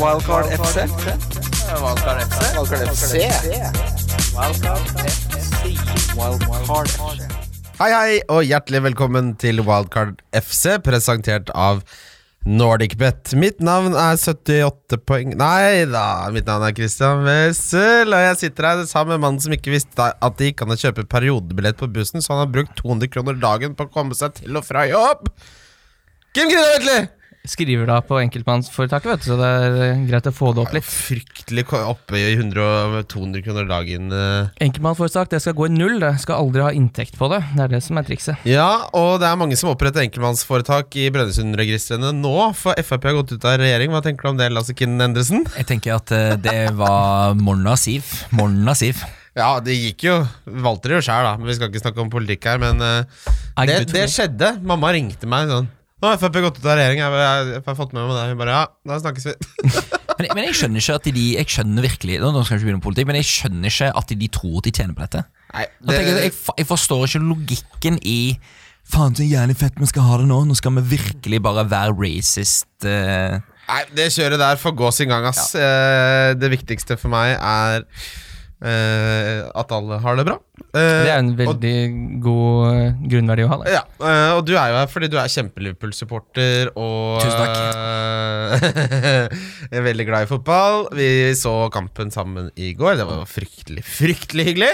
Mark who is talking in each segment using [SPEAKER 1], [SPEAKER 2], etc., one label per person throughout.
[SPEAKER 1] Wildcard FC.
[SPEAKER 2] Wildcard FC.
[SPEAKER 1] Wildcard FC. Wildcard FC.
[SPEAKER 3] Hei, hei, og hjertelig velkommen til Wildcard FC, presentert av NordicBet. Mitt navn er 78 poeng Nei da, mitt navn er Christian Wessel, og jeg sitter her sammen med mannen som ikke visste at de ikke kan kjøpe periodebillett på bussen, så han har brukt 200 kroner dagen på å komme seg til og fra jobb! Kim Kristoffer Vetle!
[SPEAKER 4] skriver da på enkeltmannsforetaket, vet du, så det er eh, greit å få det opp litt.
[SPEAKER 3] Fryktelig ko- oppe i 100 og 200 kroner dagen. eh.
[SPEAKER 4] Enkeltmannsforetak det skal gå i null, det skal aldri ha inntekt på det. Det er det som er trikset.
[SPEAKER 3] Ja, og det er mange som oppretter enkeltmannsforetak i Brønnøysundregistrene nå, for Frp har gått ut av regjering. Hva tenker du om det, Lasse Kinn Endresen?
[SPEAKER 5] Jeg tenker at eh, det var morna siv. Morna siv.
[SPEAKER 3] Ja, det gikk jo. Valgte det jo sjæl, da. Men vi skal ikke snakke om politikk her. Men eh,
[SPEAKER 4] Er
[SPEAKER 3] det,
[SPEAKER 4] Gud for
[SPEAKER 3] det
[SPEAKER 4] meg.
[SPEAKER 3] skjedde. Mamma ringte meg sånn. Nå har Frp gått ut av regjering. Jeg, jeg, jeg, har fått med meg det. Hun bare ja, da snakkes vi.
[SPEAKER 5] Men, men jeg skjønner ikke at de Jeg skjønner virkelig Nå nå skal jeg ikke begynne med politikk, men jeg skjønner ikke at de tror at de tjener på dette.
[SPEAKER 3] Nei,
[SPEAKER 5] Jeg, tenker, jeg, fa- jeg forstår ikke logikken i Faen, så jævlig fett vi skal ha det nå. Nå skal vi virkelig bare være racist. eh.
[SPEAKER 3] Nei, det kjøret der får gå sin gang, ass. Eh, det viktigste for meg er eh, at alle har det bra. Eh,
[SPEAKER 4] Det er en
[SPEAKER 3] og-
[SPEAKER 4] veldig god eh, grunnverdi å ha. Det.
[SPEAKER 3] Ja, øh, og du er jo her fordi du er kjempe-Liverpool-supporter og
[SPEAKER 5] Tusen takk.
[SPEAKER 3] øh, er veldig glad i fotball. Vi så kampen sammen i går. Det var jo fryktelig, fryktelig hyggelig.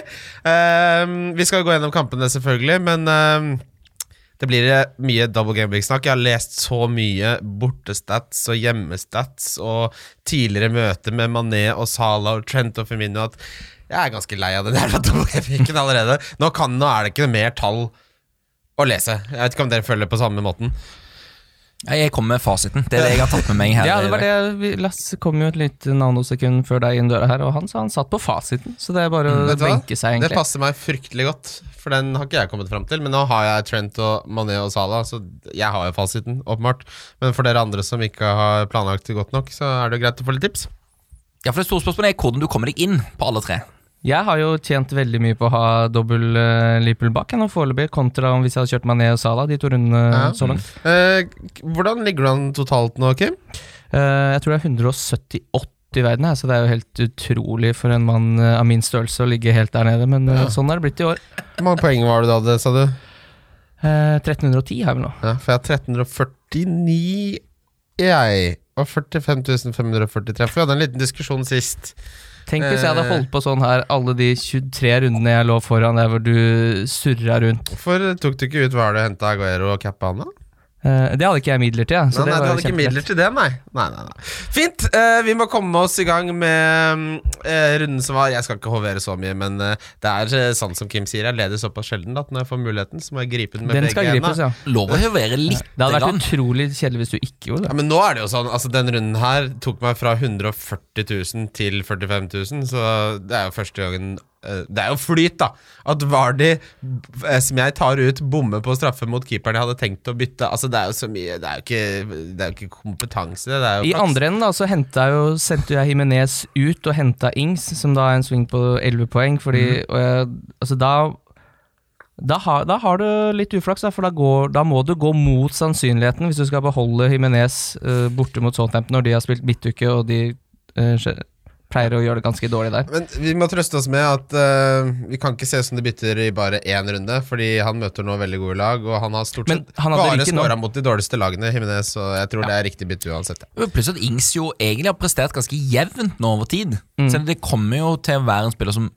[SPEAKER 3] Ehm, vi skal gå gjennom kampene, selvfølgelig, men ehm, det blir eh, mye double game week-snakk. Jeg har lest så mye bortestats og hjemmestats og tidligere møter med Mané og Salah og Trent og Firmino at jeg er ganske lei av den jævla double game weeken allerede. Nå, kan, nå er det ikke mer tall å lese. Jeg vet ikke om dere føler på samme måten.
[SPEAKER 5] Nei, Jeg kommer med fasiten. Det er det jeg har tatt med meg her.
[SPEAKER 4] Ja, det var
[SPEAKER 5] i dag.
[SPEAKER 4] det. vi- Lasse kom jo et lite nanosekund før deg inn døra her, og han sa han satt på fasiten, så det er bare å
[SPEAKER 3] Vet du hva?
[SPEAKER 4] benke seg,
[SPEAKER 3] Det
[SPEAKER 4] egentlig.
[SPEAKER 3] passer meg fryktelig godt, for den har ikke jeg kommet fram til. Men nå har jeg Trent og Mané og Salah, så jeg har jo fasiten, åpenbart. Men for dere andre som ikke har planlagt det godt nok, så er det jo greit å få litt tips.
[SPEAKER 5] Ja, for det store spørsmålet er hvordan du kommer deg inn på alle tre.
[SPEAKER 4] Jeg har jo tjent veldig mye på å ha dobbel uh, Liverpool bak jeg nå foreløpig, kontra om hvis jeg hadde kjørt Mané og Salah de to rundene
[SPEAKER 3] Ja.
[SPEAKER 4] så langt.
[SPEAKER 3] Eh, k- hvordan ligger du an totalt nå, Kim?
[SPEAKER 4] Eh, jeg tror det er 178 i verden, her, så det er jo helt utrolig for en mann eh, av min størrelse å ligge helt der nede, men eh, sånn er det blitt i år.
[SPEAKER 3] Hvor mange poeng var det du hadde, sa du?
[SPEAKER 4] Eh, 1310 har vi nå.
[SPEAKER 3] Ja, for jeg har 1349, jeg. Og 45.543. For vi hadde en liten diskusjon sist.
[SPEAKER 4] Tenk hvis jeg hadde
[SPEAKER 3] Eh.
[SPEAKER 4] holdt på sånn her alle de 23 rundene jeg lå foran der hvor du surra rundt.
[SPEAKER 3] Hvorfor tok du ikke ut hva du henta Aguero og cappa han, da?
[SPEAKER 4] Eh, det hadde ikke jeg midler til, jeg, så
[SPEAKER 3] nei, nei,
[SPEAKER 4] det
[SPEAKER 3] du
[SPEAKER 4] var
[SPEAKER 3] hadde
[SPEAKER 4] jo
[SPEAKER 3] ikke midler
[SPEAKER 4] kjempelett.
[SPEAKER 3] til det, nei. nei, nei, nei. Fint. eh, vi må komme oss i gang med mm, eh, runden som var. Jeg skal ikke hovere så mye, men eh, det er eh, sant som Kim sier, jeg leder såpass sjelden at når jeg får muligheten, så må jeg gripe den med
[SPEAKER 4] Den
[SPEAKER 3] begge
[SPEAKER 4] skal
[SPEAKER 3] hendene.
[SPEAKER 4] gripes, ja.
[SPEAKER 5] Lov å høvere litt.
[SPEAKER 4] Det hadde vært
[SPEAKER 5] grann.
[SPEAKER 4] utrolig kjedelig hvis du ikke gjorde det.
[SPEAKER 3] Ja, men nå er det jo sånn, altså Den runden her tok meg fra 140 000 til 45 000, så det er jo første gangen eh, Det er jo flyt, da! At Vardi, eh, som jeg tar ut, bommer på straffe mot keeperen jeg hadde tenkt å bytte. Altså Det er jo så mye Det er jo ikke, det er jo ikke kompetanse, det. det er jo
[SPEAKER 4] I
[SPEAKER 3] flaks.
[SPEAKER 4] andre enden da, så hentet jeg jo, sendte jeg Jimenez ut og henta Ings, som da er en swing på 11 poeng. Fordi, og jeg, altså da da har, da har du litt uflaks, da, for da, går, da må du gå mot sannsynligheten hvis du skal beholde Jimenez eh, borte mot Southampton når de har spilt midtuke og de eh, skje- pleier å gjøre det ganske dårlig der.
[SPEAKER 3] Men vi må trøste oss med at eh, vi kan ikke se ut som de bytter i bare én runde, fordi han møter nå veldig gode lag, og han har stort
[SPEAKER 4] Men
[SPEAKER 3] sett
[SPEAKER 4] han hadde
[SPEAKER 3] bare
[SPEAKER 4] ikke nå.
[SPEAKER 3] skåra mot de dårligste lagene, Jimenez, så jeg tror det er riktig bytte uansett. ja.
[SPEAKER 5] Pluss at Ings jo egentlig har prestert ganske jevnt nå over tid.
[SPEAKER 4] Mm.
[SPEAKER 5] Så det kommer jo til å være en spiller som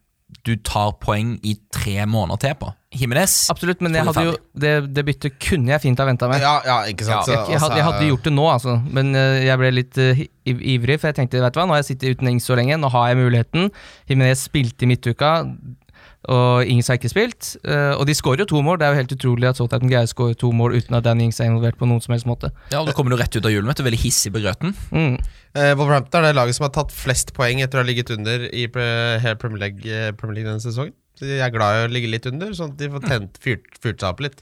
[SPEAKER 5] du tar poeng i tre måneder til på. Jimenez
[SPEAKER 4] Absolutt, men jeg
[SPEAKER 5] Trolig
[SPEAKER 4] hadde jo, det, det byttet kunne jeg fint ha venta meg.
[SPEAKER 3] Ja, ja, ikke sant.
[SPEAKER 4] jeg, jeg, hadde, jeg hadde gjort det nå, altså. Men eh, jeg ble litt eh, iv- ivrig, for jeg tenkte vet du hva, nå har jeg sittet uten Ings så lenge, nå har jeg muligheten. Jimenez spilte i midtuka, og Ings har ikke spilt. eh, og de skårer jo to mål, det er jo helt utrolig at Southampton greier å skåre to mål uten at Danny Ings er involvert på noen som helst måte.
[SPEAKER 5] Ja, og Da kommer du rett ut av julen, vet du. Veldig hissig på grøten.
[SPEAKER 4] Mm.
[SPEAKER 3] Eh, Wolverhampton er det laget som har tatt flest poeng etter å ha ligget under i pre- hele Premier League, eh, Premier League denne sesongen. Så jeg er glad i å ligge litt under, sånn at de får tent, fyrt, fyrt seg opp litt.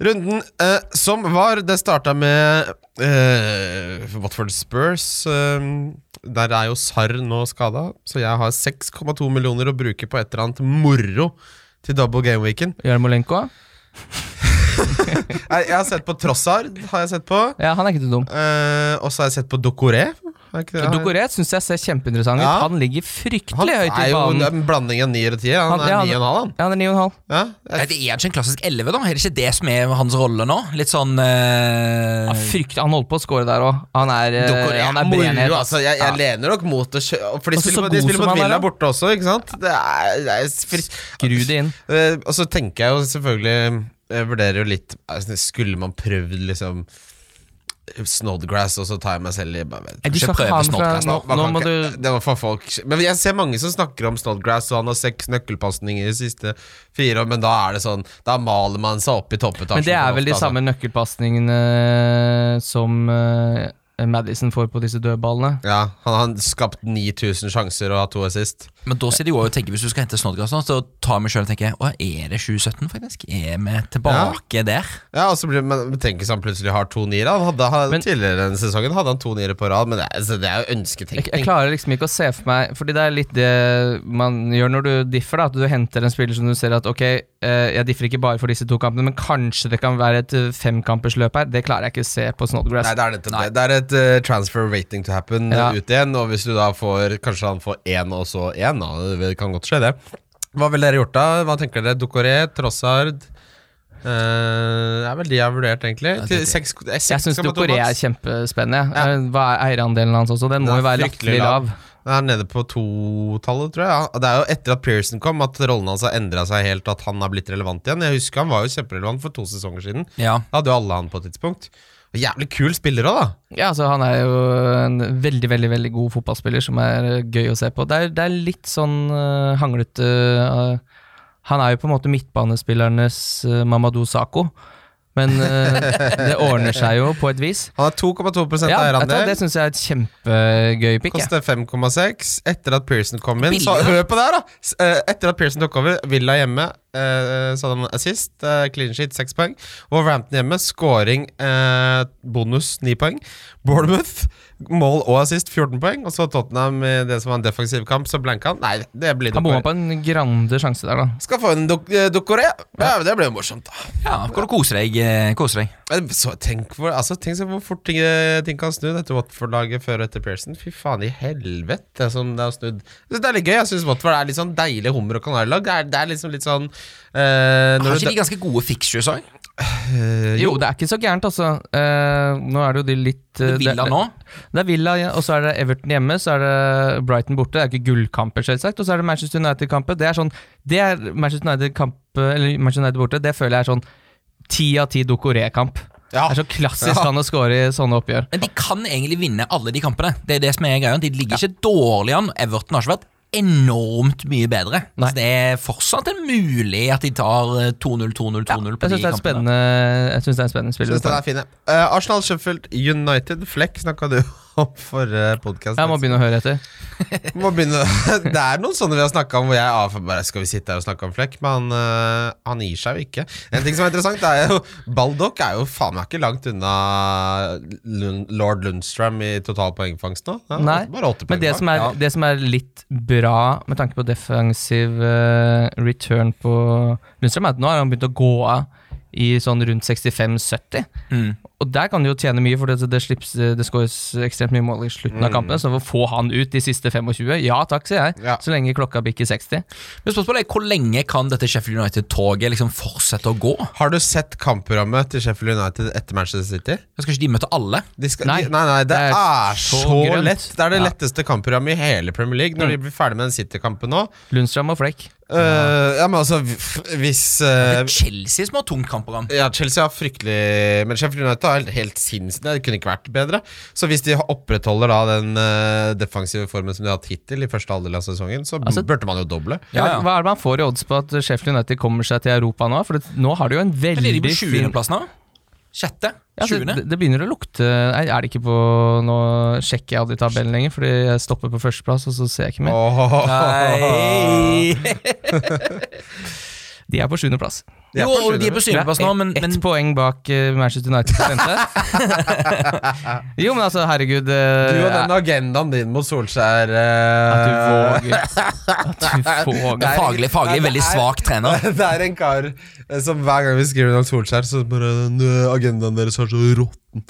[SPEAKER 3] Runden eh, som var, det starta med eh, Watford Spurs. Eh, der er jo Sarr nå skada, så jeg har 6,2 millioner å bruke på et eller annet moro til double game weeken.
[SPEAKER 4] Jarmolenko?
[SPEAKER 3] Jeg, jeg har sett på Trossard, har jeg sett på.
[SPEAKER 4] Ja, han er ikke så dum.
[SPEAKER 3] Eh, og så har jeg sett på Dokoré. Eh, Er ikke det?
[SPEAKER 4] Ja,
[SPEAKER 3] han-
[SPEAKER 4] Ducoret syns jeg ser kjempeinteressant ut.
[SPEAKER 3] Ja.
[SPEAKER 4] Han ligger
[SPEAKER 3] Han
[SPEAKER 4] fryktelig høyt
[SPEAKER 3] er
[SPEAKER 4] i
[SPEAKER 3] jo
[SPEAKER 4] banen.
[SPEAKER 3] en blanding av nier og tier. Han,
[SPEAKER 4] Han- ja,
[SPEAKER 3] er ni og en halv, han.
[SPEAKER 4] Ja, han er 9,5.
[SPEAKER 3] Ja,
[SPEAKER 5] Nei,
[SPEAKER 3] jeg,
[SPEAKER 5] det er ikke en klassisk 11, da? Er det ikke det som er hans rolle nå? Litt sånn eh,
[SPEAKER 4] Ja, frykt, han holdt på å score der òg. Han er, eh,
[SPEAKER 3] Ducouré
[SPEAKER 4] han
[SPEAKER 3] er
[SPEAKER 4] er
[SPEAKER 3] moro,
[SPEAKER 4] brenhet.
[SPEAKER 3] altså. Jeg, jeg lener nok mot å kjøre For de
[SPEAKER 4] Også så
[SPEAKER 3] spiller, mot- de
[SPEAKER 4] god
[SPEAKER 3] spiller
[SPEAKER 4] som
[SPEAKER 3] mot
[SPEAKER 4] han er,
[SPEAKER 3] Villa
[SPEAKER 4] da.
[SPEAKER 3] borte også, ikke sant? Det er, det er fris-
[SPEAKER 4] Skru det inn.
[SPEAKER 3] Eh, Og så tenker jeg jo selvfølgelig Jeg vurderer jo litt altså, Skulle man prøvd liksom Snodgrass, og så tar jeg meg selv i bare, vet,
[SPEAKER 4] Eh, Du skal ikke ha
[SPEAKER 5] Kanskje prøve
[SPEAKER 4] han fra
[SPEAKER 5] Snodgrass,
[SPEAKER 4] Nå,
[SPEAKER 5] da.
[SPEAKER 3] man
[SPEAKER 4] nå
[SPEAKER 3] kan
[SPEAKER 4] må du
[SPEAKER 3] ikke- Det var for folk Men jeg ser mange som snakker om Snodgrass, og han har seks nøkkelpasninger i de siste fire, men da er det sånn Da maler man seg opp i toppetasjen.
[SPEAKER 4] Men det er
[SPEAKER 3] for
[SPEAKER 4] vel de
[SPEAKER 3] ofte, altså.
[SPEAKER 4] samme nøkkelpasningene som eh, Madison får på disse dødballene.
[SPEAKER 3] Ja, han har skapt 9000 sjanser og har to assist.
[SPEAKER 5] Men da sitter jeg jo også og tenker hvis du skal hente Snodgrass, nå, så tar jeg meg sjøl og tenker Å, er det 2017, faktisk? Er vi tilbake der?
[SPEAKER 3] Ja, og så blir, men Tenk hvis han plutselig har to niere. Han hadde, han,
[SPEAKER 4] Men-
[SPEAKER 3] tidligere denne sesongen hadde han to niere på rad, men det, er- altså, det er jo
[SPEAKER 4] Jeg, jeg
[SPEAKER 3] ønsketenkning.
[SPEAKER 4] klarer liksom ikke å se for meg Fordi det er litt det man gjør når du differ. da At du henter en spiller som du ser at ok, eh, jeg differ ikke bare for disse to kampene, men kanskje det kan være et eh, femkampersløp her. Det klarer jeg ikke å se på Snodgrass.
[SPEAKER 3] Nei, det er, nettopp det. det er et eh, transfer waiting to happen eh,
[SPEAKER 4] Ja.
[SPEAKER 3] ut igjen. Og hvis du da får Kanskje han får én og så én. da. Det kan godt skje, det. Hva ville dere gjort da? Hva tenker dere? Ducoré, Trossard eh, Det er vel de jeg har vurdert, egentlig. Til seks- eh,
[SPEAKER 4] Jeg syns
[SPEAKER 3] 6,2
[SPEAKER 4] Dokoré er
[SPEAKER 3] maks.
[SPEAKER 4] kjempespennende. Eh, Hva er eierandelen hans også? Den må
[SPEAKER 3] Den
[SPEAKER 4] jo
[SPEAKER 3] er
[SPEAKER 4] være
[SPEAKER 3] fryktelig
[SPEAKER 4] latterlig
[SPEAKER 3] lav.
[SPEAKER 4] lav.
[SPEAKER 3] Den er nede på to-tallet, tror jeg. Ja, Det er jo etter at Pearson kom, at rollen hans har endra seg helt, at han har blitt relevant igjen. Jeg husker han var jo kjemperelevant for to sesonger siden.
[SPEAKER 5] Ja.
[SPEAKER 3] Da hadde jo alle han på et tidspunkt. Og jævlig kul spiller òg, da.
[SPEAKER 4] Ja, altså Han er jo en veldig veldig, veldig god fotballspiller som er eh, gøy å se på. Det er, det er litt sånn eh, hanglete eh, Han er jo på en måte midtbanespillernes eh, Mamadou Sakho, men eh, det ordner seg jo på et vis.
[SPEAKER 3] Han er 2,2
[SPEAKER 4] Ja, vet du hva,
[SPEAKER 3] eierandel.
[SPEAKER 4] Det syns jeg er et kjempegøy pick. jeg.
[SPEAKER 3] Koster 5,6 etter at Pearson kom inn. Så,
[SPEAKER 5] Billig, da.
[SPEAKER 3] hør på det her, da! S- eh, Etter at Pearson tok over, Villa hjemme, eh, så hadde han assist, eh, clean sheet, seks poeng. Wolverhampton hjemme, scoring, eh, bonus, ni poeng. Bournemouth, mål og assist, 14 poeng. Og så Tottenham, eh, det som var en defensiv kamp, så blanka han. Nei, det blir
[SPEAKER 4] Han bomma
[SPEAKER 3] Ducoré.
[SPEAKER 4] på en grande sjanse der, da.
[SPEAKER 3] Skal få en Duc- eh, Ducoré. Ja, det blir jo morsomt, da.
[SPEAKER 5] Ja, hvor du koser deg. eh, Koser deg.
[SPEAKER 3] Men Så tenk, hvor, altså, tenk så hvor fort ting, eh, ting kan snu dette Watford-laget før og etter Pearson. Fy faen i helvete som det har snudd. Så Det er litt gøy. Jeg syns Watford er litt sånn deilig hummer- og kanarilag. Det, er- det er liksom litt sånn eh,
[SPEAKER 5] Har
[SPEAKER 3] når du,
[SPEAKER 5] ikke de ganske gode fixtures òg?
[SPEAKER 3] eh,
[SPEAKER 4] Jo, det er ikke så gærent, altså. Eh, nå er det jo de litt eh,
[SPEAKER 5] Villa
[SPEAKER 4] det-
[SPEAKER 5] nå?
[SPEAKER 4] Det er Villa, ja, og så er det Everton hjemme, så er det Brighton borte. Det er ikke gullkamper, selvsagt. Og så er det Manchester United-kampen. Det er sånn, det er Manchester United-kamp, eller Manchester United borte, det føler jeg er sånn ti av ti Dokoré-kamp.
[SPEAKER 3] Ja.
[SPEAKER 4] Det er så klassisk
[SPEAKER 3] Ja.
[SPEAKER 4] han å score i sånne oppgjør.
[SPEAKER 5] Men de kan egentlig vinne alle de kampene. Det er det som er greia. De ligger ikke dårlig an. Everton har ikke vært enormt mye bedre.
[SPEAKER 4] Nei.
[SPEAKER 5] Så det er fortsatt en mulig at de tar eh, 2-0, 2-0, 2-0 på
[SPEAKER 4] Jeg
[SPEAKER 5] de
[SPEAKER 4] syns det, er et
[SPEAKER 5] kampene.
[SPEAKER 4] spennende- jeg synes det er en spennende
[SPEAKER 3] Synes den
[SPEAKER 4] spiller.
[SPEAKER 3] er fin, ja. Eh, Arsenal Sheffield United. Flekk snakka du om forrige podkast.
[SPEAKER 4] Jeg må begynne å høre etter.
[SPEAKER 3] Må begynne. Det er noen sånne vi har snakka om hvor jeg av bare Skal vi sitte her og snakke om Flekk? Men han, øh, han gir seg jo ikke. En ting som er interessant, er jo Baldock er jo faen meg ikke langt unna Lund, lord Lundstrøm i total poengfangst nå. Ja,
[SPEAKER 4] Nei,
[SPEAKER 3] bare åtte
[SPEAKER 4] Men
[SPEAKER 3] poeng
[SPEAKER 4] det
[SPEAKER 3] bak.
[SPEAKER 4] som, er,
[SPEAKER 3] Ja.
[SPEAKER 4] det som er litt bra med tanke på defensiv eh, return på Lundstrøm, er at nå har han begynt å gå av i sånn rundt 65-70.
[SPEAKER 5] Mm.
[SPEAKER 4] Og der kan du jo tjene mye, for det, det, slips, det skåres ekstremt mye mål i slutten
[SPEAKER 5] Mm.
[SPEAKER 4] av kampene. Så å få han ut de siste 25, ja takk, sier jeg.
[SPEAKER 3] Ja.
[SPEAKER 4] Så lenge klokka bikker 60.
[SPEAKER 5] Men spørsmålet er hvor lenge kan dette Sheffield United-toget liksom fortsette å gå?
[SPEAKER 3] Har du sett kampprogrammet til Sheffield United etter Manchester City?
[SPEAKER 5] Skal ikke de møte alle?
[SPEAKER 3] De skal,
[SPEAKER 4] Nei,
[SPEAKER 3] de, nei, nei, det,
[SPEAKER 4] det er
[SPEAKER 3] er,
[SPEAKER 4] så
[SPEAKER 3] så,
[SPEAKER 4] grønt.
[SPEAKER 3] lett. Det er det
[SPEAKER 4] Ja. Mm.
[SPEAKER 3] letteste kampprogrammet i hele Premier League. Når de blir ferdig med den City-kampen nå
[SPEAKER 4] Lundstrøm og Flekk.
[SPEAKER 3] Øh, Ja, men altså, hvis øh,
[SPEAKER 5] Det er Chelsea som har tungt kampprogram.
[SPEAKER 3] Ja, Chelsea har fryktelig Men Sheffield United har helt, helt sinnssykt Det kunne ikke vært bedre. Så hvis de opprettholder da den eh, defensive formen som de har hatt hittil, i første halvdel av sesongen, så
[SPEAKER 4] Altså-
[SPEAKER 3] burde man jo doble.
[SPEAKER 5] Ja, ja.
[SPEAKER 4] Hva er det man får i odds på at Sheffield United kommer seg til Europa nå? For det, nå har de jo en
[SPEAKER 5] Men er de
[SPEAKER 4] veldig
[SPEAKER 5] på
[SPEAKER 4] fin
[SPEAKER 5] 20.-plass nå? Sjette?
[SPEAKER 4] Ja, det,
[SPEAKER 5] 20.?
[SPEAKER 4] det det begynner å lukte Nei, er det ikke på Nå sjekker jeg aldri tabellen lenger, fordi jeg stopper på førsteplass, og så ser jeg ikke mer.
[SPEAKER 3] Åh.
[SPEAKER 5] Nei
[SPEAKER 4] De er på sjuendeplass.
[SPEAKER 3] De er
[SPEAKER 5] Jo,
[SPEAKER 3] på sjuende.
[SPEAKER 5] de er på syvendeplass nå, men,
[SPEAKER 4] Ett
[SPEAKER 5] men
[SPEAKER 4] poeng bak eh, Manchester United. på femte. jo, men altså, herregud eh,
[SPEAKER 3] Du og den agendaen din mot Solskjær eh,
[SPEAKER 4] At du våger. At du
[SPEAKER 5] men
[SPEAKER 4] våger.
[SPEAKER 5] faglig, faglig veldig svak trener.
[SPEAKER 3] Det er en kar eh, som hver gang vi skriver om Solskjær, så bare "Nø, Agendaen deres er så råtten.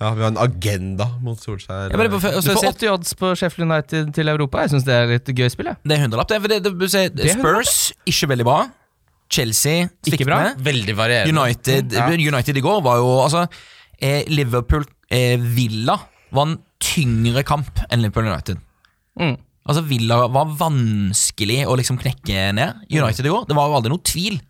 [SPEAKER 3] Ja, vi har en agenda mot Solskjær.
[SPEAKER 5] Ja, men det, er bare-
[SPEAKER 4] Du
[SPEAKER 5] altså,
[SPEAKER 4] får
[SPEAKER 5] jeg ser-
[SPEAKER 4] 80 odds på Sheffield United til Europa. Jeg syns det er litt gøy spill. jeg.
[SPEAKER 5] det er hundrelapp. Det, er- for det, det, du ser,
[SPEAKER 4] er hundrelapp.
[SPEAKER 5] Spurs, ikke veldig bra. Chelsea,
[SPEAKER 4] Ikke bra.
[SPEAKER 5] sviktende.
[SPEAKER 3] Veldig varierende.
[SPEAKER 5] United, United i går var jo altså, eh, Liverpool eh, Villa var en tyngre kamp enn Liverpool United.
[SPEAKER 4] Mm.
[SPEAKER 5] Altså Villa var vanskelig å liksom knekke ned. United i går, det var jo aldri noe tvil.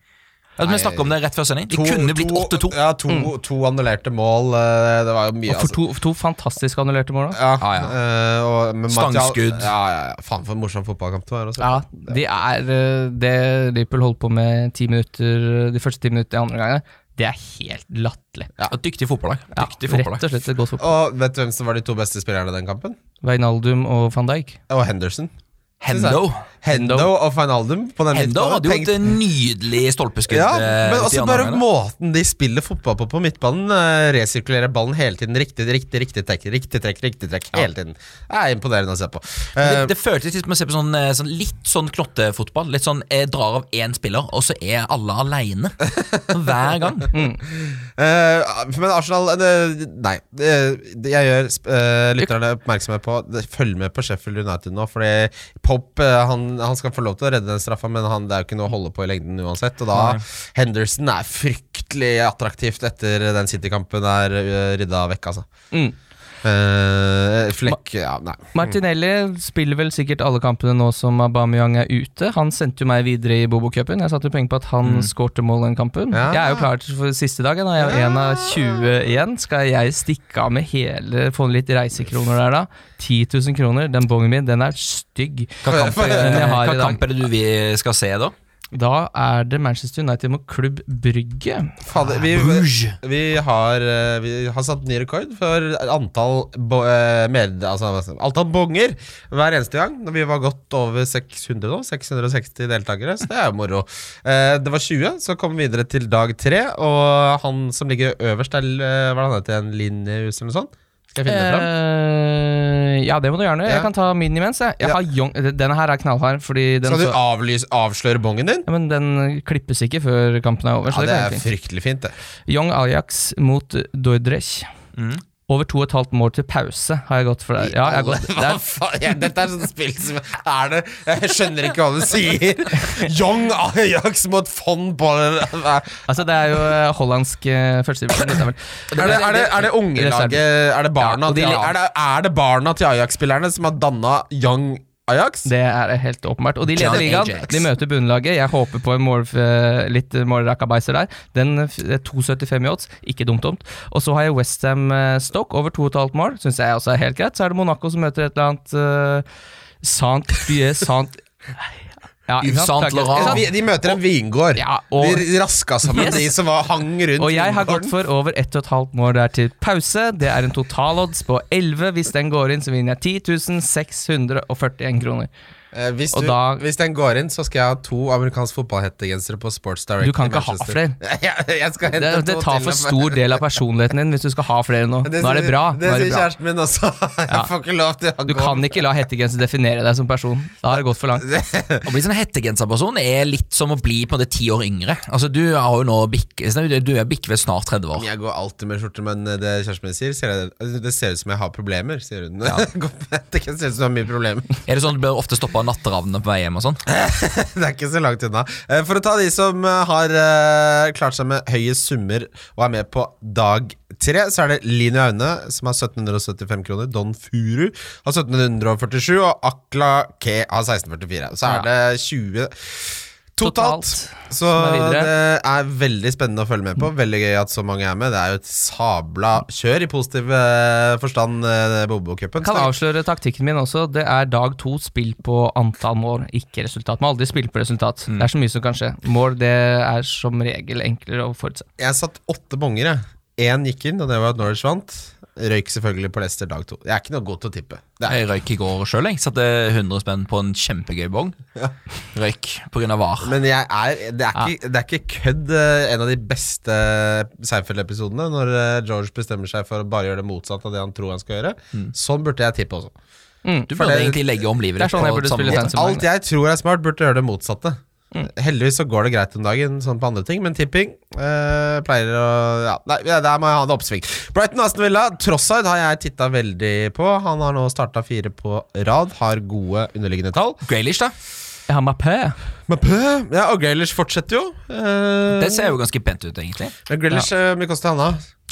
[SPEAKER 5] Altså, vi snakka om det rett før sending. Det kunne blitt 8-2.
[SPEAKER 3] Ja, to, to annullerte mål. eh, Det var jo mye,
[SPEAKER 4] Og for to, for to fantastisk annullerte mål. da.
[SPEAKER 3] Ja,
[SPEAKER 5] Ah, Ja,
[SPEAKER 3] eh, og med Martial-
[SPEAKER 5] Stangskudd.
[SPEAKER 3] Ja, ja, ja. Faen, for en morsom fotballkamp det var. Også.
[SPEAKER 4] Ja, de er eh, Det Liverpool holdt på med ti minutter de første ti minuttene i andre gangen, det er helt latterlig.
[SPEAKER 5] Ja, Dyktig fotballag.
[SPEAKER 4] Ja, rett
[SPEAKER 5] Dyktig
[SPEAKER 4] og
[SPEAKER 5] fotballag.
[SPEAKER 4] slett et godt fotball.
[SPEAKER 3] Og vet du hvem som var de to beste spillerne den kampen?
[SPEAKER 4] Wijnaldum og van Dijk.
[SPEAKER 3] Og Henderson.
[SPEAKER 5] Hendo.
[SPEAKER 3] Hendo og Feinaldum på den
[SPEAKER 5] Hendo
[SPEAKER 3] midtbanen.
[SPEAKER 5] hadde jo
[SPEAKER 3] Tenk-
[SPEAKER 5] et nydelig stolpeskudd.
[SPEAKER 3] ja,
[SPEAKER 5] eh,
[SPEAKER 3] men
[SPEAKER 5] ut i
[SPEAKER 3] også
[SPEAKER 5] andre
[SPEAKER 3] bare
[SPEAKER 5] omgang, da.
[SPEAKER 3] måten de spiller fotball på på midtbanen. eh, Resirkulerer ballen hele tiden. Riktig, riktig, riktig trekk, riktig trekk, riktig trekk hele tiden. Det er imponerende å se på. Eh,
[SPEAKER 5] Det, det føltes litt som å se på sånn, eh, sånn litt sånn knottefotball. Litt sånn jeg drar av én spiller, og så er alle aleine. Hver gang.
[SPEAKER 3] Eh, men Arsenal eh, Nei. Eh, det jeg gjør eh, lytterne oppmerksomme på det- Følg med på Sheffield United nå, fordi Pop eh, han, han skal få lov til å redde den straffa, men han, det er jo ikke noe å holde på i lengden uansett. Og da Henderson er fryktelig attraktivt etter den City-kampen er eh, rydda vekk, altså.
[SPEAKER 4] Mm.
[SPEAKER 3] Eh, Flekk Ja, nei.
[SPEAKER 4] Martinelli spiller vel sikkert alle kampene nå som Aubameyang er ute. Han sendte jo meg videre i Bobo-cupen. Jeg satte jo penger på at han skårte mål den kampen.
[SPEAKER 3] Mm. Ja.
[SPEAKER 4] Jeg er jo klar til for siste dagen. Jeg er jo en av 20 igjen. Skal jeg stikke av med hele Få litt reisekroner der, da? 10 000 kroner. Den bongen min, den er stygg.
[SPEAKER 5] Hva kamp,
[SPEAKER 3] For- for-
[SPEAKER 5] eh,
[SPEAKER 4] jeg har i
[SPEAKER 5] hva
[SPEAKER 4] dag.
[SPEAKER 5] kamp er det du vi skal se, da?
[SPEAKER 4] Da er det Manchester United mot Klubb Brygge.
[SPEAKER 3] Fader, vi,
[SPEAKER 5] Bruges.
[SPEAKER 3] vi, har, eh, vi har satt ny rekord for antall, bo, eh, med, altså, hva skal jeg si, antall bonger hver eneste gang. Når vi var godt over 600 nå. 660 deltakere, så det er jo moro. Eh, det var 20, så kom vi videre til dag tre. Og han som ligger øverst, er eh, hva er det han heter igjen? Linjehus eller noe sånt? Skal jeg finne det fram?
[SPEAKER 4] Eh, ja, det må du gjerne.
[SPEAKER 3] Ja.
[SPEAKER 4] Jeg kan ta min imens. Jeg. Jeg
[SPEAKER 3] Ja.
[SPEAKER 4] har Young, denne her er knallhard. Fordi den,
[SPEAKER 3] Skal du
[SPEAKER 4] så,
[SPEAKER 3] avlyse, avsløre bongen din?
[SPEAKER 4] ja, men den klippes ikke før kampen er over.
[SPEAKER 3] Ja,
[SPEAKER 4] så det,
[SPEAKER 3] det
[SPEAKER 4] kan jeg
[SPEAKER 3] er
[SPEAKER 4] fint.
[SPEAKER 3] fryktelig fint, det.
[SPEAKER 4] Young Ajax mot Dordrecht.
[SPEAKER 5] Mm.
[SPEAKER 4] Over to og et halvt mål til pause har jeg gått for der. Ja, jeg har gått.
[SPEAKER 3] Hva faen? Ja, Dette er sånn spill som er det Jeg skjønner ikke hva du sier. Young Ajax mot fond på
[SPEAKER 4] Altså, det er jo eh, hollandsk eh, førstedivisjon. dette er vel.
[SPEAKER 3] Er det, er det, er det ungelaget Er det barna
[SPEAKER 4] Ja, og de-
[SPEAKER 3] til, er det, er det barna til Ajax-spillerne som har danna Young Ajax?
[SPEAKER 4] Det er helt åpenbart. Og de leder
[SPEAKER 5] John
[SPEAKER 4] ligaen.
[SPEAKER 5] Ajax.
[SPEAKER 4] De møter bunnlaget. Jeg håper på en mål, eh, litt målrakabaiser der. Den eh, f- det er 2,75 i odds. Ikke dumt, dumt. Og så har jeg Westham Stoke over 2,5 mål. Syns jeg også er helt greit. Så er det Monaco som møter et eller annet uh, Sant Bie Sant ja, ikke sant?
[SPEAKER 5] Yves Saint Laurent.
[SPEAKER 4] Ikke sant?
[SPEAKER 3] Vi- De møter en vingård.
[SPEAKER 4] Ja, og-
[SPEAKER 3] de raska sammen,
[SPEAKER 4] Yes.
[SPEAKER 3] de som var, hang rundt
[SPEAKER 4] Og jeg har
[SPEAKER 3] vingården.
[SPEAKER 4] gått for over 1,5 mål der til pause. Det er en totalodds på 11. Hvis den går inn, så vinner jeg 10 641 kroner.
[SPEAKER 3] Eh, hvis,
[SPEAKER 4] og
[SPEAKER 3] du,
[SPEAKER 4] da-
[SPEAKER 3] hvis den går inn, så skal jeg ha to amerikansk fotballhettegensere på Sports Direct.
[SPEAKER 4] Du kan
[SPEAKER 3] i
[SPEAKER 4] ikke ha
[SPEAKER 3] Manchester.
[SPEAKER 4] flere.
[SPEAKER 3] Jeg, jeg skal hente
[SPEAKER 4] Det, det
[SPEAKER 3] to
[SPEAKER 4] tar
[SPEAKER 3] til
[SPEAKER 4] for
[SPEAKER 3] av meg.
[SPEAKER 4] stor del av personligheten din hvis du skal ha flere nå. Nå er det
[SPEAKER 3] sier-
[SPEAKER 4] bra.
[SPEAKER 3] Det
[SPEAKER 4] Nå er det
[SPEAKER 3] sier
[SPEAKER 4] bra.
[SPEAKER 3] kjæresten min også. Jeg får ikke lov til å
[SPEAKER 4] Du kan ikke la hettegenser definere deg som person. Da har det gått for langt.
[SPEAKER 5] Å bli sånn hettegenserperson er litt som å bli på en måte ti år yngre. Altså Du har jo nå bikk, Du er bikke ved snart 30 år.
[SPEAKER 3] Jeg går alltid med skjorte, men eh, det kjæresten min sier, sier jeg, det ser ut som jeg har problemer, sier hun. Gå på nett, det ser ut som du har mye problemer.
[SPEAKER 5] Er det sånn at Du blir ofte stoppa av natteravnene på vei hjem og sånn?
[SPEAKER 3] Det er ikke så langt unna. Eh, For å ta de som eh, har eh, klart seg med høye summer og er med på dag tre, så er det Line Aune som har 1775 kroner, Don Furu har 1747, og Akla Ke har 1644. Så er det 20 Totalt.
[SPEAKER 4] Totalt.
[SPEAKER 3] Så
[SPEAKER 4] Som er videre. Mm.
[SPEAKER 3] det er veldig spennende å følge med på. Veldig gøy at så mange er med. Det er jo et sabla kjør i positiv eh, forstand, eh, Bobo-cupen.
[SPEAKER 4] Kan
[SPEAKER 3] Så-
[SPEAKER 4] avsløre taktikken min også. Det er dag to spill på antall mål, ikke resultat. Man må aldri spille på resultat.
[SPEAKER 3] Mm.
[SPEAKER 4] Det er så mye som kan skje. Mål det er som regel enklere å forutse.
[SPEAKER 3] Jeg satt åtte bonger, jeg. Én gikk inn, og det var at Norwich vant. Røyk selvfølgelig på Leicester dag to. Jeg er ikke noe god til å tippe. Det er.
[SPEAKER 5] Jeg røyk i går sjøl. Jeg satte 100 spenn på en kjempegøy bong. Røyk pga. var.
[SPEAKER 3] Men jeg er, det, er ikke, det er ikke kødd eh, en av de beste Seinfeld-episodene, når eh, George bestemmer seg for å bare gjøre det motsatte av det han tror han skal gjøre.
[SPEAKER 4] Mm.
[SPEAKER 3] Sånn burde jeg tippe også.
[SPEAKER 5] Du
[SPEAKER 3] For
[SPEAKER 5] burde
[SPEAKER 3] det-
[SPEAKER 5] egentlig legge om livet
[SPEAKER 4] Det er
[SPEAKER 5] ditt.
[SPEAKER 4] sånn jeg
[SPEAKER 5] på
[SPEAKER 4] burde
[SPEAKER 5] samme
[SPEAKER 4] spille
[SPEAKER 5] måte.
[SPEAKER 4] tennis. Som
[SPEAKER 3] Alt jeg tror er smart, burde gjøre det motsatte. Heldigvis så går det greit om dagen sånn på andre ting, men tipping eh, pleier å ja, Nei, ja, der må jeg ha det oppsving. Brighton Aston Villa, Trossard har jeg titta veldig på. Han har nå starta fire på rad, har gode underliggende tall.
[SPEAKER 5] Graylish, da.
[SPEAKER 4] Jeg har Mapé.
[SPEAKER 3] Men pø, ja, og Grealish fortsetter jo. Eh,
[SPEAKER 5] Det ser jo ganske pent ut, egentlig.
[SPEAKER 3] men Grealish, eh, hvor mye koster han da?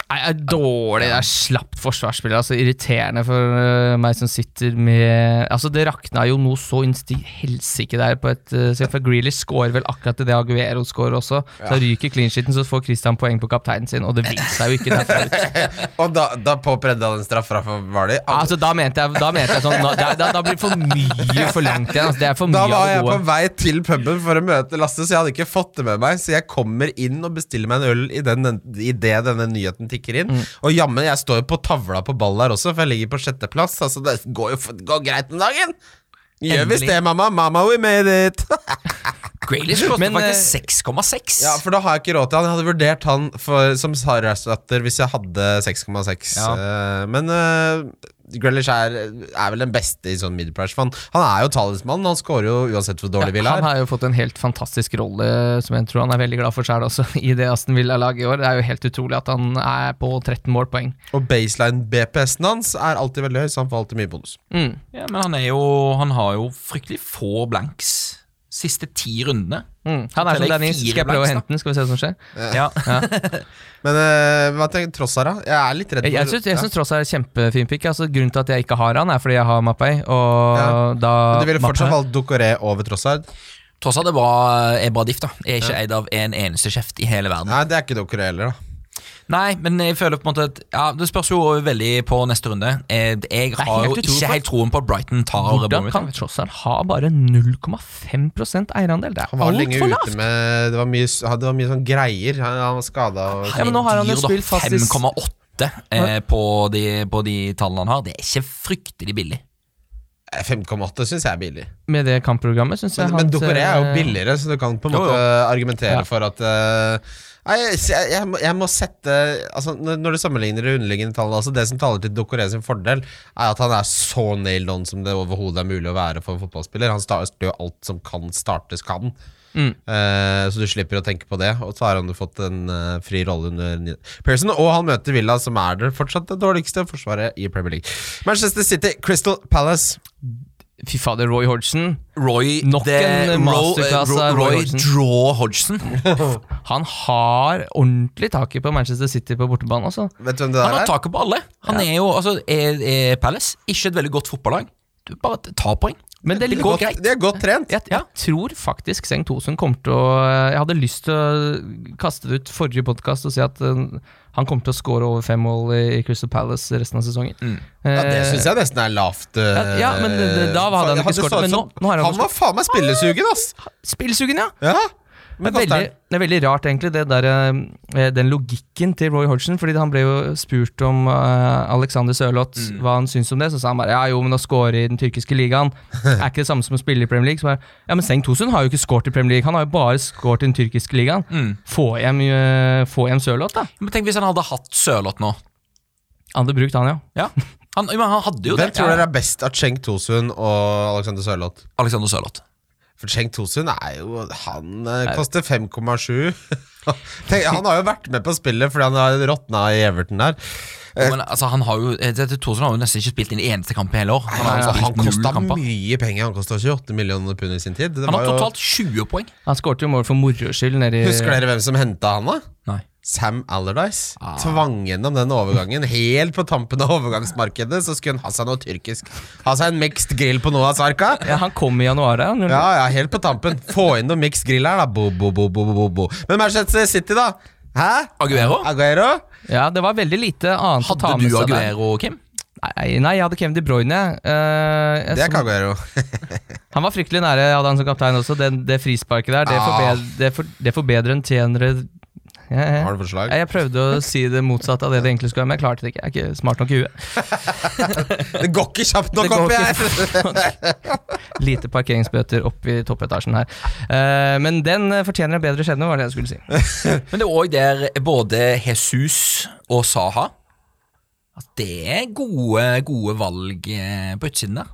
[SPEAKER 4] Nei, det er dårlig. Det er slapp forsvarsspiller. Altså Irriterende for øh, meg som sitter med Altså Det rakna jo noe så innsti helsike der på et uh, For Grealish scorer vel akkurat det Aguero scorer også. Så da ryker clean sheeten, så får Christian poeng på kapteinen sin, og det vil seg jo ikke derfra ut.
[SPEAKER 3] Og da, da påpredde han en straffe fra Vali.
[SPEAKER 4] Altså, da mente jeg, da mente jeg sånn nå- da, da, da blir det for mye forlangt igjen. Altså, det er for mye
[SPEAKER 3] Da var
[SPEAKER 4] av det
[SPEAKER 3] jeg på
[SPEAKER 4] gode.
[SPEAKER 3] vei til puben for å møte Lasse, så jeg hadde ikke fått det med meg. Så jeg kommer inn og bestiller meg en øl i, den, i det denne nyheten tikker inn.
[SPEAKER 4] Mm.
[SPEAKER 3] Og jammen, jeg står jo på tavla på ball der også, for jeg ligger på sjetteplass. Altså, det går jo f- går greit om dagen. Gjør visst
[SPEAKER 5] Endelig.
[SPEAKER 3] det, mamma. Mamma, we made it.
[SPEAKER 5] Graylish koster
[SPEAKER 4] Men, eh,
[SPEAKER 5] faktisk 6,6.
[SPEAKER 3] ja, for da har jeg ikke råd til han. Jeg hadde vurdert han for, som Sarasdatter hvis jeg hadde 6,6. Eh, men eh, Grealish er, er vel den beste i sånn midprice. for Han, han er jo talismannen. Han scorer jo uansett hvor dårlig Villa
[SPEAKER 4] han
[SPEAKER 3] er.
[SPEAKER 4] har jo fått en helt fantastisk rolle, som jeg tror han er veldig glad for sjøl også, i det Aston Villa-laget i år. Det er jo helt utrolig at han er på 13 målpoeng.
[SPEAKER 3] Og baseline BPS-en hans er alltid veldig høy, så han får alltid mye bonus.
[SPEAKER 4] Mm.
[SPEAKER 5] Ja, men han, er jo, han har jo fryktelig få blanks siste ti rundene.
[SPEAKER 4] Mm. Han er
[SPEAKER 5] Tillegg
[SPEAKER 4] som Dennis.
[SPEAKER 5] fire
[SPEAKER 4] Skal jeg prøve å
[SPEAKER 5] blanks, da.
[SPEAKER 4] hente den? Skal vi se hva som skjer?
[SPEAKER 5] Ja.
[SPEAKER 3] Men eh, hva tenker du tross her, da? Jeg er litt redd
[SPEAKER 4] Jeg, jeg syns jeg
[SPEAKER 3] ja.
[SPEAKER 4] synes tross alt er kjempefin pick. Altså, grunnen til at jeg ikke har han, er fordi jeg har Mapei, og
[SPEAKER 3] Ja.
[SPEAKER 4] da
[SPEAKER 3] Men Du ville fortsatt
[SPEAKER 4] Mapei-
[SPEAKER 3] valgt Ducoré over Trossard?
[SPEAKER 5] Tross alt er bra, er bra diff, da. Er ikke eid av en eneste kjeft i hele verden.
[SPEAKER 3] Nei, det er ikke Ducoré heller, da.
[SPEAKER 5] Nei, men jeg føler på en måte at ja, Det spørs jo veldig på neste runde. Eh, Jeg
[SPEAKER 4] er
[SPEAKER 5] har
[SPEAKER 4] helt
[SPEAKER 5] jo
[SPEAKER 4] utrolig,
[SPEAKER 5] ikke helt troen på at Brighton tar
[SPEAKER 4] Hvordan
[SPEAKER 5] Bournemouth.
[SPEAKER 4] kan Trossard ha bare 0,5 eierandel? Det
[SPEAKER 3] Han
[SPEAKER 4] er
[SPEAKER 3] var lenge
[SPEAKER 4] altfor lavt!
[SPEAKER 3] ute med Det var mye, s- det var mye sånn greier. Han, han var skada og
[SPEAKER 4] Ja, men nå har han jo
[SPEAKER 5] Dyr, da.
[SPEAKER 4] spilt fast i s-
[SPEAKER 5] 5,8 eh, på, de, på de tallene han har. Det er ikke fryktelig billig.
[SPEAKER 3] Eh, 5,8 syns jeg er billig.
[SPEAKER 4] Med det kampprogrammet, syns jeg.
[SPEAKER 3] Men, men
[SPEAKER 4] hans,
[SPEAKER 3] Ducoré er jo
[SPEAKER 4] eh,
[SPEAKER 3] billigere, så du kan på en
[SPEAKER 5] Jo, jo.
[SPEAKER 3] måte argumentere
[SPEAKER 4] Ja.
[SPEAKER 3] for at eh, Nei, jeg, jeg, jeg, må, jeg må sette altså, når, når du sammenligner de underliggende tallene altså, Det som taler til Ducoré sin fordel, er at han er så nailed on som det overhodet er mulig å være for en fotballspiller. Han starter jo alt som kan startes, kan.
[SPEAKER 5] Mm.
[SPEAKER 3] Eh, så du slipper å tenke på det. Og så har han jo fått en eh, fri rolle under Ni- Pearson. Og han møter Villa, som er det fortsatt det dårligste forsvaret i Premier League. Manchester City, Crystal Palace.
[SPEAKER 4] Fy fader, Roy Hodgson.
[SPEAKER 5] Roy
[SPEAKER 4] Nok
[SPEAKER 5] the-
[SPEAKER 4] en masterclass
[SPEAKER 5] Ro- Ro-
[SPEAKER 4] av Roy
[SPEAKER 5] Roy
[SPEAKER 4] Hodgson.
[SPEAKER 5] Draw Hodgson.
[SPEAKER 4] Han har ordentlig taket på Manchester City på bortebane, altså.
[SPEAKER 3] Vet du hvem det
[SPEAKER 5] Han
[SPEAKER 3] der
[SPEAKER 5] har
[SPEAKER 3] er?
[SPEAKER 5] taket på alle. Han er jo altså, er, er Palace. Ikke et veldig godt fotballag. Du bare ta poeng.
[SPEAKER 4] Men det
[SPEAKER 5] Det
[SPEAKER 4] går
[SPEAKER 5] går
[SPEAKER 4] greit.
[SPEAKER 5] greit.
[SPEAKER 3] De er godt trent.
[SPEAKER 4] Jeg, jeg tror faktisk Seng Tosun kommer til å eh, Jeg hadde lyst til å kaste det ut forrige podkast og si at eh, han kommer til å score over fem mål i i Crystal Palace resten av sesongen.
[SPEAKER 3] Mm.
[SPEAKER 4] Eh,
[SPEAKER 3] Ja, Det syns jeg nesten er lavt. eh,
[SPEAKER 4] Ja, ja, men det- det- da hadde han ikke
[SPEAKER 3] det
[SPEAKER 4] skåret,
[SPEAKER 3] så ut
[SPEAKER 4] men
[SPEAKER 3] som-
[SPEAKER 4] nå- nå har han
[SPEAKER 3] var faen meg spillesugen, ass!
[SPEAKER 4] Spillsugen, ja!
[SPEAKER 3] Ja,
[SPEAKER 4] Det
[SPEAKER 3] men
[SPEAKER 4] er, veldig,
[SPEAKER 3] Kostan,
[SPEAKER 4] det er veldig rart, egentlig, det der, eh, den logikken til Roy Hodgson. Fordi han ble jo spurt om eh, Alexander Sørloth
[SPEAKER 3] Mm.
[SPEAKER 4] hva han syns om det. Så sa han bare ja, jo, men å score i den tyrkiske ligaen er ikke det samme som å spille i Premier League. Så bare, ja, Men Seng Tosun har jo ikke scoret i Premier League, han har jo bare scoret i den tyrkiske ligaen.
[SPEAKER 3] Mm.
[SPEAKER 4] Få hjem, eh, få hjem Sørloth, da.
[SPEAKER 5] Men tenk hvis han hadde hatt Sørloth nå.
[SPEAKER 4] Han hadde brukt han, ja.
[SPEAKER 5] Ja. Han, men han hadde jo
[SPEAKER 3] Hvem
[SPEAKER 5] det.
[SPEAKER 3] tror dere er best av Cheng Tosun og Alexander Sørloth?
[SPEAKER 5] Alexander Sørloth.
[SPEAKER 3] For Cheng Tosun er jo Han eh, koster 5,7. Tenk, han har jo vært med på spillet fordi han har råtna i Everton der.
[SPEAKER 5] Men altså, han har jo eh, Dette Thorsen har jo nesten ikke spilt inn i eneste kamp i hele år. Han har
[SPEAKER 3] Altså,
[SPEAKER 5] altså,
[SPEAKER 3] han
[SPEAKER 5] spilt null
[SPEAKER 3] kosta
[SPEAKER 5] kamper.
[SPEAKER 3] mye penger. Han kosta 28 millioner pund i sin tid. Det
[SPEAKER 5] Han
[SPEAKER 3] var
[SPEAKER 5] har
[SPEAKER 3] jo-
[SPEAKER 5] totalt 20 poeng.
[SPEAKER 4] Han skåret jo mål for moro skyld nedi
[SPEAKER 3] Husker dere hvem som henta han, da?
[SPEAKER 5] Nei.
[SPEAKER 3] Sam Allardyce tvang gjennom den overgangen. Helt på tampen av overgangsmarkedet så skulle han ha seg noe tyrkisk. Ha seg en mixed grill på noe av sarka.
[SPEAKER 4] Ja, han kom i januar, ja.
[SPEAKER 3] Ja, ja, helt på tampen. Få inn noe mixed grill her, da. Bo, bo, bo, bo, bo, bo. Men Manchester City, da? Hæ?
[SPEAKER 5] Aguero?
[SPEAKER 3] Aguero?
[SPEAKER 4] ja. Det var veldig lite annet å ta
[SPEAKER 5] Hadde
[SPEAKER 4] med
[SPEAKER 5] du
[SPEAKER 4] seg der.
[SPEAKER 5] Aguero, Kim?
[SPEAKER 4] Nei, nei, jeg hadde Kevin De Bruyne. eh, jeg
[SPEAKER 3] Det
[SPEAKER 4] som-
[SPEAKER 3] er ikke Aguero.
[SPEAKER 4] Han var fryktelig nære, jeg hadde han som kaptein også. Det, det frisparket der, det,
[SPEAKER 3] Ah.
[SPEAKER 4] forbed, det, for, det forbedrer en tjenere jeg,
[SPEAKER 3] Har
[SPEAKER 4] jeg,
[SPEAKER 3] du forslag?
[SPEAKER 4] jeg prøvde å si det motsatte av det det egentlig skulle være, men jeg klarte det ikke. Jeg er ikke smart nok i huet.
[SPEAKER 3] Det går ikke kjapt
[SPEAKER 4] Det
[SPEAKER 3] nok
[SPEAKER 4] går
[SPEAKER 3] opp,
[SPEAKER 4] ikke
[SPEAKER 3] jeg!
[SPEAKER 4] Lite parkeringsbøter opp i toppetasjen her. Eh, men den eh, fortjener en bedre skjebne, var det jeg skulle si.
[SPEAKER 5] Men det er òg der både Jesus og Saha altså, Det er gode, gode valg eh, på utsiden der.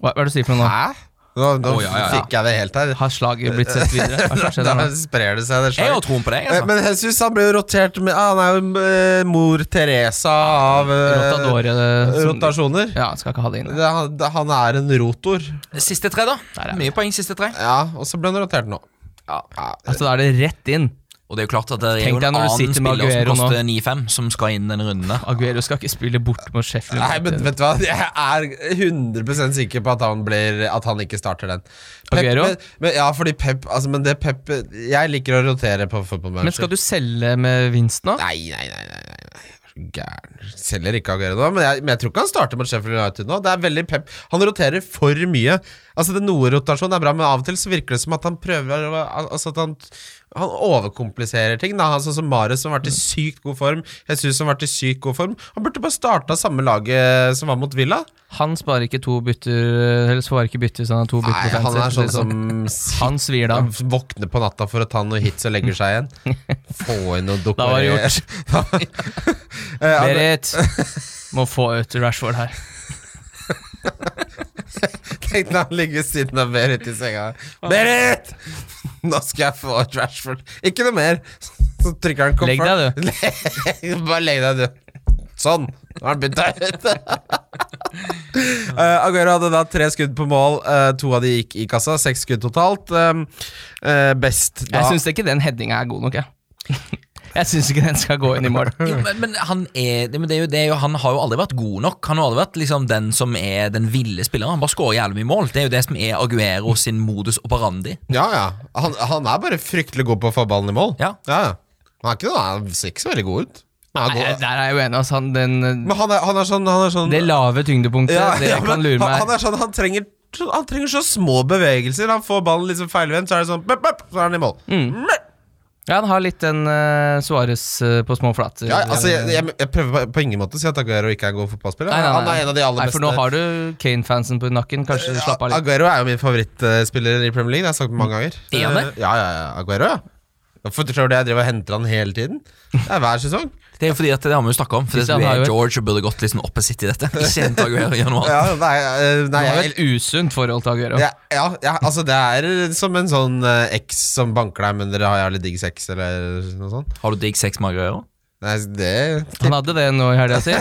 [SPEAKER 4] Hva, hva er det du sier for noe nå?
[SPEAKER 3] Hæ? Nå, nå
[SPEAKER 5] Å, ja, ja, ja.
[SPEAKER 3] fikk jeg det helt her.
[SPEAKER 4] Har slaget blitt sett videre? Hva skjer
[SPEAKER 3] Da
[SPEAKER 4] nå?
[SPEAKER 3] sprer det seg. det
[SPEAKER 5] Jeg
[SPEAKER 3] skjer.
[SPEAKER 5] har troen på deg.
[SPEAKER 3] Eh,
[SPEAKER 5] Altså.
[SPEAKER 3] Men Jesus han ble jo rotert med ah, Han er jo eh, mor Teresa av eh,
[SPEAKER 4] Rotadore som-
[SPEAKER 3] rotasjoner.
[SPEAKER 4] Ja, skal ikke ha det inne.
[SPEAKER 3] Det, han, det, han er en rotor.
[SPEAKER 5] Siste tre, da.
[SPEAKER 4] Der er vi.
[SPEAKER 5] Mye poeng siste tre.
[SPEAKER 3] Ja, og så ble han rotert nå. Ja,
[SPEAKER 4] Altså, da er det rett inn.
[SPEAKER 5] Og det er jo klart at det er
[SPEAKER 4] Tenk
[SPEAKER 5] jo en
[SPEAKER 4] deg når du
[SPEAKER 5] annen
[SPEAKER 4] sitter med
[SPEAKER 5] spiller som
[SPEAKER 4] Aguero nå.
[SPEAKER 5] koster 9-5, som skal inn denne runden. der.
[SPEAKER 4] Aguero skal ikke spille bort mot Sheffield.
[SPEAKER 3] Nei, men
[SPEAKER 4] United.
[SPEAKER 3] vet du hva? Jeg er 100 sikker på at han, blir, at han ikke starter den.
[SPEAKER 4] Aguero?
[SPEAKER 3] men, men, ja, fordi Pep altså, Men det Pep Jeg liker å rotere på football manager.
[SPEAKER 4] Men skal du selge med vinst nå?
[SPEAKER 3] Nei, nei, nei. nei, nei, nei. Er du Gæren. Selger ikke Aguero nå, men jeg, men jeg tror ikke han starter mot Sheffield United nå. Det er veldig pep. Han roterer for mye. Altså det Noe rotasjon er bra, men av og til så virker det som at han prøver å- Altså at han, han overkompliserer ting. Da. Han, Sånn som Mares, som har vært i sykt god form. Jesus, som har vært i sykt god form. Han burde bare starta samme laget som var mot Villa.
[SPEAKER 4] Han sparer ikke to bytter Eller svarer ikke bytter hvis han har to bytter.
[SPEAKER 3] Nei,
[SPEAKER 4] på
[SPEAKER 3] han
[SPEAKER 4] fantasy,
[SPEAKER 3] er
[SPEAKER 4] for å
[SPEAKER 3] sånn
[SPEAKER 4] si det
[SPEAKER 3] som
[SPEAKER 4] Han svir da.
[SPEAKER 3] Han våkner på natta for å ta noe hits og legger seg igjen. Få inn noe dukker
[SPEAKER 4] Da var det gjort.
[SPEAKER 3] Eh,
[SPEAKER 4] Berit må få ut Rashford her.
[SPEAKER 3] Tenk når han ligger ved siden av Berit i senga. Berit! Nå skal jeg få et Rashford. Ikke noe mer. Så trykker han
[SPEAKER 4] Legg deg,
[SPEAKER 3] du. Bare legg deg, du. Sånn. Nå har han begynt å hete. Eh, Aguero hadde da tre skudd på mål. eh, to av de gikk i kassa. Seks skudd totalt. Um, eh, best da
[SPEAKER 4] Jeg syns ikke den headinga er god nok, jeg. Jeg syns ikke den skal gå inn i mål.
[SPEAKER 5] Jo, men, men, han er, men det er jo, det er jo, han har jo aldri vært god nok. Han har aldri vært liksom, den som er den ville spilleren. Han bare skårer jævlig mye mål. Det er jo det som er Aguero sin modus operandi.
[SPEAKER 3] Ja, ja. Han, han er bare fryktelig god på å få ballen i mål.
[SPEAKER 5] Ja.
[SPEAKER 3] ja. ja. Han er ikke noe, han ser ikke så veldig god ut. Han er
[SPEAKER 4] Nei,
[SPEAKER 3] god.
[SPEAKER 4] der er jeg uenig. Altså, han, den,
[SPEAKER 3] Men han er, han er sånn, han er sånn
[SPEAKER 4] det lave tyngdepunktet,
[SPEAKER 3] Ja,
[SPEAKER 4] det
[SPEAKER 3] ja,
[SPEAKER 4] kan
[SPEAKER 3] men
[SPEAKER 4] lure
[SPEAKER 3] Han, han
[SPEAKER 4] meg.
[SPEAKER 3] er sånn, han trenger han trenger så små bevegelser. Han får ballen liksom feilvendt, så er det sånn bøp, bøp, Så er han i mål.
[SPEAKER 4] Mm. Ja, han har litt den uh, Suárez eh, på små flater.
[SPEAKER 3] Ja, altså, jeg, jeg, jeg prøver på ingen måte å si at Aguero ikke er en god fotballspiller.
[SPEAKER 4] Nei, nei, nei.
[SPEAKER 3] Han er en av de aller
[SPEAKER 4] Nei,
[SPEAKER 3] beste.
[SPEAKER 4] for nå har du Kane-fansen på nakken. Kanskje slapp av litt.
[SPEAKER 3] Aguero er jo min favorittspiller i Premier League. Det har jeg sagt mange ganger. Eh,
[SPEAKER 5] Er han det?
[SPEAKER 3] Ja, ja, ja, Aguero, ja. For tror du jeg driver og henter han hele tiden? Det er hver sesong.
[SPEAKER 5] Det er jo fordi at det har vi jo snakket om. For det
[SPEAKER 4] Christian
[SPEAKER 5] som
[SPEAKER 4] har
[SPEAKER 5] er
[SPEAKER 4] jo-
[SPEAKER 5] George og burde gått liksom opposite i dette. Ikke hente Aguero i januar.
[SPEAKER 3] Ja, nei, eh, nei,
[SPEAKER 4] Han har
[SPEAKER 3] jeg,
[SPEAKER 4] et usunt forhold til Aguero.
[SPEAKER 3] Ja, ja, ja, altså det er som en sånn eh, eks som banker deg, men dere har jævlig digg sex, eller noe sånt.
[SPEAKER 5] Har du digg sex med Aguero?
[SPEAKER 3] Nei, det
[SPEAKER 4] Han hadde det nå i helga si.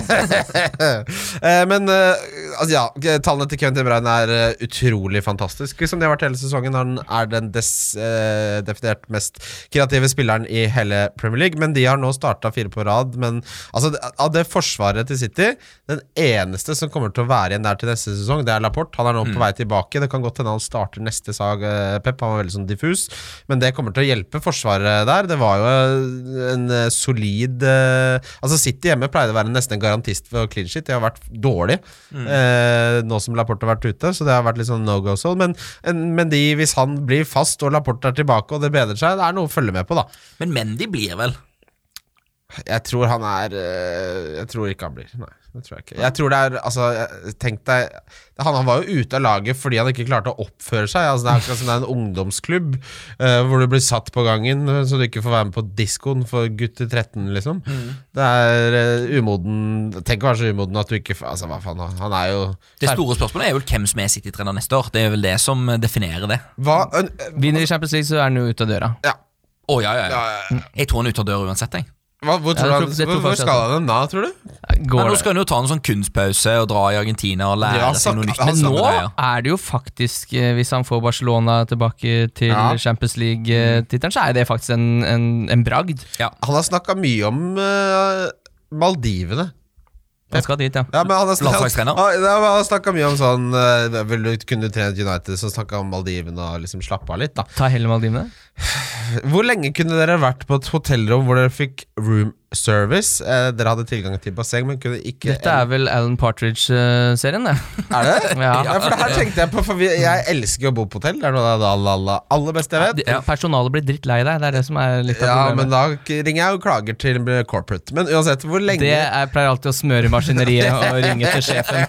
[SPEAKER 3] Eh, Men eh, altså, ja, g- tallene til Kevin De Bruyne er eh, utrolig fantastiske, som de har vært hele sesongen. Han er den des, eh, definert mest kreative spilleren i hele Premier League. Men de har nå starta fire på rad. Men altså, det- av det forsvaret til City Den eneste som kommer til å være igjen der til neste sesong, det er Laporte. Han er nå på vei tilbake. Det kan godt hende han starter neste sag, eh, Pep. Han var veldig sånn diffus. Men det kommer til å hjelpe forsvaret der. Det var jo eh, en eh, solid eh, Altså City hjemme pleide å være nesten en garantist for clean shit. De har vært dårlig eh, nå som Laporte har vært ute, så det har vært litt sånn no go zone. Men, en- men de, hvis han blir fast og Laporte er tilbake og det bedrer seg, det er noe å følge med på, da.
[SPEAKER 5] Men Mendy blir vel.
[SPEAKER 3] Jeg tror han er eh, Jeg tror ikke han blir. Nei, det tror jeg ikke. Jeg tror det er Altså, jeg- tenk deg Han, han var jo ute av laget fordi han ikke klarte å oppføre seg. Altså, det er akkurat som det er en ungdomsklubb eh, hvor du blir satt på gangen eh, så du ikke får være med på diskoen for gutter 13, liksom.
[SPEAKER 4] Mm.
[SPEAKER 3] Det er eh, umoden Tenk å være så umoden at du ikke f- Altså, hva faen, han- han er jo
[SPEAKER 5] Det store spørsmålet er vel hvem som er City-trener neste år. Det er vel det som eh, definerer det.
[SPEAKER 3] Hva en-
[SPEAKER 4] Vinner i Champions League, så er han jo ute av døra.
[SPEAKER 3] Ja.
[SPEAKER 5] Å, ja, ja, ja.
[SPEAKER 3] ja, ja.
[SPEAKER 5] Jeg tror han er ute av døra uansett, jeg.
[SPEAKER 3] Hva, hvor,
[SPEAKER 4] det
[SPEAKER 3] tror han,
[SPEAKER 4] tror- det tror
[SPEAKER 3] hvor, hvor
[SPEAKER 4] faktisk jeg
[SPEAKER 3] skal han hen da, tror du?
[SPEAKER 5] Men
[SPEAKER 4] Går
[SPEAKER 5] nå
[SPEAKER 4] det?
[SPEAKER 5] skal han jo ta en sånn kunstpause og dra i Argentina og lære
[SPEAKER 3] Ja,
[SPEAKER 5] seg
[SPEAKER 3] sak-
[SPEAKER 5] noe nytt.
[SPEAKER 3] han-
[SPEAKER 5] med
[SPEAKER 4] Nå
[SPEAKER 5] samme greia.
[SPEAKER 4] er det jo faktisk, eh, hvis han får Barcelona tilbake til
[SPEAKER 3] Ja. Mm.
[SPEAKER 4] Champions League-tittelen, så er det faktisk en, en, en bragd.
[SPEAKER 3] Han har snakka mye om eh, Maldivene.
[SPEAKER 4] Han skal dit, ja.
[SPEAKER 3] Ja, men han har
[SPEAKER 5] Landslagstrener.
[SPEAKER 3] Ja, ja, men han har snakket mye om sånn eh, vil du, Kunne du trent United, så snakka han om Maldivene og liksom slappe av litt, da.
[SPEAKER 4] Ta heller Maldivene.
[SPEAKER 3] Hvor lenge kunne dere vært på et hotellrom hvor dere fikk room service? Eh, dere hadde tilgang til basseng, men kunne ikke
[SPEAKER 4] Dette er vel Alan Partridge-serien, det.
[SPEAKER 3] Er det?
[SPEAKER 4] Ja.
[SPEAKER 3] Ja, for det her tenkte jeg på, for vi, jeg elsker jo å bo på hotell. Det er noe av det aller, aller, aller beste jeg vet.
[SPEAKER 4] De- eh, Personalet blir drittlei deg, det er det som er litt av
[SPEAKER 3] Ja, men
[SPEAKER 4] problemet.
[SPEAKER 3] da ringer jeg og klager til corporate. Men uansett, hvor lenge
[SPEAKER 4] det er, pleier alltid å smøre maskineriet og ringe til sjefen.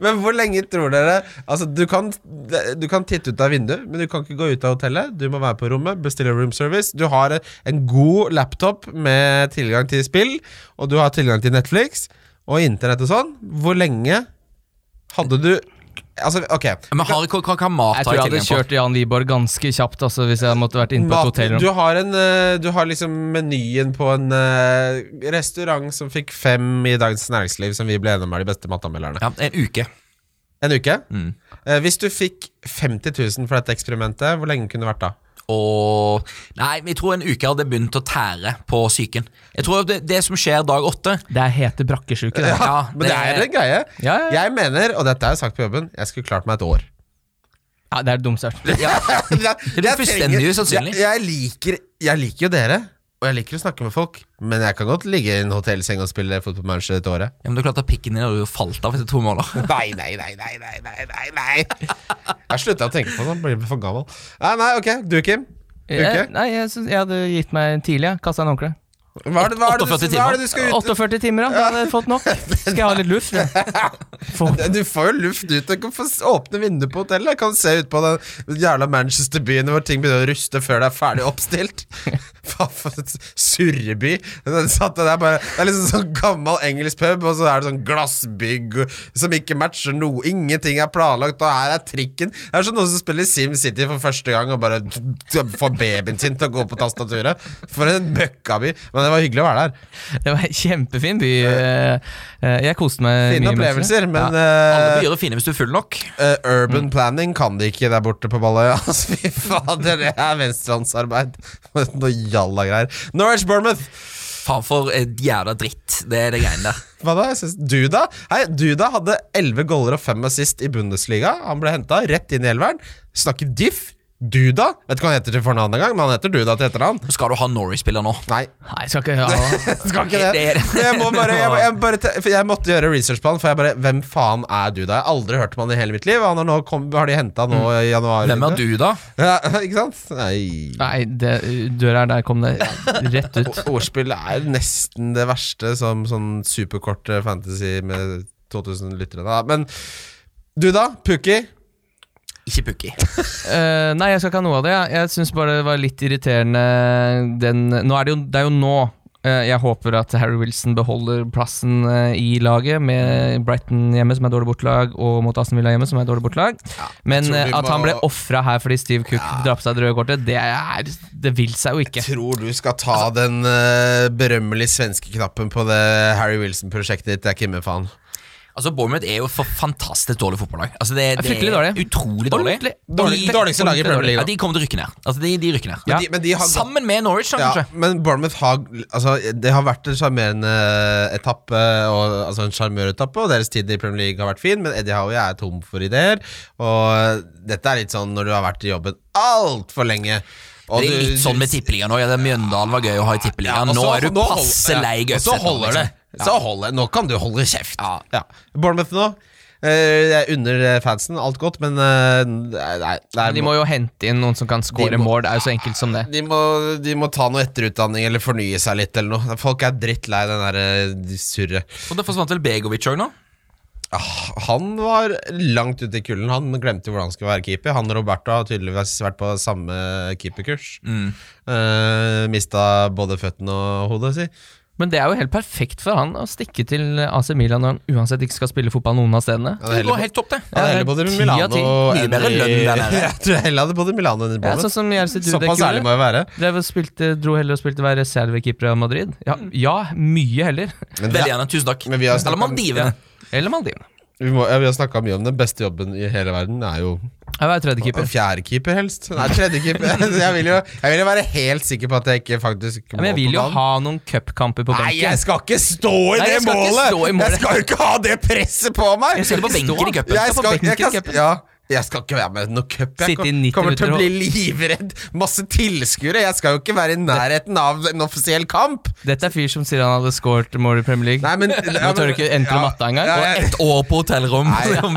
[SPEAKER 3] Men hvor lenge tror dere Altså, du kan, du kan titte ut av vinduet, men du kan ikke gå ut av hotellet. Du må være på rommet, bestille room service. Du har en god laptop med tilgang til spill, og du har tilgang til Netflix og internett og sånn. Hvor lenge hadde du Altså, ok.
[SPEAKER 5] Men har, hva, hva kan Mart
[SPEAKER 4] Jeg
[SPEAKER 5] ha
[SPEAKER 4] tror
[SPEAKER 5] i
[SPEAKER 4] jeg hadde
[SPEAKER 5] tillegg på?
[SPEAKER 4] kjørt Jan Wiborg ganske kjapt altså, hvis jeg måtte vært inne på et
[SPEAKER 3] Mat,
[SPEAKER 4] hotellrom.
[SPEAKER 3] du, har en, eh, du har liksom menyen på en eh, restaurant som fikk fem i Dagens Næringsliv, som vi ble enige om er de beste matanmelderne.
[SPEAKER 5] Ja, en uke.
[SPEAKER 3] En uke.
[SPEAKER 5] Mm.
[SPEAKER 3] Eh, hvis du fikk 50 000 for dette eksperimentet, hvor lenge kunne det vært da?
[SPEAKER 5] Og Nei, jeg tror en uke hadde begynt å tære på psyken. Jeg tror det, det som skjer dag åtte
[SPEAKER 4] Det er hete brakkesjuke, det.
[SPEAKER 5] Ja,
[SPEAKER 3] Men det er en greie.
[SPEAKER 4] Ja, ja, ja.
[SPEAKER 3] Jeg mener, og dette har jeg sagt på jobben, jeg skulle klart meg et år.
[SPEAKER 4] Ja, det er dumstart.
[SPEAKER 5] ja,
[SPEAKER 3] Det er,
[SPEAKER 5] Det blir fullstendig usannsynlig.
[SPEAKER 3] Jeg, jeg, liker, jeg liker jo dere, og jeg liker å snakke med folk, men jeg kan godt ligge i en hotellseng og spille fotballmanager et året.
[SPEAKER 5] Ja, men du klarte at pikken din hadde jo falt av etter to måneder.
[SPEAKER 3] Nei, nei, nei, nei, nei, nei, nei, nei. Jeg slutta å tenke på det, blir for gammel. Nei, nei, ok, du Kim. Uke?
[SPEAKER 4] Jeg, nei, jeg, synes, jeg hadde gitt meg tidlig. jeg. Kasta en håndkle.
[SPEAKER 3] Hva er det, hva er det, du-
[SPEAKER 5] 48 timer.
[SPEAKER 3] hva er det du skal ut
[SPEAKER 4] 48 timer, da. Da hadde jeg fått nok. Skal jeg ha litt luft? jeg? Få-
[SPEAKER 3] Du får jo luft ut, du kan få s- åpne vinduet på hotellet. Kan se ut på den jævla Manchester-byen hvor ting begynner å ruste før det er ferdig oppstilt. Faen for et surreby. Den satt der bare, det er liksom sånn gammel engelsk pub, og så er det sånn glassbygg som ikke matcher noe. Ingenting er planlagt, og her er trikken. Det er som noen som spiller Sim City for første gang og bare får babyen sin til å gå på tastaturet. For en møkkaby. Men det var hyggelig å være der.
[SPEAKER 4] Det var en kjempefin by. Eh, eh, Jeg koste meg
[SPEAKER 3] Fine
[SPEAKER 4] mye. med det.
[SPEAKER 3] opplevelser, men eh,
[SPEAKER 5] Alle byer er fine hvis du er full nok.
[SPEAKER 3] Eh, urban
[SPEAKER 5] Mm.
[SPEAKER 3] planning kan de ikke der borte på Balløya. Altså, fy fader, det er venstrehåndsarbeid. Noe jalla greier. Norwich Bournemouth!
[SPEAKER 5] Faen for eh, jævla dritt, det er det greiene der.
[SPEAKER 3] Hva da? Jeg synes, Duda Hei, Duda hadde elleve goller og fem assist i Bundesliga. Han ble henta rett inn i elveren. Snakker diff. Duda. Vet ikke hva han heter til fornavn engang, men han heter Duda til etternavn.
[SPEAKER 5] Nå skal du ha Norway-spiller nå.
[SPEAKER 3] Nei,
[SPEAKER 4] Nei, jeg skal ikke ha
[SPEAKER 3] jeg skal ikke det.
[SPEAKER 5] Det er-
[SPEAKER 3] Jeg, må bare, jeg, må- jeg, må bare, te- for jeg måtte gjøre researchplan, for jeg bare Hvem faen er Duda? Jeg har aldri hørt om han i hele mitt liv. og Han har, nå kom, har de henta nå i januar.
[SPEAKER 5] Mm. Hvem er du, da?
[SPEAKER 3] Ja, ikke sant? Nei.
[SPEAKER 4] Nei, det, døra er der, kom det rett ut.
[SPEAKER 3] O- Ordspill er nesten det verste som sånn superkort eh, fantasy med 2000 lyttere. Da. Men du da, Pukki?
[SPEAKER 5] Ikke Pukki.
[SPEAKER 4] Eh, nei, jeg skal ikke ha noe av det. Jeg, jeg syns bare det var litt irriterende den Nå er det jo, det er jo nå. eh, jeg håper at Harry Wilson beholder plassen eh, i laget, med Brighton hjemme, som er dårlig bortelag, og mot Aston Villa hjemme, som er dårlig bortelag. Men
[SPEAKER 3] tror vi
[SPEAKER 4] eh, at han
[SPEAKER 3] må-
[SPEAKER 4] ble ofra her fordi Steve Cook drar på seg det røde kortet, det, er, det vil seg jo ikke.
[SPEAKER 3] Tror du skal ta den eh, berømmelige svenske knappen på det Harry Wilson-prosjektet ditt? Jeg er kimme faen.
[SPEAKER 5] Altså, Bournemouth er jo et for fantastisk dårlig fotballag. Altså, det,
[SPEAKER 4] er
[SPEAKER 5] det
[SPEAKER 4] fryktelig dårlig.
[SPEAKER 5] Utrolig dårlig.
[SPEAKER 4] Ordentlig.
[SPEAKER 3] Dårlig-
[SPEAKER 5] De-
[SPEAKER 3] dårligste laget i Premier League, da.
[SPEAKER 5] Ja, de kommer til å rykke ned. Altså, de, de rykker ned.
[SPEAKER 4] Ja.
[SPEAKER 3] Men, de, men, de har,
[SPEAKER 5] Sammen med Norwich, da,
[SPEAKER 3] ja,
[SPEAKER 5] kanskje.
[SPEAKER 3] men Bournemouth har altså, Det har vært en sjarmerende etappe, og, altså en sjarmøretappe, og deres tid i Premier League har vært fin, men Eddie Howie er tom for ideer. Og dette er litt sånn når du har vært i jobben altfor lenge. og
[SPEAKER 5] det er
[SPEAKER 3] du-
[SPEAKER 5] litt sånn med
[SPEAKER 3] du-
[SPEAKER 5] tippeligaen òg. Ja, det er Mjøndalen var gøy å ha i tippeligaen.
[SPEAKER 3] og
[SPEAKER 5] nå
[SPEAKER 3] så-
[SPEAKER 5] er du
[SPEAKER 3] nå hold-
[SPEAKER 5] passe
[SPEAKER 3] ja,
[SPEAKER 5] lei
[SPEAKER 3] og Så
[SPEAKER 5] Gauseth nå,
[SPEAKER 3] holder det.
[SPEAKER 5] liksom.
[SPEAKER 3] Så holder det. Nå kan du holde kjeft. Ja. Bournemouth nå. Eh, Jeg unner eh, fansen alt godt, men eh, nei, nei, det er-
[SPEAKER 4] De må jo hente inn noen som kan
[SPEAKER 3] De
[SPEAKER 4] score
[SPEAKER 3] må-
[SPEAKER 4] mål, det er jo så enkelt som det.
[SPEAKER 3] de, må, de må ta noe etterutdanning eller fornye seg litt eller noe. Folk er drittlei den derre surret.
[SPEAKER 5] Og det forsvant vel Begovic òg nå?
[SPEAKER 3] Ah, Han var langt ute i kulden. Han glemte hvordan han skulle være keeper. Han og Roberto har tydeligvis vært på samme keeperkurs. Mm. mista både føttene og hodet, si.
[SPEAKER 4] Men det er jo helt perfekt for han å stikke til AC Milan når han uansett ikke skal spille fotball noen av stedene.
[SPEAKER 3] Ja, det er
[SPEAKER 5] Det
[SPEAKER 3] heller-
[SPEAKER 5] går helt topp, det.
[SPEAKER 3] Ja,
[SPEAKER 4] Ja,
[SPEAKER 3] det er
[SPEAKER 4] det
[SPEAKER 3] heller
[SPEAKER 4] er
[SPEAKER 3] både
[SPEAKER 4] ti av
[SPEAKER 3] Milano
[SPEAKER 4] ti.
[SPEAKER 3] og
[SPEAKER 5] Mye bedre
[SPEAKER 3] enn i-
[SPEAKER 5] lønn der nede.
[SPEAKER 3] Jeg tror heller hadde både Milano enn i
[SPEAKER 4] Ja,
[SPEAKER 3] Bournemouth.
[SPEAKER 4] sånn som Jelsi Dudek
[SPEAKER 3] Såpass
[SPEAKER 4] gjorde.
[SPEAKER 3] ærlig må jeg være.
[SPEAKER 4] Drev og spilte, dro heller og spilte være reservekeeper av Madrid. Ja, ja, mye heller.
[SPEAKER 3] Men
[SPEAKER 5] Veldig
[SPEAKER 3] det,
[SPEAKER 5] gjerne. Tusen takk.
[SPEAKER 3] Men vi har snakket
[SPEAKER 5] Eller
[SPEAKER 3] om-
[SPEAKER 5] Maldivene.
[SPEAKER 4] Eller Maldivene.
[SPEAKER 3] vi, må, ja, vi har snakka mye om den beste jobben i hele verden. Det er jo
[SPEAKER 4] Jeg var tredjekeeper.
[SPEAKER 3] fjerdekeeper, helst. Nei, tredjekeeper. jeg, vil jo, jeg vil jo være helt sikker på at jeg ikke faktisk
[SPEAKER 4] Ja, men jeg vil jo ha noen cupkamper på
[SPEAKER 3] Nei, jeg
[SPEAKER 4] benken.
[SPEAKER 3] skal ikke stå i
[SPEAKER 4] Nei,
[SPEAKER 3] det
[SPEAKER 4] jeg skal ikke
[SPEAKER 3] målet!
[SPEAKER 4] stå i målet.
[SPEAKER 3] Jeg skal jo ikke ha det presset på meg!
[SPEAKER 5] Jeg skal på benken i cupen.
[SPEAKER 3] Jeg
[SPEAKER 4] på
[SPEAKER 3] skal, jeg,
[SPEAKER 4] benken i
[SPEAKER 3] kan,
[SPEAKER 4] cupen.
[SPEAKER 3] ja, jeg skal ikke være med i noe cup. Jeg
[SPEAKER 4] Sitte i 90
[SPEAKER 3] kommer til å bli
[SPEAKER 4] minutter
[SPEAKER 3] livredd. Masse tilskuere. Jeg skal jo ikke være i nærheten av en offisiell kamp.
[SPEAKER 4] Dette er fyr som sier han hadde scoret mål i Premier League.
[SPEAKER 3] Nei, men
[SPEAKER 4] Nå tør du ikke entre matta engang.
[SPEAKER 3] Ja, ja,
[SPEAKER 5] Et år på hotellrom som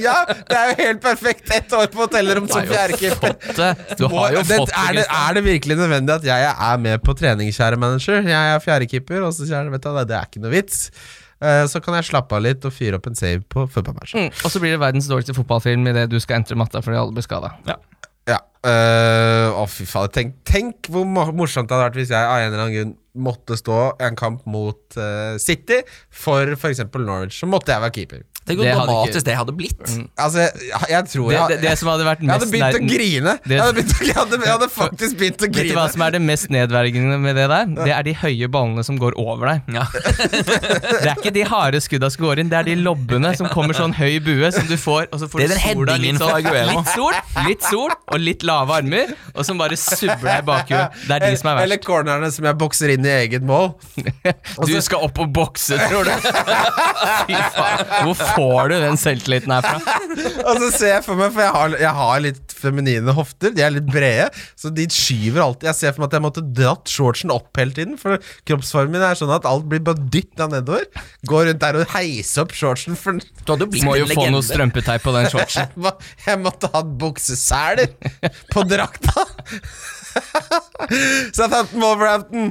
[SPEAKER 3] ja, det er jo helt perfekt. Ett år på hotellrom som fjerdekeeper.
[SPEAKER 4] Fått det. Du har jo
[SPEAKER 3] Må- det-
[SPEAKER 4] fått
[SPEAKER 3] er, det, er det virkelig nødvendig at jeg er med på trening, kjære manager? Jeg er fjerdekeeper, og så sier han vet du, hva, det er ikke noe vits. Eh, Så kan jeg slappe av litt og fyre opp en save på fotballmatchen.
[SPEAKER 4] Mm, Og så blir det verdens dårligste fotballfilm idet du skal entre matta fordi alle blir skada.
[SPEAKER 3] Ja. eh, å, fy faen. Tenk, tenk hvor mo- morsomt det hadde vært hvis jeg av en eller annen grunn måtte stå en kamp mot eh, City for f.eks. Norwich. Så måtte jeg være keeper.
[SPEAKER 5] Tenk hvor
[SPEAKER 4] Det hadde
[SPEAKER 5] dramatisk
[SPEAKER 4] ikke-
[SPEAKER 5] det hadde blitt.
[SPEAKER 3] Altså, jeg, jeg tror
[SPEAKER 4] Det,
[SPEAKER 3] jeg
[SPEAKER 4] det, det som hadde vært
[SPEAKER 3] Jeg hadde
[SPEAKER 4] mest
[SPEAKER 3] begynt å
[SPEAKER 4] nær-
[SPEAKER 3] grine!
[SPEAKER 4] Det-
[SPEAKER 3] Jeg hadde, begynt å, jeg, hadde, jeg hadde faktisk begynt å
[SPEAKER 4] Vet du
[SPEAKER 3] grine.
[SPEAKER 4] hva som er det mest nedverdigende med det der? Det er de høye ballene som går over deg.
[SPEAKER 5] Ja.
[SPEAKER 4] Det er ikke de harde skudda som går inn, det er de lobbene som kommer sånn høy bue som du får, og så får
[SPEAKER 5] Det er
[SPEAKER 4] du
[SPEAKER 5] den
[SPEAKER 4] sola
[SPEAKER 5] headingen
[SPEAKER 4] litt
[SPEAKER 5] fra
[SPEAKER 4] sånn
[SPEAKER 5] Aguero.
[SPEAKER 4] Litt sol, litt sol og litt lave armer, og som bare subber deg i bakhuet. Det er de som er
[SPEAKER 3] Eller
[SPEAKER 4] verst.
[SPEAKER 3] cornerne som jeg bokser inn i eget mål.
[SPEAKER 4] Du skal opp og bokse, tror du? Fy faen. Hvor får du den selvtilliten her fra?
[SPEAKER 3] Og så ser jeg for meg, for jeg har, jeg har litt feminine hofter, de er litt brede, så de skyver alltid. Jeg ser for meg at jeg måtte dratt shortsen opp hele tiden, for kroppsformen min er sånn at alt blir bare dytta nedover. Gå rundt der og heise opp shortsen, for
[SPEAKER 5] Du hadde jo blitt
[SPEAKER 4] Må jo
[SPEAKER 5] en
[SPEAKER 4] få noe
[SPEAKER 5] legende.
[SPEAKER 4] strømpeteip på den shortsen.
[SPEAKER 3] jeg, må, jeg måtte ha bukseseler på drakta. Southampton Wolverhampton.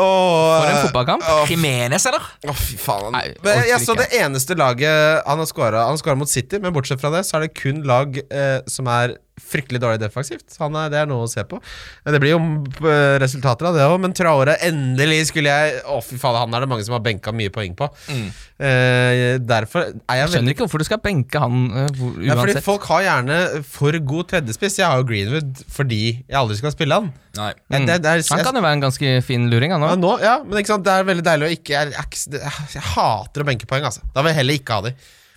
[SPEAKER 3] Og,
[SPEAKER 4] For en fotballkamp.
[SPEAKER 5] Jimenez, eller?
[SPEAKER 3] Å, fy faen.
[SPEAKER 4] Nei,
[SPEAKER 3] Men
[SPEAKER 4] orker
[SPEAKER 3] jeg så det eneste laget han har scora. Han har scora mot City, men bortsett fra det så er det kun lag eh, som er fryktelig dårlig defensivt. Han er, det er noe å se på. Men Det blir jo eh, resultater av det òg, men Traore Endelig skulle jeg Å, fy faen, han er det mange som har benka mye poeng på. Eh, derfor er jeg
[SPEAKER 4] Skjønner
[SPEAKER 3] veldig
[SPEAKER 4] ikke hvorfor du skal benke han eh, hvor,
[SPEAKER 3] ja, fordi
[SPEAKER 4] uansett.
[SPEAKER 3] Folk har gjerne for god tredjespiss. Jeg har jo Greenwood fordi jeg aldri skal spille han.
[SPEAKER 5] Nei.
[SPEAKER 3] Jeg, det, det er,
[SPEAKER 4] Mm. Han kan jo være en ganske fin luring, han
[SPEAKER 3] ja,
[SPEAKER 4] òg.
[SPEAKER 3] nå, ja, men ikke sant, det er veldig deilig å ikke Jeg, jeg, jeg, jeg hater å benke poeng, altså. Da vil jeg heller ikke ha de.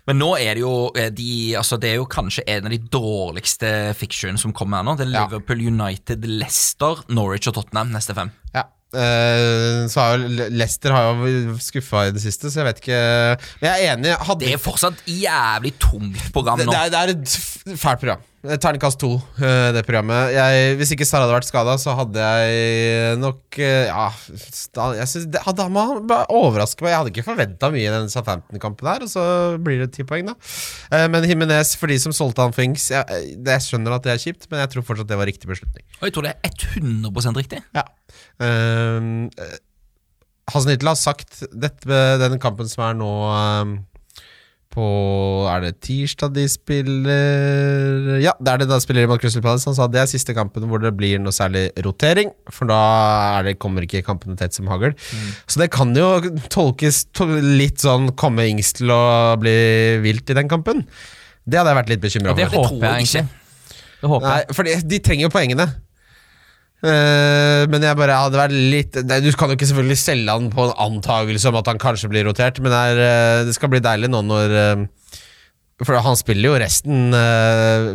[SPEAKER 5] Men nå er det jo eh, de, altså det er jo kanskje en av de dårligste fiction som kommer her nå. Det er
[SPEAKER 3] Ja.
[SPEAKER 5] Liverpool, United, Leicester, Norwich og Tottenham neste fem.
[SPEAKER 3] Ja. eh, så har jo Le- Leicester har jo skuffa i det siste, så jeg vet ikke Men jeg er enig. jeg Hadde,
[SPEAKER 5] Det er fortsatt jævlig tungt program
[SPEAKER 3] det,
[SPEAKER 5] nå.
[SPEAKER 3] det, er, det er et f- fælt program. Eh, Terningkast to, eh, det programmet. Jeg, hvis ikke Sara hadde vært skada, så hadde jeg nok eh, Ja, da, jeg synes, det, hadde han han bare overrasker meg. Jeg hadde ikke forventa mye i den Southampton-kampen her, og så blir det ti poeng, da. Eh, men Himinez, for de som solgte han for Ings, jeg, eh, det- jeg skjønner at det er kjipt, men jeg tror fortsatt det var riktig beslutning.
[SPEAKER 5] Og jeg tror det er 100 riktig.
[SPEAKER 3] Ja. Um, Hasenhyttel har sagt dette med den kampen som er nå um, på Er det tirsdag de spiller Ja, det er det da de spiller mot Crystal Palace. Han sa det er siste kampen hvor det blir noe særlig rotering, for da er det, kommer ikke kampene tett som hagl. Så det kan jo tolkes to litt sånn komme Ings til å bli vilt i den kampen. Det hadde jeg vært litt bekymra
[SPEAKER 4] Ja, det
[SPEAKER 3] for.
[SPEAKER 5] Det tror
[SPEAKER 4] håper jeg
[SPEAKER 5] jeg ikke.
[SPEAKER 4] egentlig. Det håper jeg.
[SPEAKER 3] Nei, for de, de trenger jo poengene. Eh, men jeg bare hadde vært litt nei, Du kan jo ikke selvfølgelig selge han på en antakelse om at han kanskje blir rotert, men det er, eh, det skal bli deilig nå når eh, For han spiller jo resten eh,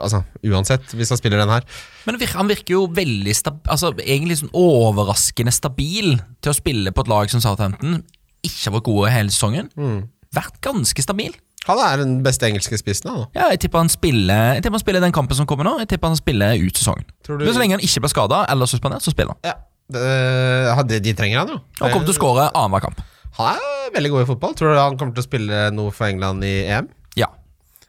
[SPEAKER 3] Altså uansett, hvis han spiller den her.
[SPEAKER 5] Men vir- han virker jo veldig stab altså, egentlig sånn overraskende stabil til å spille på et lag som Southampton. Ikke har vært gode hele sesongen.
[SPEAKER 3] Mm.
[SPEAKER 5] Vært ganske stabil.
[SPEAKER 3] Han er den beste engelske spissen, han. da.
[SPEAKER 5] Ja, jeg tipper han spiller Jeg tipper han spiller den kampen som kommer nå. Jeg tipper han spiller ut sesongen.
[SPEAKER 3] Tror du-
[SPEAKER 5] Men Så lenge han ikke blir skada eller suspendert, så spiller han.
[SPEAKER 3] Ja. Det, han- de, de trenger han jo.
[SPEAKER 5] Han kommer til å skåre annenhver kamp.
[SPEAKER 3] Han er veldig god i fotball. Tror du han kommer til å spille noe for England i EM?
[SPEAKER 5] Ja.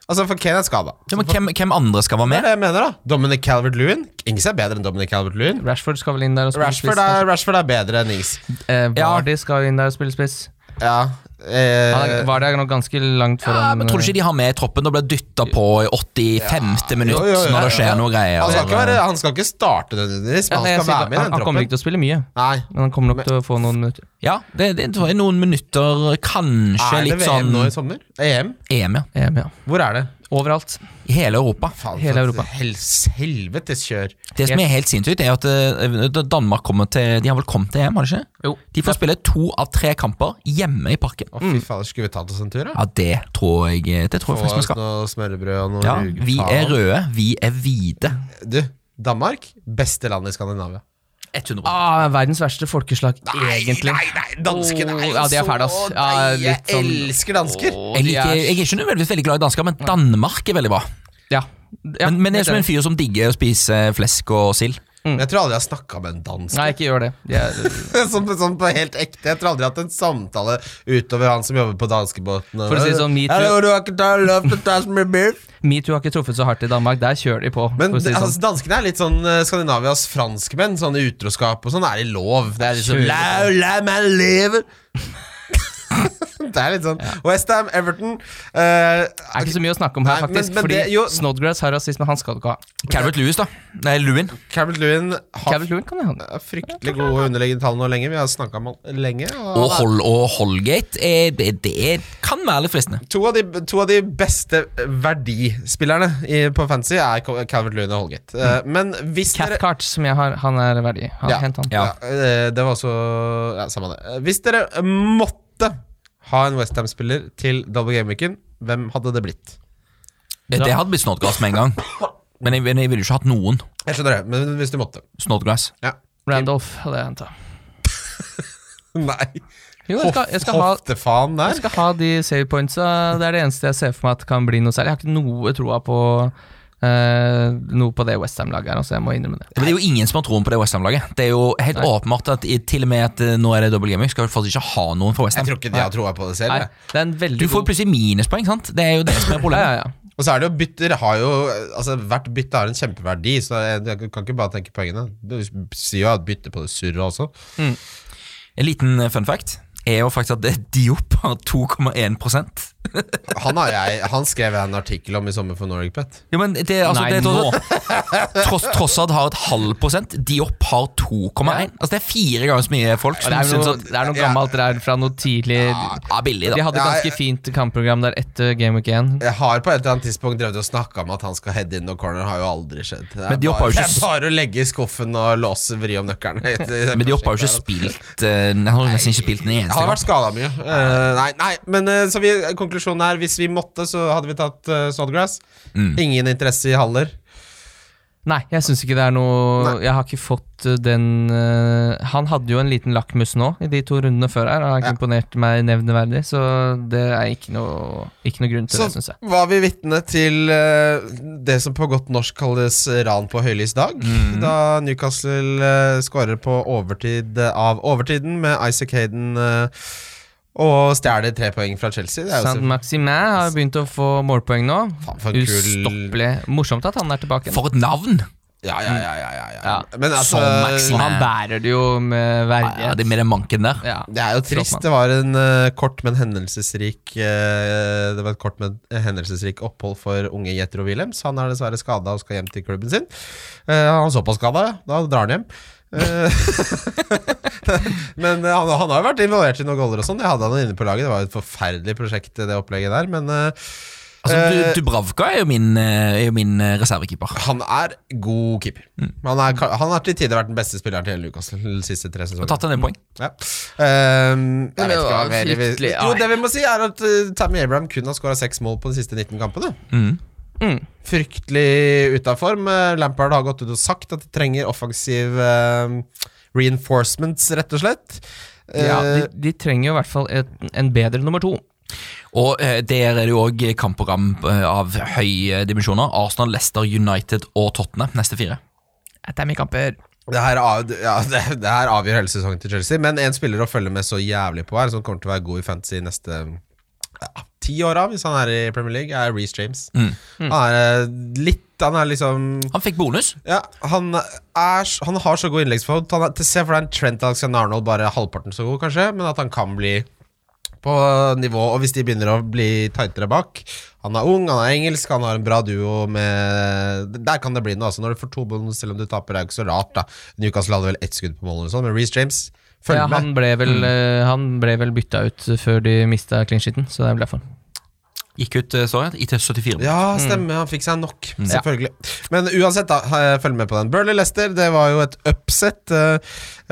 [SPEAKER 3] Altså, for Kane er skada.
[SPEAKER 5] ja men hvem, hvem andre skal være
[SPEAKER 3] Det er
[SPEAKER 5] med?
[SPEAKER 3] det jeg mener, da. Dominic Calvert-Lewin. Ingen er bedre enn Dominic Calvert-Lewin.
[SPEAKER 4] Rashford skal vel inn der og spille
[SPEAKER 3] Rashford
[SPEAKER 4] spiss.
[SPEAKER 3] er, Rashford er bedre enn Ings.
[SPEAKER 4] Eh,
[SPEAKER 5] Ja.
[SPEAKER 4] Vardy skal jo inn der og spille spiss.
[SPEAKER 3] Ja. Eh,
[SPEAKER 4] Han er, Vardy er nok ganske langt
[SPEAKER 5] Ja,
[SPEAKER 4] foran.
[SPEAKER 5] men Tror du ikke de har med i troppen og blir dytta på i 85. minutt
[SPEAKER 3] Jo, jo, jo,
[SPEAKER 5] når det
[SPEAKER 3] ja,
[SPEAKER 5] skjer
[SPEAKER 3] ja.
[SPEAKER 5] noe greier?
[SPEAKER 3] han, skal ikke
[SPEAKER 5] eller-
[SPEAKER 3] være, han skal ikke starte nødvendigvis,
[SPEAKER 4] Ja,
[SPEAKER 3] men
[SPEAKER 4] nei,
[SPEAKER 3] han
[SPEAKER 4] jeg
[SPEAKER 3] skal
[SPEAKER 4] sier
[SPEAKER 3] være
[SPEAKER 4] bare,
[SPEAKER 3] med i
[SPEAKER 4] han,
[SPEAKER 3] den
[SPEAKER 4] han kommer
[SPEAKER 3] troppen.
[SPEAKER 4] ikke til å spille mye,
[SPEAKER 3] Nei.
[SPEAKER 4] men han kommer nok til å få noen minutter.
[SPEAKER 5] Ja, det, det tror jeg noen minutter, kanskje
[SPEAKER 3] Er det
[SPEAKER 5] litt
[SPEAKER 3] VM
[SPEAKER 5] sånn
[SPEAKER 3] nå i sommer? EM?
[SPEAKER 5] EM, ja.
[SPEAKER 4] EM, ja.
[SPEAKER 3] Hvor er det?
[SPEAKER 4] Overalt.
[SPEAKER 5] I hele Europa.
[SPEAKER 3] Faen,
[SPEAKER 4] Hele
[SPEAKER 3] for et
[SPEAKER 4] Europa.
[SPEAKER 3] hel- helvetes kjør.
[SPEAKER 5] Det som er helt sinnssykt, er at eh, Danmark kommer til De har vel kommet til EM, har de ikke?
[SPEAKER 4] Jo.
[SPEAKER 5] De får spille to av tre kamper hjemme i parken.
[SPEAKER 3] Å,
[SPEAKER 4] Mm.
[SPEAKER 3] fy fader, skulle vi tatt oss en tur, da?
[SPEAKER 5] Ja, det tror jeg eh, Det tror jeg
[SPEAKER 3] Få
[SPEAKER 5] faktisk vi
[SPEAKER 3] oss
[SPEAKER 5] skal.
[SPEAKER 3] noe smørbrød og noe
[SPEAKER 5] Ja,
[SPEAKER 3] rugefaen.
[SPEAKER 5] vi er røde, vi er hvite.
[SPEAKER 3] Du, Danmark? Beste land i Skandinavia.
[SPEAKER 5] 100
[SPEAKER 4] Ah, verdens verste folkeslag, egentlig.
[SPEAKER 3] Nei, nei, danskene er jo
[SPEAKER 4] Åh, ja, de er
[SPEAKER 3] så
[SPEAKER 4] fæle, ass. Ja,
[SPEAKER 3] deige.
[SPEAKER 4] litt sånn-
[SPEAKER 3] elsker dansker.
[SPEAKER 5] jeg, liker, jeg er ikke nødvendigvis veldig glad i dansker, men Danmark er veldig bra.
[SPEAKER 4] Ja. Ja,
[SPEAKER 5] Men, men jeg er som
[SPEAKER 4] helt
[SPEAKER 5] en fyr som digger å spise flesk og sild.
[SPEAKER 3] Men Jeg tror aldri jeg har snakka med en dansk.
[SPEAKER 4] enig. Nei, ikke gjør det. De er,
[SPEAKER 3] sånn, sånn på helt ekte. Jeg tror aldri jeg har hatt en samtale utover han som jobber på danskebåten.
[SPEAKER 4] For å si det sånn, me too.
[SPEAKER 3] Hello, do I can tell love to touch my beef?
[SPEAKER 4] Metoo har ikke truffet så hardt i Danmark. Der kjører de på.
[SPEAKER 3] Men
[SPEAKER 4] for å si det sånn.
[SPEAKER 3] altså, danskene er litt sånn eh, Skandinavias franskmenn. Sånn i liksom, utroskap og sånn er i lov. Det er litt sånn
[SPEAKER 4] Kjører.
[SPEAKER 3] la, la, man lever. Det er litt sånn Westham, Everton eh,
[SPEAKER 4] Det er ikke så mye å snakke om her,
[SPEAKER 3] Nei, men-
[SPEAKER 4] faktisk.
[SPEAKER 3] men
[SPEAKER 4] fordi
[SPEAKER 3] det- jo-
[SPEAKER 4] Snodgrass har rasisme, han skal du ikke ha.
[SPEAKER 5] Calvert Lewis, da. Nei, Lewin.
[SPEAKER 3] Calvert Lewin har
[SPEAKER 4] Kevin Lewin kan jeg ha.
[SPEAKER 3] f- fryktelig gode underliggende tall nå lenge. Vi har snakka om han lenge.
[SPEAKER 5] Og,
[SPEAKER 3] Og han er
[SPEAKER 5] Hol og Holgate. eh, det, det kan være litt fristende.
[SPEAKER 3] to, av de, to av de beste eh, verdispillerne i, på fantasy er Cal- Calvert Lewin og Holgate. Eh, men hvis dere
[SPEAKER 4] Mm. Cathcart, som jeg har, han er verdig. Han,
[SPEAKER 3] Ja.
[SPEAKER 4] Hent han.
[SPEAKER 5] Ja.
[SPEAKER 3] Ja. eh, det var også ja, Samme det. Eh, Hvis dere måtte ha en Westham-spiller til Double Game Weekend, hvem hadde det blitt?
[SPEAKER 5] Eh, Det hadde blitt Snodgrass med en gang. Men jeg, men jeg ville jo ikke hatt noen
[SPEAKER 3] Jeg skjønner det, men hvis du måtte.
[SPEAKER 5] Snodgrass.
[SPEAKER 3] Ja.
[SPEAKER 4] Randolph hadde jeg henta.
[SPEAKER 3] Nei.
[SPEAKER 4] Jo, jeg skal, jeg skal ha
[SPEAKER 3] Hoftefaen
[SPEAKER 4] Jeg
[SPEAKER 3] der.
[SPEAKER 4] skal ha de save pointsa. Det er det eneste jeg ser for meg at kan bli noe særlig. Jeg har ikke noe troa på eh, noe på det Westham-laget her, altså jeg må innrømme det.
[SPEAKER 5] Men det er jo ingen som har troen på det Westham-laget. Det er jo helt åpenbart at i, til og med at eh, nå er det dobbel gaming, skal du faktisk ikke ha noen for
[SPEAKER 3] Jeg
[SPEAKER 5] Westham.
[SPEAKER 3] tror ikke de har troa på det selv.
[SPEAKER 4] Nei,
[SPEAKER 3] jeg.
[SPEAKER 4] det er en veldig
[SPEAKER 5] Du får
[SPEAKER 4] god
[SPEAKER 5] plutselig minuspoeng, sant? Det er jo det som er
[SPEAKER 4] ja,
[SPEAKER 5] problemet.
[SPEAKER 4] ja, ja.
[SPEAKER 3] Og så er det jo bytter har jo Altså Hvert bytte har en kjempeverdi, så jeg, jeg kan ikke bare tenke poengene. Du sier jo at bytte på det surret også.
[SPEAKER 5] En liten eh, fun fact er jo faktisk at eh, Diop har 2,1
[SPEAKER 3] Han, har jeg, han skrev jeg en artikkel om i sommer for Nordic Pet.
[SPEAKER 5] Jo, men det, er altså,
[SPEAKER 4] Nei,
[SPEAKER 5] det er tross, tross, Trossad har et halv prosent, Diop har 2,1. Altså, det er fire ganger så mye folk
[SPEAKER 4] Det
[SPEAKER 5] som
[SPEAKER 4] er
[SPEAKER 5] syns
[SPEAKER 4] noe,
[SPEAKER 5] at
[SPEAKER 4] det er noe gammelt der fra noe tidlig
[SPEAKER 5] Ja, billig,
[SPEAKER 4] De
[SPEAKER 5] da.
[SPEAKER 4] hadde
[SPEAKER 3] Ja, jeg-
[SPEAKER 4] ganske fint kampprogram der etter Game Week 1.
[SPEAKER 3] Jeg har på et eller annet tidspunkt drevet og snakka om at han skal heade in no corner. Har jo aldri skjedd. Det er,
[SPEAKER 5] Men de
[SPEAKER 3] bare,
[SPEAKER 5] hopper jo
[SPEAKER 3] det
[SPEAKER 5] ikke
[SPEAKER 3] er
[SPEAKER 5] s-
[SPEAKER 3] bare å legge i skuffen og låse, vri om nøkkelen.
[SPEAKER 5] Men Diop har jo ikke spilt eh, Han har jo nesten ikke spilt den eneste
[SPEAKER 3] Han har
[SPEAKER 5] gang.
[SPEAKER 3] vært skada mye. Eh, nei, nei, men eh, så vi, konklusjonen er hvis vi måtte, så hadde vi tatt eh, Snodgrass.
[SPEAKER 5] Mm.
[SPEAKER 3] Ingen interesse i Haller.
[SPEAKER 4] Nei, jeg syns ikke det er noe Jeg har ikke fått eh, den eh, Han hadde jo en liten lakmus nå i de to rundene før her. Han har ikke imponert meg nevneverdig, så det er ikke noe, ikke noe grunn til
[SPEAKER 3] Så
[SPEAKER 4] det, syns jeg.
[SPEAKER 3] var vi vitne til eh, det som på godt norsk kalles ran på høylys dag.
[SPEAKER 4] Mhm.
[SPEAKER 3] Da Newcastle eh, skårer på overtid eh, av overtiden med Isaac Hayden eh, og stjeler tre poeng fra Chelsea. Det er jo
[SPEAKER 4] Saint Maximin har begynt å få målpoeng nå.
[SPEAKER 3] Faen, for en kul-
[SPEAKER 4] Ustoppelig. Morsomt at han er tilbake.
[SPEAKER 5] For et navn!
[SPEAKER 3] så- ja, ja, ja, ja, ja, ja.
[SPEAKER 4] Ja. sånn
[SPEAKER 3] Men altså
[SPEAKER 5] Som Maxim-
[SPEAKER 4] Og han bærer det jo med
[SPEAKER 5] Ja,
[SPEAKER 4] verdighet.
[SPEAKER 5] det Med den manken der.
[SPEAKER 4] Ja.
[SPEAKER 3] Det er jo trist.
[SPEAKER 4] Flott,
[SPEAKER 3] Det var en eh, kort, men hendelsesrik eh, Det var et kort, men hendelsesrik opphold for unge Jetro Wilhelms. Han er dessverre skada og skal hjem til klubben sin. Eh, han er såpass skada, ja. Da drar han hjem. Eh, men eh, han, han har jo vært involvert i noen goller og sånn. Jeg hadde han inne på laget. Det var jo et forferdelig prosjekt, det opplegget der. Men eh,
[SPEAKER 5] Altså,
[SPEAKER 3] Eh,
[SPEAKER 5] du, Dubravka er jo min, eh, er jo min eh, reservekeeper.
[SPEAKER 3] han er god keeper. Han, er, ka- han har til tider vært den beste spilleren til hele Newcastle de siste tre
[SPEAKER 5] Og
[SPEAKER 3] sesongene.
[SPEAKER 5] tatt en del poeng.
[SPEAKER 3] Ja. Ehm,
[SPEAKER 4] det
[SPEAKER 3] jeg vet ikke hva
[SPEAKER 4] var
[SPEAKER 3] mer vi
[SPEAKER 4] fryktelig,
[SPEAKER 3] Jo,
[SPEAKER 4] nei.
[SPEAKER 3] det vi må si, er at eh, Tammy Abraham kun har skåra seks mål på de siste 19 kampene.
[SPEAKER 4] Mm.
[SPEAKER 3] Fryktelig ute av form. Eh, Lampard har gått ut og sagt at de trenger offensiv eh, reinforcements, rett og slett. Eh,
[SPEAKER 4] Ja, de, de trenger jo i hvert fall et, en bedre nummer to.
[SPEAKER 5] Og eh, der er det jo òg kampprogram eh, av høye dimensjoner. Arsenal, Leicester, United og Tottenham neste fire.
[SPEAKER 4] Det er mye kamper.
[SPEAKER 3] det, her, av- ja, det, det her avgjør hele sesongen til Chelsea, men en spiller å følge med så jævlig på her, som kommer til å være god i fantasy neste ja, ti åra, hvis han er i Premier League, er Reece James.
[SPEAKER 4] Mm.
[SPEAKER 3] Han er eh, litt Han er liksom
[SPEAKER 5] Han fikk bonus.
[SPEAKER 3] Ja, han, er, s- han har så god innleggsfot. Han er- til- Se for deg en Trent Alexander Arnold bare halvparten så god, kanskje, men at han kan bli på nivå. Og hvis de begynner å bli tightere bak Han er ung, han er engelsk, han har en bra duo med Der kan det bli noe, altså. Når du får to bonus, selv om du taper, er jo ikke så rart, da. Newcastle hadde vel ett skudd på mål eller noe sånt, men Reece James Følg
[SPEAKER 4] Ja,
[SPEAKER 3] med. Mm.
[SPEAKER 4] han ble vel, eh, han ble vel bytta ut før de mista clean-shiten, så det er vel derfor.
[SPEAKER 5] Gikk ut eh, sorry, i til 74.
[SPEAKER 3] Ja,
[SPEAKER 4] Mm.
[SPEAKER 3] stemmer. Han fikk seg nok, selvfølgelig. Men uansett, da. eh, Følg med på den. Burley-Lester, det var jo et upset. eh,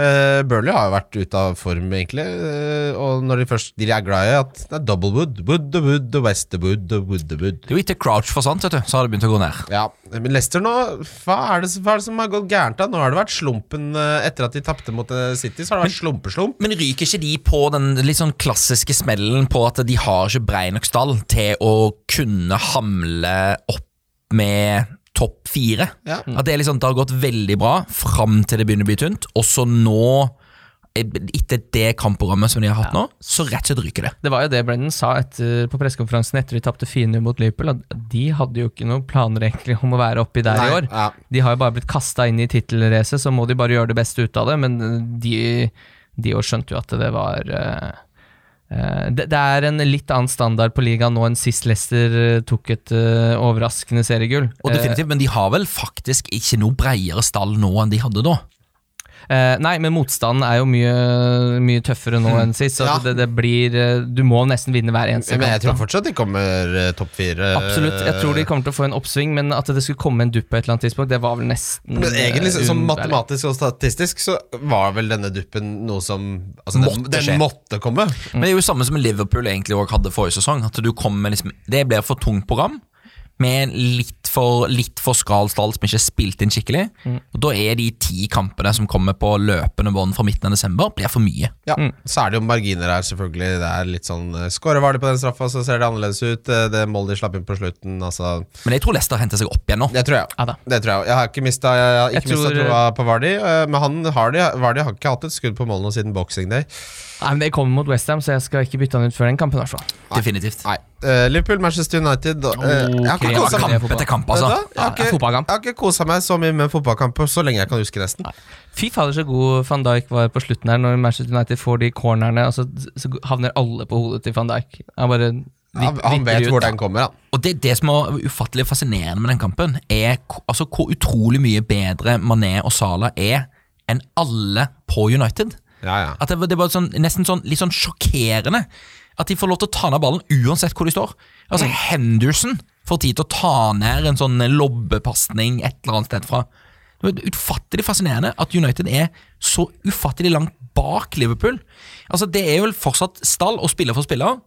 [SPEAKER 3] eh, Burley har jo vært ute av form, egentlig. eh, Og når de først de er glad i at det er double wood, wood og wood og westerwood og wood og wood.
[SPEAKER 5] Det er jo etter Crouch forsvant, vet du, så har det begynt å gå ned.
[SPEAKER 3] Ja, men Leicester nå Hva er det, hva er det som har gått gærent? da? Nå har det vært slumpen eh, etter at de tapte mot eh, City. Så har det vært slumpeslump.
[SPEAKER 5] Men ryker ikke de på den litt sånn klassiske smellen på at de har ikke brei nok stall til å kunne hamle opp med topp fire?
[SPEAKER 3] Ja.
[SPEAKER 5] At det, er liksom, det har gått veldig bra fram til det begynner å bli tynt, og så nå, eh, etter det kampprogrammet som de har hatt nå, så rett og slett ryker det.
[SPEAKER 4] Det var jo det Brendan sa etter, på pressekonferansen etter de tapte 4-0 mot Liverpool, at de hadde jo ikke noen planer egentlig om å være oppi der i
[SPEAKER 3] Nei,
[SPEAKER 4] år.
[SPEAKER 3] ja.
[SPEAKER 4] De har jo bare blitt kasta inn i tittelracet, så må de bare gjøre det beste ut av det. Men de, de jo skjønte jo at det var eh, Eh, Det, det er en litt annen standard på ligaen nå enn sist Leicester eh, tok et eh, overraskende seriegull.
[SPEAKER 5] Og definitivt, Men de har vel faktisk ikke noe bredere stall nå enn de hadde da.
[SPEAKER 4] Eh, nei, men motstanden er jo mye, mye tøffere nå enn sist. Så
[SPEAKER 3] Ja.
[SPEAKER 4] det, det blir eh, Du må nesten vinne hver eneste
[SPEAKER 3] Men jeg
[SPEAKER 4] kamp.
[SPEAKER 3] tror
[SPEAKER 4] da.
[SPEAKER 3] fortsatt de kommer eh, topp fire.
[SPEAKER 4] Absolutt. Jeg tror de kommer til å få en oppsving, men at det skulle komme en dupp på et eller annet tidspunkt, det var vel nesten
[SPEAKER 3] Men egentlig, så-
[SPEAKER 4] eh,
[SPEAKER 3] sånn
[SPEAKER 4] uunngåelig.
[SPEAKER 3] matematisk og statistisk, så var vel denne duppen noe som altså, den,
[SPEAKER 5] Måtte skje.
[SPEAKER 3] den måtte komme.
[SPEAKER 5] Men det er jo samme som Liverpool egentlig også hadde forrige sesong. At du kommer med liksom, Det blir for tungt program. Med litt for, litt for skral stall som ikke er spilt inn skikkelig. Og Da er de ti kampene som kommer på løpende bånd fra midten av desember, blir for mye.
[SPEAKER 3] Ja, Mm. Så er det jo marginer her, selvfølgelig. Det er litt sånn eh, Skårer Vardø på den straffa, så ser det annerledes ut. Eh, Det målet de slapp inn på slutten, altså
[SPEAKER 5] Men jeg tror Leicester henter seg opp igjen nå.
[SPEAKER 3] Det tror jeg.
[SPEAKER 4] Ja da.
[SPEAKER 3] Det tror jeg. Jeg har ikke mista jeg har
[SPEAKER 4] Jeg
[SPEAKER 3] ikke mistet
[SPEAKER 4] tror-
[SPEAKER 3] troa på Vardi, eh, men han har de, Vardi har ikke hatt et skudd på mål nå siden boxing day.
[SPEAKER 4] Nei, men Det kommer mot Westham, så jeg skal ikke bytte han ut før den kampen. i hvert fall.
[SPEAKER 5] Definitivt.
[SPEAKER 3] Nei. Eh, Liverpool, Manchester United og, eh, Jeg har
[SPEAKER 4] Ok,
[SPEAKER 3] ikke
[SPEAKER 5] Det var
[SPEAKER 3] kosa
[SPEAKER 4] det er
[SPEAKER 3] meg.
[SPEAKER 5] kamp
[SPEAKER 4] fotball.
[SPEAKER 5] etter kamp,
[SPEAKER 3] Vet du hva? Jeg
[SPEAKER 5] altså.
[SPEAKER 3] har
[SPEAKER 4] Ja, det er
[SPEAKER 3] ikke-
[SPEAKER 4] fotballkamp.
[SPEAKER 3] jeg har ikke kosa meg så mye med en fotballkamp på så lenge jeg kan huske, nesten.
[SPEAKER 4] Fy fader, så god van Dijk var på slutten her, når Manchester United får de cornerne, og så, så havner alle på hodet til van Dijk. Han bare
[SPEAKER 3] Han, han vet hvor den kommer, han.
[SPEAKER 5] Og det, det som er ufattelig fascinerende med den kampen, er k- altså, hvor utrolig mye bedre Mané og Salah er enn alle på United.
[SPEAKER 3] Ja, ja.
[SPEAKER 5] At det, var- det var sånn, nesten sånn, litt sånn sjokkerende at de får lov til å ta ned ballen uansett hvor de står. Altså Henderson får tid til å ta ned en sånn lobbepasning et eller annet sted fra. Det var utfattelig fascinerende at United er så ufattelig langt bak Liverpool. Altså Det er vel fortsatt stall og spiller for spiller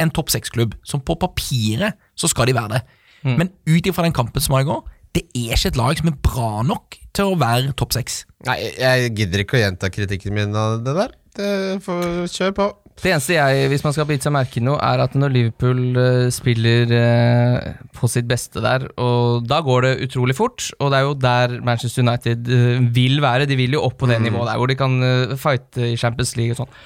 [SPEAKER 5] en topp seks-klubb. Som på papiret så skal de være det. Men ut ifra den kampen som var i går, det er ikke et lag som er bra nok til å være topp seks.
[SPEAKER 3] Nei, jeg gidder ikke å gjenta kritikken min av det der. Det får kjør på.
[SPEAKER 4] Det eneste jeg, hvis man skal bite seg merke i noe, er at når Liverpool eh, spiller eh, på sitt beste der, og da går det utrolig fort, og det er jo der Manchester United eh, vil være. De vil jo opp
[SPEAKER 3] Mm.
[SPEAKER 4] på det nivået der, hvor de kan eh, fighte i Champions League og sånn.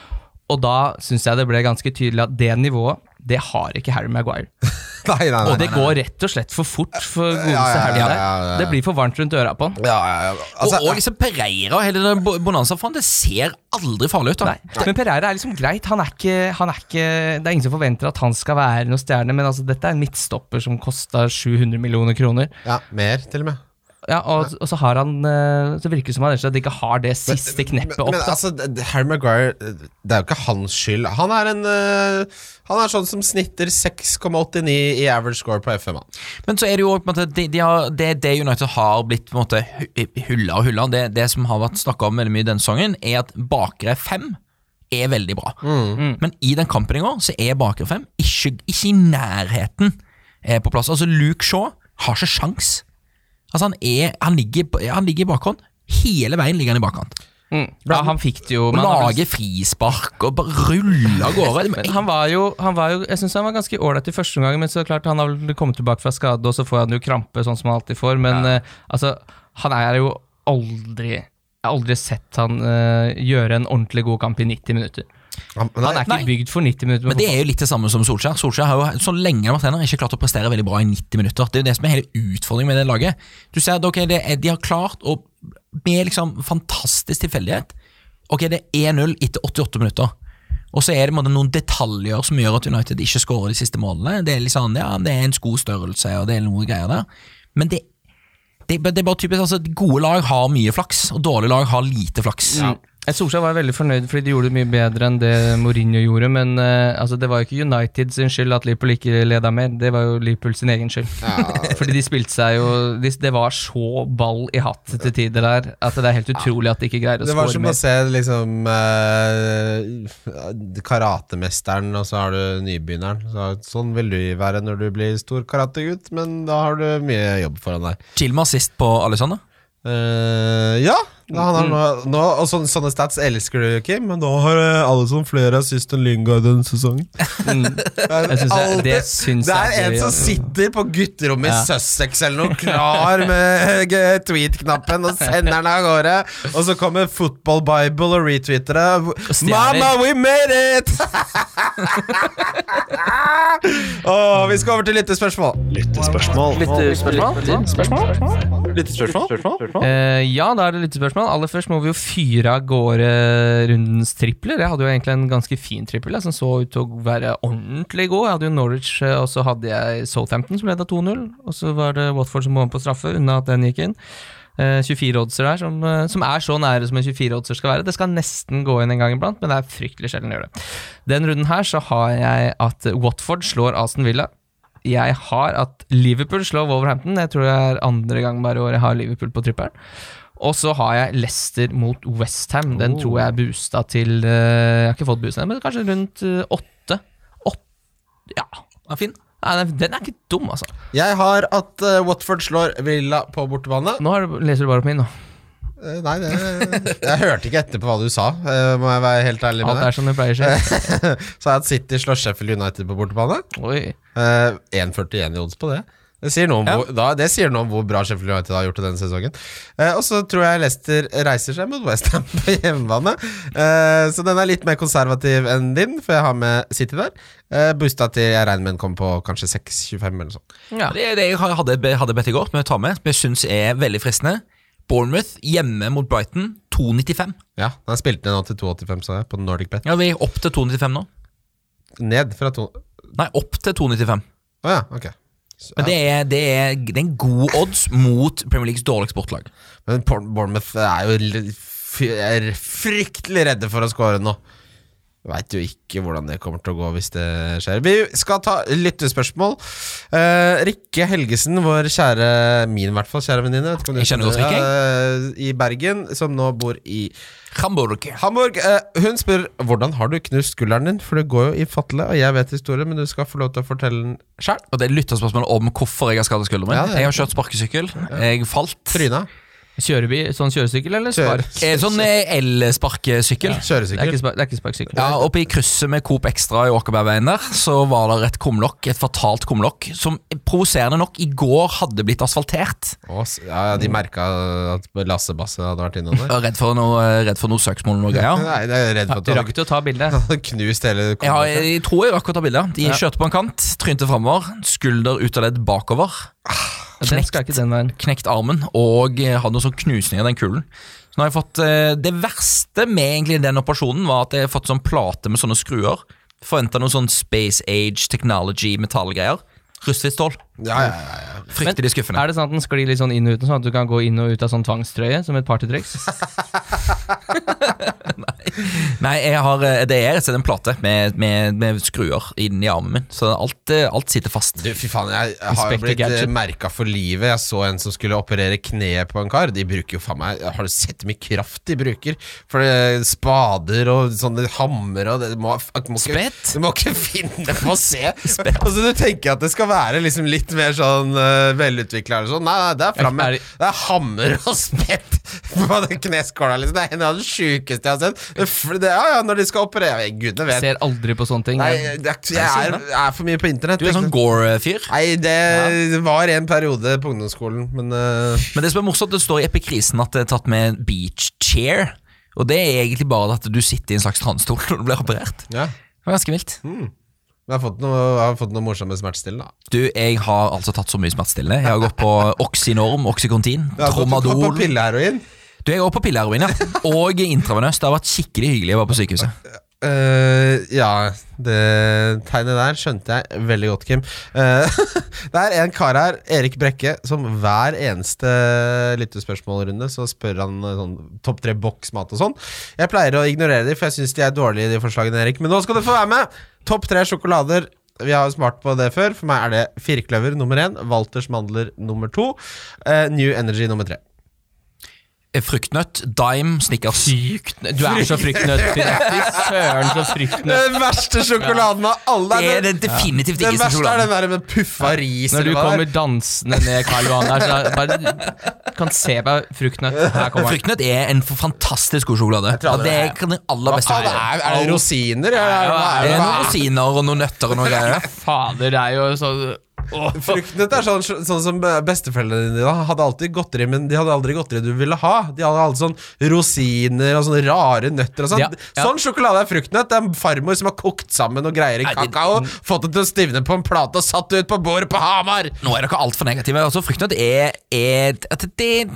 [SPEAKER 4] Og da syns jeg det ble ganske tydelig at det nivået, det har ikke Harry Maguire.
[SPEAKER 3] Nei, nei, nei.
[SPEAKER 4] Og det går rett og slett for fort for godeste
[SPEAKER 3] Ja, ja, ja,
[SPEAKER 4] Harry
[SPEAKER 3] ja,
[SPEAKER 4] der.
[SPEAKER 3] ja, ja, ja.
[SPEAKER 4] Det blir for varmt rundt øra på han.
[SPEAKER 3] Ja, ja, ja. Altså,
[SPEAKER 5] og, og liksom Pereira og hele den bo- bonanzaen, det ser aldri farlig ut. da.
[SPEAKER 4] Nei. Men Pereira er liksom greit. Han er ikke, han er ikke, det er ingen som forventer at han skal være noen stjerne, men altså, dette er en midtstopper som kosta 700 millioner kroner.
[SPEAKER 3] ja, mer, til og med.
[SPEAKER 4] Ja, og, og så har han eh, Så virker det som han rett og slett ikke har det siste kneppet opp.
[SPEAKER 3] Men
[SPEAKER 4] Da.
[SPEAKER 3] altså, det- det- Harry Maguire Det er jo ikke hans skyld. Han er en øh, Han er sånn som snitter 6,89 i average score på FM. han.
[SPEAKER 5] Men så er det jo på en måte, de, de har, det, det United har blitt på en måte hu- hulla og hulla, det, det som har vært snakka om veldig mye denne sesongen, er at bakre fem er veldig bra.
[SPEAKER 4] Mm.
[SPEAKER 5] Men i den kampen i går så er bakre fem ikke, ikke i nærheten eh, på plass. Altså Luke Shaw har ikke sjans. Altså han, er, han, ligger, på- han ligger i bakhånd. Hele veien ligger han i bakkant.
[SPEAKER 4] Mm. Ja, han fikk det jo.
[SPEAKER 5] Og
[SPEAKER 4] men han har vel-
[SPEAKER 5] lager frispark og bare ruller av gårde.
[SPEAKER 4] Men han var jo, han var jo Jeg syns han var ganske ålreit i første omgang, men så klart han har vel kommet tilbake fra skade, og så får han jo krampe, sånn som han alltid får. Men eh, altså, han er jo aldri Jeg har aldri sett han eh, gjøre en ordentlig god kamp i 90 minutter.
[SPEAKER 3] Han,
[SPEAKER 4] Han er ikke
[SPEAKER 5] Nei.
[SPEAKER 4] bygd for 90 minutter.
[SPEAKER 5] Men det er jo litt det samme som Solskjær. Solskjær har jo så lenge han har vært trener, ikke klart å prestere veldig bra i 90 minutter. Det er jo det som er hele utfordringen med det laget. Du ser at ok, det er, De har klart, å med liksom fantastisk tilfeldighet Ok, det er 1-0 etter 88 minutter. Og så er det på en måte, noen detaljer som gjør at United ikke skårer de siste målene. Det er litt sånn, ja, det er en skostørrelse og det er noen greier der. Men det, det, det er bare typisk, altså, gode lag har mye flaks, og dårlige lag har lite flaks.
[SPEAKER 4] Jeg- Solskjær var veldig fornøyd fordi de gjorde det mye bedre enn det Mourinho gjorde, men eh, altså, det var jo ikke United sin skyld at Liverpool ikke leda mer, det var jo Liverpool sin egen skyld. fordi de spilte seg jo de, Det var så ball i hatt til tider der at det er helt utrolig at de ikke greier å
[SPEAKER 3] det var
[SPEAKER 4] score
[SPEAKER 3] som å
[SPEAKER 4] mer.
[SPEAKER 3] se liksom øh, karatemesteren, og så har du nybegynneren. Så, sånn vil du være når du blir stor karategutt, men da har du mye jobb foran deg.
[SPEAKER 5] Chilmer sist på Alexander.
[SPEAKER 3] Eh, ja. Da, han har nå, nå, og sånne, sånne stats elsker du, Kim, men nå har eh, Alisson flere assist enn Lingard denne sesongen.
[SPEAKER 4] Mm. Jeg synes det, det,
[SPEAKER 3] Alltid.
[SPEAKER 4] syns
[SPEAKER 3] det
[SPEAKER 4] jeg
[SPEAKER 3] er
[SPEAKER 4] altså.
[SPEAKER 3] en
[SPEAKER 4] blir-
[SPEAKER 3] som sitter på gutterommet i
[SPEAKER 4] Ja.
[SPEAKER 3] Sussex eller noe, klar med eh, g- tweet-knappen og sender den av gårde. Og så kommer Football Bible og retweeter det.
[SPEAKER 4] stjeler.
[SPEAKER 3] Mama, we made it! Åh, vi skal over til lyttespørsmål.
[SPEAKER 1] Lyttespørsmål.
[SPEAKER 4] Eh, ja, da er det lyttespørsmål. spørsmål. Aller først må vi jo fyre av gårde rundens tripler. Jeg hadde jo egentlig en ganske fin trippel jeg, som så ut til å være ordentlig god. Jeg hadde jo Norwich, eh, og så hadde jeg Southampton som leda 2-0. Og så var det Watford som må om på straffe, unna at den gikk inn. Eh, 24-oddser der, som, eh, som er så nære som en 24-oddser skal være. Det skal nesten gå inn en gang iblant, men det er fryktelig sjelden det gjør det. Den runden her så har jeg at Watford slår Aston Villa. Jeg har at Liverpool slår Wolverhampton. Jeg tror det er andre gang bare i år jeg har Liverpool på trippelen. Og så har jeg Leicester mot Westham. Den tror jeg er boosta til eh, Jeg har ikke fått boosta, men kanskje rundt eh, åtte. Åtte Ja.
[SPEAKER 5] Den er fin.
[SPEAKER 4] Nei, den- den er ikke dum, altså.
[SPEAKER 3] Jeg har at eh, Watford slår Villa på bortebane.
[SPEAKER 4] Nå har du, leser du bare opp min, nå.
[SPEAKER 3] Eh, nei, det, jeg hørte ikke etter på hva du sa, eh, må jeg være helt ærlig med
[SPEAKER 4] Alt er
[SPEAKER 3] deg.
[SPEAKER 4] som det pleier seg.
[SPEAKER 3] Så har jeg at City slår Sheffield United på bortebane.
[SPEAKER 4] Oi.
[SPEAKER 3] Eh, 1,41 i odds på det. Det sier, noe om
[SPEAKER 4] Ja.
[SPEAKER 3] hvor, da, det sier noe om hvor bra Sheffield United har gjort det denne sesongen. Eh, og så tror jeg Leicester reiser seg mot Westham på hjemmebane. Eh, så den er litt mer konservativ enn din, for jeg har med City der. Eh, Boosta til jeg regner med den kommer på kanskje 6,25 eller noe sånt.
[SPEAKER 4] Ja.
[SPEAKER 5] Det er det jeg hadde, hadde bedt i går, men jeg tar med, som jeg syns er veldig fristende. Bournemouth hjemme mot Brighton, 2,95.
[SPEAKER 3] Ja, den er spilt ned nå til 2,85, sa jeg, på Nordic Bet.
[SPEAKER 5] Ja, vi er opp til 2,95 nå.
[SPEAKER 3] Ned fra to...
[SPEAKER 5] Nei, opp til 2,95.
[SPEAKER 3] Å ja, ok. Så-
[SPEAKER 5] Men det er, det, er, det er en god odds mot Premier Leagues dårligste bortelag.
[SPEAKER 3] Men Por- Bournemouth er jo l- fy- er fryktelig redde for å skåre nå. Veit jo ikke hvordan det kommer til å gå hvis det skjer. Vi skal ta lyttespørsmål. Eh, Rikke Helgesen, vår kjære min i hvert fall, kjære venninne vet ikke om du
[SPEAKER 5] Jeg kjenner
[SPEAKER 3] husker
[SPEAKER 5] henne,
[SPEAKER 3] det, eh, I Bergen, som nå bor i
[SPEAKER 5] Hamburg.
[SPEAKER 3] Hamburg. Eh, hun spør hvordan har du knust skulderen din, for det går jo i fatle, og jeg vet historien, men du skal få lov til å fortelle den sjæl.
[SPEAKER 5] Og det er lytterspørsmål om hvorfor jeg har skadet skulderen min.
[SPEAKER 3] Ja, det er-
[SPEAKER 5] jeg har kjørt sparkesykkel. Jeg falt.
[SPEAKER 3] Tryna.
[SPEAKER 4] Kjørebil, sånn kjøresykkel eller
[SPEAKER 3] Kjøre-
[SPEAKER 4] spark?
[SPEAKER 5] Eh, Sånn eh, elsparkesykkel.
[SPEAKER 4] Det er
[SPEAKER 3] Kjøresykkel.
[SPEAKER 4] ikke, spark, det er ikke sparksykkel.
[SPEAKER 5] Ja, Oppe i krysset med Coop Extra i Åkerbergveien der, så var det et kumlokk, et fatalt kumlokk, som provoserende nok i går hadde blitt asfaltert.
[SPEAKER 3] Å, s- Ja, ja, de merka at Lasse Basse hadde vært innom der.
[SPEAKER 5] Jeg var Redd for noe, eh, redd for noe søksmål og noe greier.
[SPEAKER 3] Nei, jeg er redd for at
[SPEAKER 4] Du
[SPEAKER 3] du
[SPEAKER 4] rakk
[SPEAKER 3] hadde
[SPEAKER 4] jo å ta bildet.
[SPEAKER 3] hadde knust hele
[SPEAKER 5] Jeg, har, jeg tror jeg rakk å ta bilde. De
[SPEAKER 4] Ja.
[SPEAKER 5] kjørte på en kant, trynte framover, skulder ut av ledd bakover.
[SPEAKER 4] Den skal ikke den veien.
[SPEAKER 5] knekt armen og eh, hadde noen sånn knusning av den kulen. Så nå har jeg fått, eh, Det verste med egentlig den operasjonen var at jeg har fått sånn plate med sånne skruer. Forventa noe sånn Space Age Technology metallgreier. Rustfritt stål.
[SPEAKER 3] ja, ja, ja, ja.
[SPEAKER 5] Fryktelig skuffende.
[SPEAKER 4] Er det sånn at den sklir litt sånn inn og ut, sånn at du kan gå inn og ut av sånn tvangstrøye som et partytriks?
[SPEAKER 5] Nei, jeg har, eh, det er rett og slett en plate med, med, med skruer inni armen min, så alt, eh, alt sitter fast.
[SPEAKER 3] Du, fy faen, jeg har jo
[SPEAKER 4] Inspector
[SPEAKER 3] blitt
[SPEAKER 4] Gadget.
[SPEAKER 3] merka for livet. Jeg så en som skulle operere kneet på en kar. De bruker jo faen meg Har du sett hvor mye kraft de bruker? For det spader og sånne hammer og det du må, du må ikke,
[SPEAKER 5] Spett?
[SPEAKER 3] Du må ikke finne på å se! Altså, du tenker at det skal være liksom litt mer sånn uh, velutvikla eller sånn. Nei, nei, det er fram
[SPEAKER 4] Er
[SPEAKER 3] med
[SPEAKER 4] det-
[SPEAKER 3] Det er hammer og spett på den kneskåla, liksom. Det er en av de sjukeste jeg har sett. Det, f- det, ja, ja, når de skal operere Gudene vet.
[SPEAKER 4] Ser aldri på sånne ting.
[SPEAKER 3] Nei,
[SPEAKER 4] Jeg-
[SPEAKER 3] det er, ikke- jeg er, jeg er for mye på internett.
[SPEAKER 5] Du er sånn Gore-fyr.
[SPEAKER 3] Nei, det var en periode på ungdomsskolen, men eh,
[SPEAKER 5] Men det som er morsomt, det står i epikrisen at det er tatt med beach chair. Og det er egentlig bare at du sitter i en slags transtol når du blir operert.
[SPEAKER 3] ja.
[SPEAKER 5] Det var ganske vilt.
[SPEAKER 3] Jeg har fått noe, jeg har fått noe morsomme smertestillende. da.
[SPEAKER 5] Du, jeg har altså tatt så mye smertestillende. Jeg har gått på Oxynorm, Oxycontin,
[SPEAKER 3] Jeg har fått- fått
[SPEAKER 5] Tromadol
[SPEAKER 3] på pilleheroin.
[SPEAKER 5] Du, jeg går på pilleheroin, ja. Og intravenøst. Det har vært skikkelig hyggelig å være på sykehuset.
[SPEAKER 3] Eh, ja, det tegnet der skjønte jeg veldig godt, Kim. Eh, det er en kar her, Erik Brekke, som hver eneste lyttespørsmålrunde så spør han eh, sånn topp tre boksmat og sånn. Jeg pleier å ignorere de, for jeg syns de er dårlige, de forslagene, Erik. Men nå skal du få være med! Topp tre sjokolader. Vi har jo smart på det før. For meg er det firkløver nummer én, Walters mandler nummer to, eh, New Energy nummer tre.
[SPEAKER 5] Eh, Fruktnøtt, Dime, Snickers.
[SPEAKER 4] Frykt- Du er så fryktnøtt. Fy søren, så fryktnøtt.
[SPEAKER 3] Den verste sjokoladen av alle!
[SPEAKER 5] Det er den definitivt
[SPEAKER 3] Den
[SPEAKER 5] ikke
[SPEAKER 3] verste er
[SPEAKER 5] sjokoladen.
[SPEAKER 3] den der med puffa ris.
[SPEAKER 4] Når
[SPEAKER 3] eller
[SPEAKER 4] du
[SPEAKER 3] hva det er.
[SPEAKER 4] kommer dansende ned Karl Johan der, så er- bare kan se meg fruktnøtt. Her kommer den.
[SPEAKER 5] Fruktnøtt er en fantastisk god sjokolade.
[SPEAKER 3] tror
[SPEAKER 5] Ja,
[SPEAKER 3] aldri
[SPEAKER 5] det
[SPEAKER 3] det
[SPEAKER 5] er kan den aller beste
[SPEAKER 3] Hva faen er,
[SPEAKER 5] være.
[SPEAKER 3] er det rosiner? Er, er,
[SPEAKER 5] Det
[SPEAKER 3] er,
[SPEAKER 5] er noen
[SPEAKER 3] er,
[SPEAKER 5] rosiner og noen nøtter og noe greier.
[SPEAKER 4] Fader, det er jo så Åh.
[SPEAKER 3] Fruktnøtt er sånn, sånn som besteforeldrene dine hadde alltid godteri, men de hadde aldri godteri du ville ha. De hadde alltid sånn rosiner og sånne rare nøtter og sånn.
[SPEAKER 4] Ja, ja.
[SPEAKER 3] Sånn sjokolade er fruktnøtt. Det er en farmor som har kokt sammen og greier i
[SPEAKER 5] Nei, det-
[SPEAKER 3] kakao, fått det til å stivne på en plate og satt det ut på bordet på Hamar!
[SPEAKER 5] Nå er dere altfor negative. Altså, fruktnøtt er, er at det,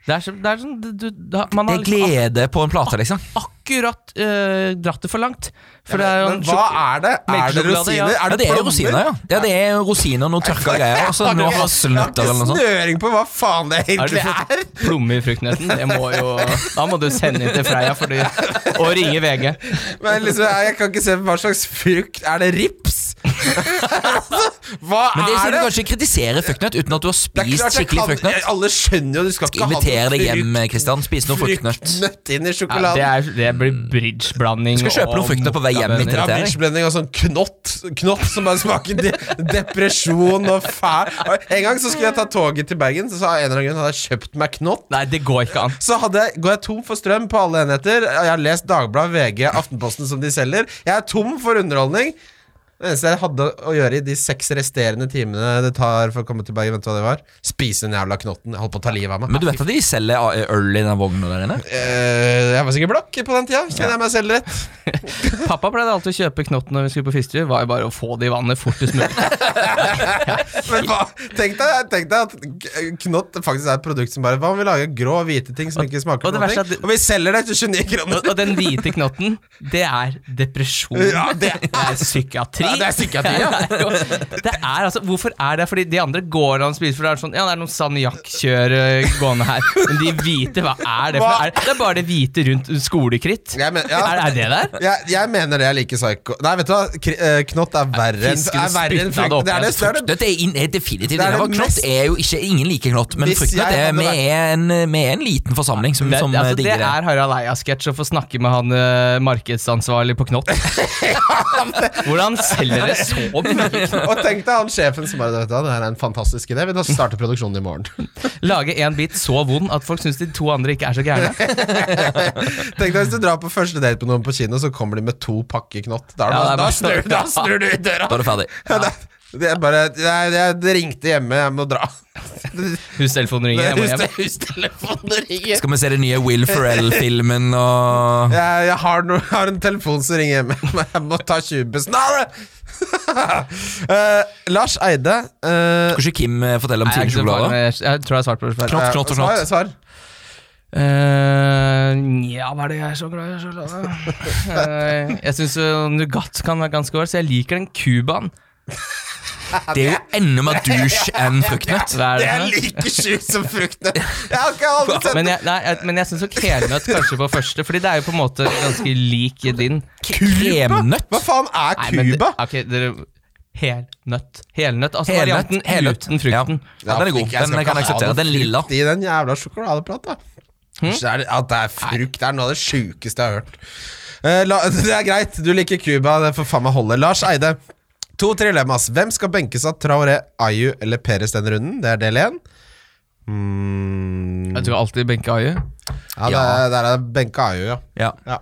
[SPEAKER 4] Det er, så, det er sånn du, du, da- Man har
[SPEAKER 5] Det er
[SPEAKER 4] liksom
[SPEAKER 5] glede på en plate, liksom.
[SPEAKER 4] ak akkurat eh, dratt det for langt. For det er jo
[SPEAKER 3] Men
[SPEAKER 4] en
[SPEAKER 3] hva er det? Er det
[SPEAKER 4] melkesjokolade, ja.
[SPEAKER 3] rosiner?
[SPEAKER 5] Ja, det er
[SPEAKER 3] plommer?
[SPEAKER 5] rosiner, ja. ja. Det er rosiner og noe tørka greier. Og så noe hasselnøtter
[SPEAKER 3] Jeg
[SPEAKER 5] eller
[SPEAKER 3] har ikke
[SPEAKER 5] noe sånt.
[SPEAKER 3] snøring på hva faen det
[SPEAKER 4] Er det
[SPEAKER 3] egentlig
[SPEAKER 4] fått
[SPEAKER 3] er.
[SPEAKER 4] plomme i fruktnøtten? Det må jo Da må du sende inn til Freia for de, og ringe VG.
[SPEAKER 3] Men liksom, jeg, jeg kan ikke se hva slags frukt Er det rips? Altså, hva
[SPEAKER 5] Men det
[SPEAKER 3] er
[SPEAKER 5] skal du
[SPEAKER 3] det?
[SPEAKER 5] kanskje kritisere fruktnøtt uten at du har
[SPEAKER 3] Det er klart
[SPEAKER 5] spist
[SPEAKER 3] jeg
[SPEAKER 5] skikkelig
[SPEAKER 3] kan-
[SPEAKER 5] fruktnøtt.
[SPEAKER 3] Alle skjønner jo, du skal, ikke
[SPEAKER 5] Inviter
[SPEAKER 3] ha
[SPEAKER 5] deg hjem,
[SPEAKER 3] noe
[SPEAKER 5] Kristian. Spis noe fruktnøtt.
[SPEAKER 3] fruktnøtt inn i
[SPEAKER 4] Ja, det,
[SPEAKER 3] sjokoladen.
[SPEAKER 4] er, det blir bridgeblanding.
[SPEAKER 5] Skal kjøpe noen
[SPEAKER 4] og-
[SPEAKER 5] frukter på vei hjem hit.
[SPEAKER 3] Ja,
[SPEAKER 5] dette her.
[SPEAKER 3] Bitchblending og sånn knott, knott som bare smaker de depresjon og fæl Og En gang så skulle jeg ta toget til Bergen, så sa jeg en eller annen grunn hadde jeg kjøpt meg knott.
[SPEAKER 4] Nei, det går ikke an.
[SPEAKER 3] Så hadde, jeg- går jeg tom for strøm på alle enheter. og Jeg har lest Dagbladet, VG, Aftenposten som de selger. Jeg er tom for underholdning. Det eneste jeg hadde å gjøre i de seks resterende timene det tar for å komme til Bergen, vet du hva det var? Spise den jævla knotten. Jeg holdt på å ta livet av meg.
[SPEAKER 5] Men du vet at de selger eh, øl i den vogna der inne?
[SPEAKER 3] Eh, jeg var sikkert blakk på den tida. Kjenner jeg meg selv rett?
[SPEAKER 4] Pappa pleide alltid å kjøpe knotten når vi skulle på fisketur. Var jo bare å få det i vannet fortest mulig.
[SPEAKER 3] Men hva, tenk, deg, tenk deg at g- knott faktisk er et produkt som bare Hva om vi lager grå og hvite ting som ikke smaker
[SPEAKER 4] og det
[SPEAKER 3] noe?
[SPEAKER 4] verste er at det-
[SPEAKER 3] Og vi selger det til 29 kroner!
[SPEAKER 4] Og, og den hvite knotten, det er depresjon.
[SPEAKER 3] Ja, det er-
[SPEAKER 4] er psykiatri.
[SPEAKER 3] Ja, det er psykiatri, ja.
[SPEAKER 4] Det er, jo- det er altså, hvorfor er det Fordi de andre går an å spise, for det er sånn Ja, det er noen salmiakkjør eh, gående her. Men de hvite, hva er det for
[SPEAKER 3] Hva?
[SPEAKER 4] noe? Er det- Det er bare det hvite rundt skolekritt.
[SPEAKER 3] Jeg men- ja.
[SPEAKER 4] er, er det der?
[SPEAKER 3] Jeg, jeg mener det er like psycho Nei, vet du hva? Kri- eh, Knott er verre enn
[SPEAKER 4] Fisken
[SPEAKER 3] er verre enn
[SPEAKER 4] spytta det
[SPEAKER 3] frukt.
[SPEAKER 4] opp
[SPEAKER 3] Det er det, det, er det
[SPEAKER 5] Fruktnøtt er, inn- er definitivt
[SPEAKER 3] Det er det
[SPEAKER 5] innafor. Knott
[SPEAKER 3] mest-
[SPEAKER 5] er jo ikke Ingen liker knott, men
[SPEAKER 3] Hvis
[SPEAKER 5] fruktnøtt
[SPEAKER 3] jeg
[SPEAKER 5] er
[SPEAKER 3] hadde
[SPEAKER 5] Vi
[SPEAKER 3] vært-
[SPEAKER 5] er en, vi er en liten forsamling som,
[SPEAKER 4] Det,
[SPEAKER 5] som eh,
[SPEAKER 4] altså, det
[SPEAKER 5] digger det.
[SPEAKER 4] er Harald Eia-sketsj å få snakke med han eh, markedsansvarlig på Knott. Hvordan selger dere så mye?
[SPEAKER 3] Og tenk deg han sjefen som bare vet du hva, Det her er en fantastisk idé. Vi tar- starter produksjonen i morgen.
[SPEAKER 4] Lage en bit så vond at folk syns de to andre ikke er så gærne.
[SPEAKER 3] Tenk deg hvis du drar på første date på noen på kino, så kommer de med to pakker knott. Da,
[SPEAKER 4] Ja, det
[SPEAKER 3] er det bare- da,
[SPEAKER 4] er bare-
[SPEAKER 3] snur, da snur du i døra.
[SPEAKER 5] Da er du ferdig.
[SPEAKER 3] Ja. Det er bare jeg, jeg, Det ringte hjemme, jeg må dra.
[SPEAKER 4] Hustelefonen ringer. Jeg må hjem.
[SPEAKER 3] Hus- Hustelefonen ringer.
[SPEAKER 5] Skal vi se den nye Will Ferrell-filmen og
[SPEAKER 3] Jeg, jeg har, no, har en telefon som ringer hjemme, men jeg må ta 20 snarere! Eh, Lars Eide eh,
[SPEAKER 5] Skulle ikke Kim eh, fortelle om
[SPEAKER 4] Nei,
[SPEAKER 5] Tine
[SPEAKER 4] jeg, er ikke så
[SPEAKER 5] sjokolader?
[SPEAKER 4] farlig. jeg tror jeg har svart på det.
[SPEAKER 5] Knott,
[SPEAKER 3] eh,
[SPEAKER 5] knott og
[SPEAKER 3] svar,
[SPEAKER 5] knott.
[SPEAKER 3] svar.
[SPEAKER 4] Eh, Nja, hva er det jeg er så glad i sjokolade? Eh, jeg syns Nougat kan være ganske ålreit, så jeg liker den Cubaen.
[SPEAKER 5] Det er jo enda mer douche enn fruktnøtt.
[SPEAKER 4] Hva er
[SPEAKER 3] Det
[SPEAKER 4] det
[SPEAKER 3] er
[SPEAKER 4] for noe?
[SPEAKER 3] like sjukt som fruktene. Jeg har ikke aldri sett
[SPEAKER 4] Men jeg, nei, jeg, men jeg syns nok helnøtt kanskje på første, Fordi det er jo på en måte ganske lik din.
[SPEAKER 5] Kremnøtt?
[SPEAKER 3] Hva faen er
[SPEAKER 4] Nei, men det-
[SPEAKER 3] Cuba?
[SPEAKER 4] ok, dere- Helnøtt. Helnøtt. Altså
[SPEAKER 5] Helnøtt,
[SPEAKER 4] varianten
[SPEAKER 5] helnøtt.
[SPEAKER 4] uten frukten.
[SPEAKER 5] Ja, den er god. Den kan jeg akseptere. Den lilla.
[SPEAKER 3] I den jævla sjokoladeplata. Så er det- At det er frukt, det er noe av det sjukeste jeg har hørt. Eh, la, det er greit, du liker Cuba, det får faen meg holde. Lars Eide. To trilemmas. Hvem skal benkes av Traoré, Ayu eller Peres denne runden? Det er del én. Mm,
[SPEAKER 4] Jeg tror alltid benke Aju.
[SPEAKER 3] ja, det
[SPEAKER 5] Ja.
[SPEAKER 3] er, der er det benka Ayu, ja.
[SPEAKER 5] Ja.
[SPEAKER 3] ja.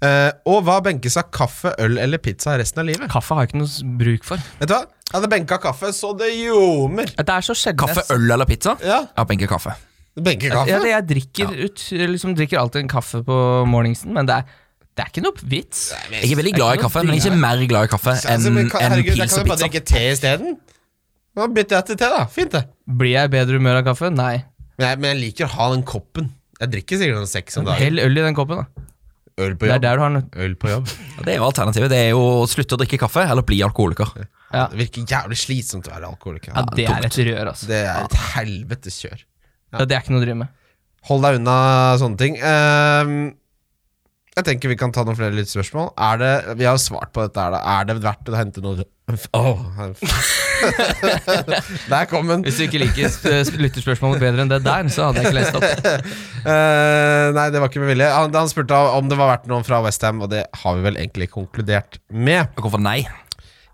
[SPEAKER 3] Eh, og hva benkes av kaffe, øl eller pizza resten av livet?
[SPEAKER 4] Kaffe har jeg ikke noe s- bruk for.
[SPEAKER 3] Vet du hva? Jeg hadde benka kaffe, så det ljomer.
[SPEAKER 4] Det er så sjelden jeg
[SPEAKER 5] Kaffe, øl eller pizza?
[SPEAKER 3] Ja.
[SPEAKER 5] Ja, benker kaffe.
[SPEAKER 3] Benke
[SPEAKER 4] Ja,
[SPEAKER 3] kaffe?
[SPEAKER 4] det, jeg drikker, ut, liksom, drikker alltid en kaffe på morgensen, men det er, det er ikke noe vits.
[SPEAKER 5] Jeg er veldig glad i kaffe, men jeg er ikke mer glad i kaffe enn
[SPEAKER 3] Altså, men ka-
[SPEAKER 5] enn
[SPEAKER 3] herregud, da
[SPEAKER 5] pils
[SPEAKER 3] kan
[SPEAKER 5] og
[SPEAKER 3] du bare
[SPEAKER 5] pizza.
[SPEAKER 3] drikke te isteden. Da bytter jeg til te, da. Fint, det.
[SPEAKER 4] Blir jeg i bedre humør av kaffe? Nei.
[SPEAKER 3] Men jeg, men jeg liker å ha den koppen. Jeg drikker sikkert noen seks om dagen.
[SPEAKER 4] Hell øl i den koppen, da.
[SPEAKER 3] Øl på
[SPEAKER 4] Det er
[SPEAKER 3] jobb.
[SPEAKER 4] der du har den.
[SPEAKER 3] Øl på jobb.
[SPEAKER 5] Ja, Det er jo alternativet. Det er jo å slutte å drikke kaffe eller bli alkoholiker.
[SPEAKER 4] Ja.
[SPEAKER 3] Det virker jævlig slitsomt å være alkoholiker.
[SPEAKER 4] Ja, det er et rør, altså.
[SPEAKER 3] Det er et helvetes kjør.
[SPEAKER 4] Ja, det er ikke noe å drive med.
[SPEAKER 3] Hold deg unna sånne ting. Ehm, jeg tenker vi kan ta noen flere lyttespørsmål. Er det, vi har jo svart på dette. her da. Er det verdt å hente noe Åh. Der kom den.
[SPEAKER 4] Hvis du ikke liker s- lytterspørsmålet bedre enn det der, så hadde jeg ikke lest opp.
[SPEAKER 3] Eh, nei, det var ikke med vilje. Han, han spurte om det var verdt noen fra Westham, og det har vi vel egentlig konkludert med.
[SPEAKER 5] Hvorfor nei?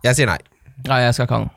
[SPEAKER 3] Jeg sier nei.
[SPEAKER 4] Nei, jeg skal ikke ha den.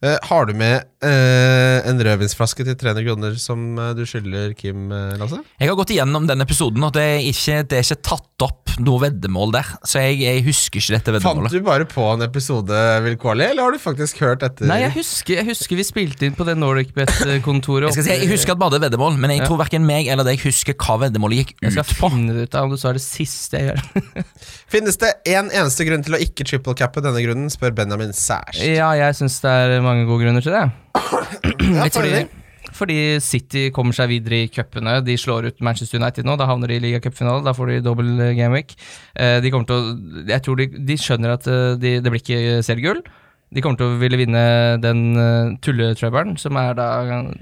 [SPEAKER 3] Eh, har du med eh, en rødvinsflaske til 300 kroner som eh, du skylder Kim, eh, Lasse?
[SPEAKER 5] Jeg har gått igjennom den episoden, og det er ikke, det er ikke tatt opp noe veddemål der. Så jeg, jeg husker ikke dette
[SPEAKER 3] Fant
[SPEAKER 5] veddemålet.
[SPEAKER 3] du bare på en episode vilkårlig, eller har du faktisk hørt etter?
[SPEAKER 4] Nei, jeg husker, jeg husker vi spilte inn på det eh, NordicBet-kontoret.
[SPEAKER 5] Jeg skal si, jeg husker at bare det er veddemål, men jeg
[SPEAKER 4] Ja.
[SPEAKER 5] tror verken meg eller deg husker hva veddemålet gikk
[SPEAKER 4] Jeg
[SPEAKER 5] ut
[SPEAKER 4] skal
[SPEAKER 5] på.
[SPEAKER 4] finne det ut av om du sa det siste jeg gjør.
[SPEAKER 3] Finnes det én eneste grunn til å ikke triple cappe denne grunnen, spør Benjamin Sæsj.
[SPEAKER 4] Ja, jeg syns det er mange gode grunner til det.
[SPEAKER 3] Ja,
[SPEAKER 5] Jeg tror
[SPEAKER 3] fordi-
[SPEAKER 5] det-
[SPEAKER 4] fordi City kommer seg videre i cupene. De slår ut Manchester United nå, da havner de i ligacupfinalen. Da får de dobbel eh, gameweek. Eh, De kommer til å Jeg tror de, de skjønner at eh, de, det blir ikke seriegull. De kommer til å ville vinne den eh, tulletrøbbelen, som er da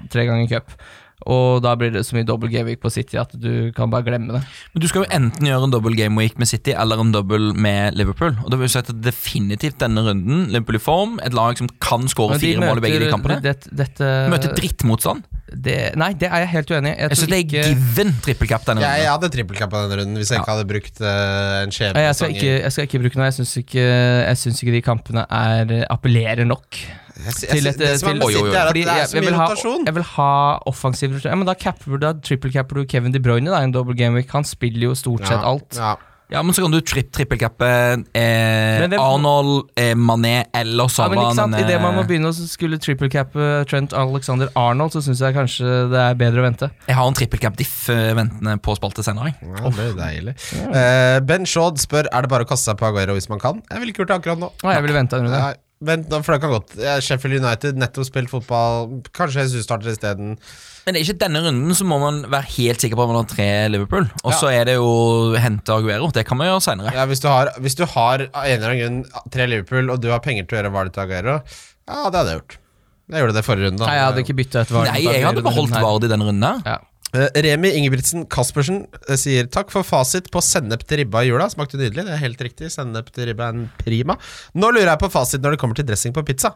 [SPEAKER 4] tre ganger cup. Og da blir det så mye dobbel gameweek på City at du kan bare glemme det.
[SPEAKER 5] Men du skal jo enten gjøre en dobbel game week med City eller en dobbel med Liverpool. Og det vil si at definitivt denne runden, Liverpool i form, et lag som kan skåre
[SPEAKER 4] Men de
[SPEAKER 5] fire mål i begge de
[SPEAKER 4] møter
[SPEAKER 5] kampene,
[SPEAKER 4] det- dette,
[SPEAKER 5] møter drittmotstand.
[SPEAKER 4] det, Nei, det er jeg helt uenig i. Jeg
[SPEAKER 5] Jeg
[SPEAKER 4] tror
[SPEAKER 5] synes det er
[SPEAKER 4] ikke-
[SPEAKER 5] given trippelkapp denne
[SPEAKER 3] Jeg, jeg
[SPEAKER 5] runden.
[SPEAKER 3] hadde trippelkapp på denne runden hvis jeg ikke hadde brukt eh, en skjebne.
[SPEAKER 4] Nei, Jeg skal, ikke, jeg skal ikke bruke noe. Jeg syns ikke, jeg synes ikke de kampene er, eh, appellerer nok. til et- eh,
[SPEAKER 3] det som er
[SPEAKER 4] til-
[SPEAKER 3] med
[SPEAKER 5] Oi, oi, oi.
[SPEAKER 3] City, er at
[SPEAKER 4] Fordi
[SPEAKER 3] det er
[SPEAKER 4] jeg,
[SPEAKER 3] så
[SPEAKER 4] jeg, vil
[SPEAKER 3] mye
[SPEAKER 4] ha,
[SPEAKER 3] rotasjon.
[SPEAKER 4] jeg vil ha offensiv rotasjon. Ja, men da capper du da trippelcapper du Kevin De Bruyne da, i en double gameweek. Han spiller jo stort sett alt.
[SPEAKER 3] Ja.
[SPEAKER 5] Ja, men så kan du tripp trippelkappe eh,
[SPEAKER 4] Men hvem-
[SPEAKER 5] Arnold, eh, Mané
[SPEAKER 4] Ja,
[SPEAKER 5] eller
[SPEAKER 4] men
[SPEAKER 5] Salah. eh,
[SPEAKER 4] ikke sant,
[SPEAKER 5] denne-
[SPEAKER 4] Idet man
[SPEAKER 3] eh,
[SPEAKER 4] må begynne å skulle trippelcappe Trent Alexander Arnold, så syns jeg kanskje det er bedre å vente.
[SPEAKER 5] Jeg har en trippelkapp-diff eh, ventende på spalte senere. jeg.
[SPEAKER 3] Ja, det er deilig. Eh, ben Shaud spør Er det bare å kaste seg på Aguero hvis man kan. Jeg ville ikke gjort det akkurat nå.
[SPEAKER 4] Nei, jeg ville vente en runde.
[SPEAKER 3] Nei, vent, nå, for det kan godt Eh, Sheffield United, nettopp spilt fotball. Kanskje Jesus starter isteden.
[SPEAKER 5] Men det er ikke denne runden så må man være helt sikker på at man har tre Liverpool. Og så er det jo hente Aguero. Det kan man gjøre seinere.
[SPEAKER 3] Ja, hvis, du har- hvis du har av en eller annen grunn tre Liverpool, og du har penger til å gjøre Vardø til Aguero, ja, det hadde jeg gjort. Jeg gjorde det forrige runde. da.
[SPEAKER 4] Nei, jeg hadde ikke bytta et varmt
[SPEAKER 5] Nei, jeg hadde beholdt Vard i denne runden. her.
[SPEAKER 4] Ja.
[SPEAKER 3] Eh, Remi Ingebrigtsen Kaspersen eh, sier takk for fasit på sennep til ribba i jula. Smakte nydelig, det er helt riktig. Sennep til ribba er en prima. Nå lurer jeg på fasit når det kommer til dressing på pizza.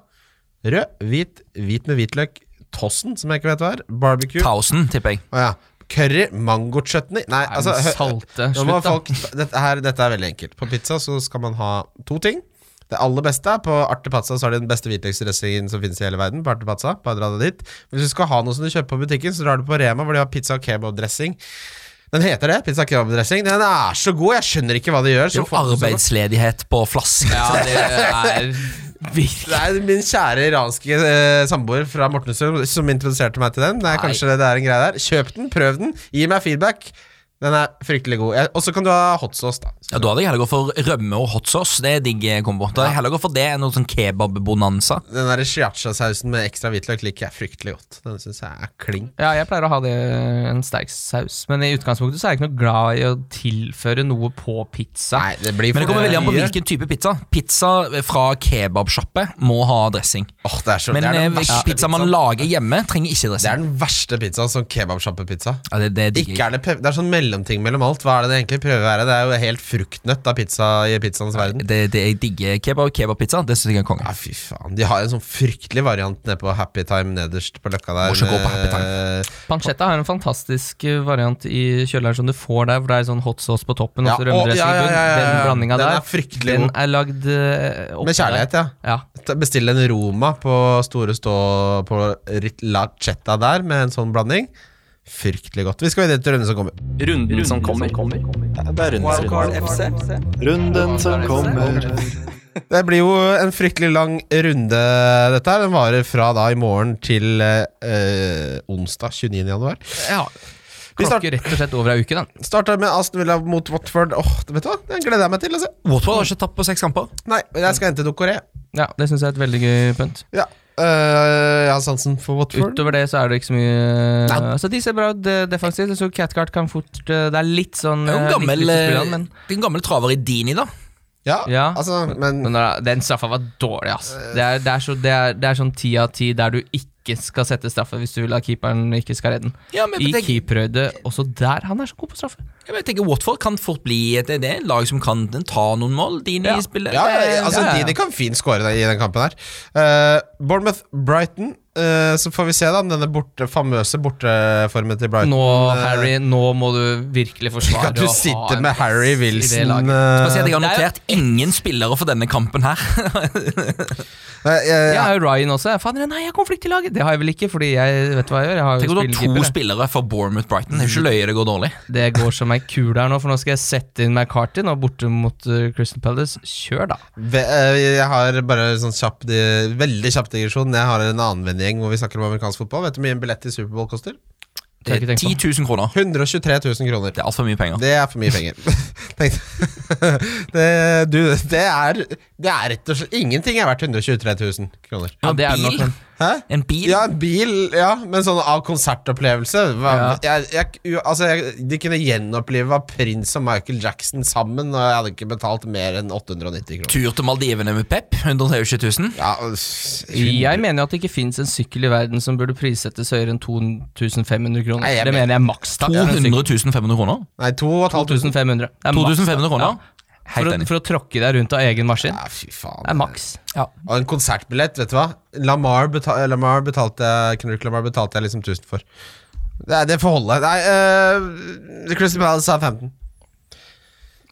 [SPEAKER 3] Rød, hvit, hvit med hvitløk, tossen, som jeg ikke vet hva er, barbecue
[SPEAKER 5] Tausen, tipper jeg.
[SPEAKER 3] Å ja. Curry, mangochutney Nei,
[SPEAKER 4] Nei,
[SPEAKER 3] altså
[SPEAKER 4] men
[SPEAKER 3] hø-
[SPEAKER 4] salte.
[SPEAKER 3] nå må
[SPEAKER 4] Slutt, da.
[SPEAKER 3] folk, dette, her, dette er veldig enkelt. På pizza så skal man ha to ting. Det aller beste er På Arte Pazza så har de den beste hvitløksdressingen som finnes i hele verden. På Arte Pazza, bare dra det dit Hvis du skal ha noe som du kjøper på butikken, så drar du på Rema, hvor de har pizza og kebabdressing. Den heter det. Pizza og kebabdressing. Den er så god, jeg skjønner ikke hva de gjør.
[SPEAKER 5] Det er
[SPEAKER 3] så
[SPEAKER 5] jo
[SPEAKER 3] folk-
[SPEAKER 5] arbeidsledighet på flaske.
[SPEAKER 4] ja, det er virkelig
[SPEAKER 3] Det er min kjære iranske eh, samboer fra Mortensrud som introduserte meg til den. Det er
[SPEAKER 5] Nei.
[SPEAKER 3] kanskje det, det er en greie der. Kjøp den, prøv den, gi meg feedback. Den er fryktelig god. Jeg- Og så kan du ha hot sauce, da.
[SPEAKER 5] Ja, Da hadde jeg heller gått for rømme og hot sauce. Det er digg kombo. Da hadde jeg heller gått for det enn noe sånn kebab-bonanza.
[SPEAKER 3] Den der shiacha-sausen med ekstra hvitløk liker jeg fryktelig godt. Den syns jeg er kling.
[SPEAKER 4] Ja, jeg pleier å ha det eh, en sterk saus, men i utgangspunktet så er jeg ikke noe glad i å tilføre noe på pizza.
[SPEAKER 3] Nei, det blir for
[SPEAKER 5] Men det kommer veldig an på
[SPEAKER 3] mye.
[SPEAKER 5] hvilken type pizza. Pizza fra kebabsjappe må ha dressing.
[SPEAKER 3] Åh, det er så,
[SPEAKER 5] Men
[SPEAKER 3] det er
[SPEAKER 5] eh,
[SPEAKER 3] den verste
[SPEAKER 5] pizza man
[SPEAKER 3] pizzaen.
[SPEAKER 5] lager hjemme, trenger ikke
[SPEAKER 3] Det er
[SPEAKER 5] dressing.
[SPEAKER 3] den verste pizzaen, sånn kebabsjappepizza.
[SPEAKER 5] Ja, det, det, digger
[SPEAKER 3] Ikke
[SPEAKER 5] jeg.
[SPEAKER 3] er det, pe- det er sånn mellomting mellom alt. Hva er det det egentlig prøver å være? Det er jo helt fruktnøtt av pizza i pizzaens verden.
[SPEAKER 5] det, det jeg digger kebab kebabpizza. Det syns jeg er konge.
[SPEAKER 3] Ja, fy faen. De har en sånn fryktelig variant nede på Happy Time nederst på løkka der. eh,
[SPEAKER 5] Må ikke gå på
[SPEAKER 3] med-
[SPEAKER 5] Happy
[SPEAKER 4] Pancetta har en fantastisk eh, variant i kjøleren som du får der, hvor det er sånn hot sauce på toppen
[SPEAKER 3] Ja,
[SPEAKER 4] og så
[SPEAKER 3] å,
[SPEAKER 4] rømmedressing i
[SPEAKER 3] ja, ja,
[SPEAKER 4] bunnen.
[SPEAKER 3] ja, ja, ja.
[SPEAKER 4] Den blandinga
[SPEAKER 3] Den
[SPEAKER 4] der,
[SPEAKER 3] er fryktelig
[SPEAKER 4] den
[SPEAKER 3] god.
[SPEAKER 4] er lagd eh, oppi
[SPEAKER 3] Med kjærlighet, ja.
[SPEAKER 4] der. Ja.
[SPEAKER 3] Ta- Bestill en Roma på Store Stå på Rit- La Chetta der med en sånn blanding. Fryktelig godt. Vi skal videre til runden som kommer.
[SPEAKER 4] Runden som kommer.
[SPEAKER 1] Wildcard FC.
[SPEAKER 6] Runden som kommer.
[SPEAKER 3] Det blir jo en fryktelig lang runde, dette her. Den varer fra da i morgen til eh, eh, onsdag 29. januar.
[SPEAKER 4] Ja.
[SPEAKER 3] Vi starter-
[SPEAKER 4] Klokker rett og slett over ei uke, den.
[SPEAKER 3] Starter med Aston Villa mot Watford. Åh, vet du hva? Den gleder jeg meg til. Altså.
[SPEAKER 5] Watford har ikke tapt på seks kamper.
[SPEAKER 3] Nei, jeg skal hente Dokoré.
[SPEAKER 4] Ja, Det syns jeg er et veldig gøy pynt.
[SPEAKER 3] Ja. eh, jeg har sansen for Watford.
[SPEAKER 4] Utover det så er det ikke så mye Altså, de ser bra ut eh, defensivt. Jeg så Catcart kan fort eh, Det er litt sånn
[SPEAKER 5] Det
[SPEAKER 4] eh,
[SPEAKER 5] er jo en
[SPEAKER 4] litt
[SPEAKER 5] gammel,
[SPEAKER 4] lyst til å spille
[SPEAKER 5] eh,
[SPEAKER 4] han, men
[SPEAKER 5] det er en gammel traver i Dini, da.
[SPEAKER 3] Ja,
[SPEAKER 4] Ja.
[SPEAKER 3] altså, men
[SPEAKER 4] Men da- Den straffa var dårlig, ass. Det er, det er, så, det er, det er sånn ti av ti der du ikke skal sette straffe hvis du vil at keeperen ikke skal redde den.
[SPEAKER 5] Ja, men
[SPEAKER 4] I
[SPEAKER 5] jeg, tenker,
[SPEAKER 4] keeperhøyde, også der. Han er så god på straffe.
[SPEAKER 5] jeg tenker Watford kan fort bli et, det er et lag som kan ta noen mål. Dini
[SPEAKER 4] Ja.
[SPEAKER 5] spiller
[SPEAKER 3] Ja, ja, ja, altså
[SPEAKER 4] ja, ja.
[SPEAKER 3] Dini kan fint skåre i den kampen her. Eh, Bournemouth-Brighton, eh, så får vi se da om denne borte, famøse borteformen til Brighton.
[SPEAKER 4] Nå,
[SPEAKER 3] eh,
[SPEAKER 4] Harry, nå må du virkelig forsvare
[SPEAKER 3] At
[SPEAKER 4] å
[SPEAKER 3] du
[SPEAKER 4] ha
[SPEAKER 3] sitter
[SPEAKER 4] en
[SPEAKER 3] med Harry
[SPEAKER 4] plass i det
[SPEAKER 3] Wilson
[SPEAKER 4] laget.
[SPEAKER 5] Skal si at jeg har
[SPEAKER 4] Det er jo-
[SPEAKER 5] notert ingen spillere for denne kampen her.
[SPEAKER 3] eh, eh,
[SPEAKER 4] Ja, Ryan også. Faen, nei, jeg har konflikt i laget! Det har jeg vel ikke, fordi jeg vet du hva jeg gjør. Jeg har
[SPEAKER 5] Tenk
[SPEAKER 4] jo
[SPEAKER 5] om du har to
[SPEAKER 4] spillekeeper. jeg.
[SPEAKER 5] spillere for Bournemouth Brighton. Det er jo ikke løye det går dårlig.
[SPEAKER 4] Det går som ei kule her nå, for nå skal jeg sette inn McCarty nå borte mot uh, Crystal Palace. Kjør, da.
[SPEAKER 3] ve- eh, Jeg har bare sånn kjapp di- veldig kjapp digresjon. Jeg har en annen vennegjeng hvor vi snakker om amerikansk fotball. Vet du hvor mye en billett til Superbowl koster?
[SPEAKER 4] Det har jeg ikke
[SPEAKER 5] 10
[SPEAKER 4] tenkt sånn. på.
[SPEAKER 5] 000 kroner.
[SPEAKER 3] 123 000 kroner.
[SPEAKER 5] Det er altfor mye penger.
[SPEAKER 3] Det er for mye penger. Tenkte- det, du, det, er, det er rett og slett Ingenting er verdt 123 000 kroner.
[SPEAKER 4] Ja, det er det
[SPEAKER 5] bil.
[SPEAKER 4] nok, men
[SPEAKER 3] Hæ?
[SPEAKER 5] En bil?
[SPEAKER 3] Ja, en bil, ja, men sånn av konsertopplevelse. Hva- Jeg, jeg, u- altså, jeg, de kunne gjenopplive Prince og Michael Jackson sammen, og jeg hadde ikke betalt mer enn 890 kroner.
[SPEAKER 5] Tur til Maldivene med Pep? 123 000?
[SPEAKER 3] Ja, s-
[SPEAKER 4] Jeg mener jo at det ikke fins en sykkel i verden som burde prissettes høyere enn 2500 kroner.
[SPEAKER 3] Nei, jeg
[SPEAKER 4] det
[SPEAKER 3] mener-
[SPEAKER 4] mener jeg er makstak.
[SPEAKER 5] 200 500 kroner?
[SPEAKER 3] Nei, 2500.
[SPEAKER 4] 2500. Det er maks,
[SPEAKER 5] 2500
[SPEAKER 4] da.
[SPEAKER 5] kroner?
[SPEAKER 4] Ja. For, å,
[SPEAKER 5] Helt enig.
[SPEAKER 4] for å tråkke deg rundt av egen maskin.
[SPEAKER 3] Ja, fy faen.
[SPEAKER 4] Det er maks.
[SPEAKER 3] Og en konsertbillett, vet du hva? Lamar, beta eh, Lamar betalte jeg Kendrick Lamar betalte jeg liksom 1000 for. Det, er- det får holde. Nei, uh, Crystal Palace sa 15.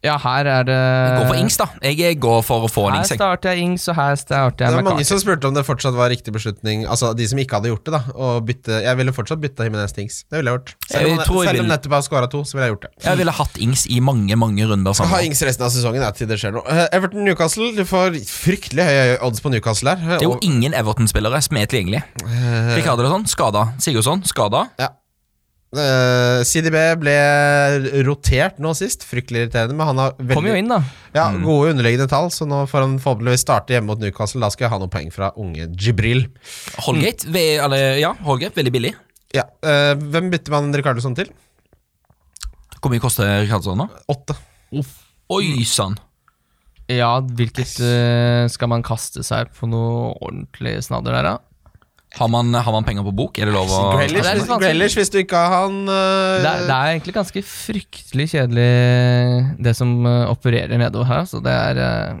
[SPEAKER 4] Ja, her er det
[SPEAKER 5] Gå for Ings, da. Jeg går for å få
[SPEAKER 4] Eh,
[SPEAKER 5] en
[SPEAKER 4] Her
[SPEAKER 5] Ings. jeg.
[SPEAKER 4] starter jeg Ings, og her starter
[SPEAKER 3] Det
[SPEAKER 4] jeg
[SPEAKER 3] var mange
[SPEAKER 4] McCarthy.
[SPEAKER 3] som spurte om det fortsatt var riktig beslutning. Altså de som ikke hadde gjort det, da. Og bytte, jeg ville fortsatt bytta Himinez Tings. Det ville jeg gjort. Selv
[SPEAKER 5] Jeg
[SPEAKER 3] om,
[SPEAKER 5] tror jeg
[SPEAKER 3] selv om
[SPEAKER 5] vil-
[SPEAKER 3] nettopp jeg har skåra to, så ville jeg gjort det.
[SPEAKER 5] Jeg ville hatt Ings i mange mange runder
[SPEAKER 3] Ha
[SPEAKER 5] sammen.
[SPEAKER 3] Ings resten av sesongen ja, til det skjer noe. Eh, Everton Newcastle, du får fryktelig høye odds på Newcastle her.
[SPEAKER 5] Det er jo
[SPEAKER 3] Og- Eh.
[SPEAKER 5] ingen Everton-spillere som er tilgjengelige. Rikardesson skada. Sigurdsson skada.
[SPEAKER 3] Ja. Eh, CDB ble rotert nå sist. Fryktelig irriterende, men han har veldig
[SPEAKER 4] Kom jo inn, da.
[SPEAKER 3] Ja, Gode underliggende tall, så nå får han forhåpentligvis starte hjemme mot Newcastle. Da skal jeg ha noen poeng fra unge Jibril.
[SPEAKER 5] Holgate,
[SPEAKER 4] Mm.
[SPEAKER 5] ve- eller, ja, Holgate, veldig billig.
[SPEAKER 3] Ja, eh, Hvem bytter man Ricardsson til?
[SPEAKER 5] Hvor mye koster Rikardesson nå?
[SPEAKER 3] Åtte.
[SPEAKER 4] Mm.
[SPEAKER 5] Oi sann!
[SPEAKER 4] Ja, hvilket eh, skal man kaste seg på noe ordentlig snadder der, da?
[SPEAKER 5] Har, man- har man penger på bok? Er det lov å
[SPEAKER 4] det er litt
[SPEAKER 3] Grealish,
[SPEAKER 4] vanskelig.
[SPEAKER 3] Grealish hvis du ikke har han eh,
[SPEAKER 4] Det er, det er egentlig ganske fryktelig kjedelig, det som eh, opererer nedover her. Så det er eh,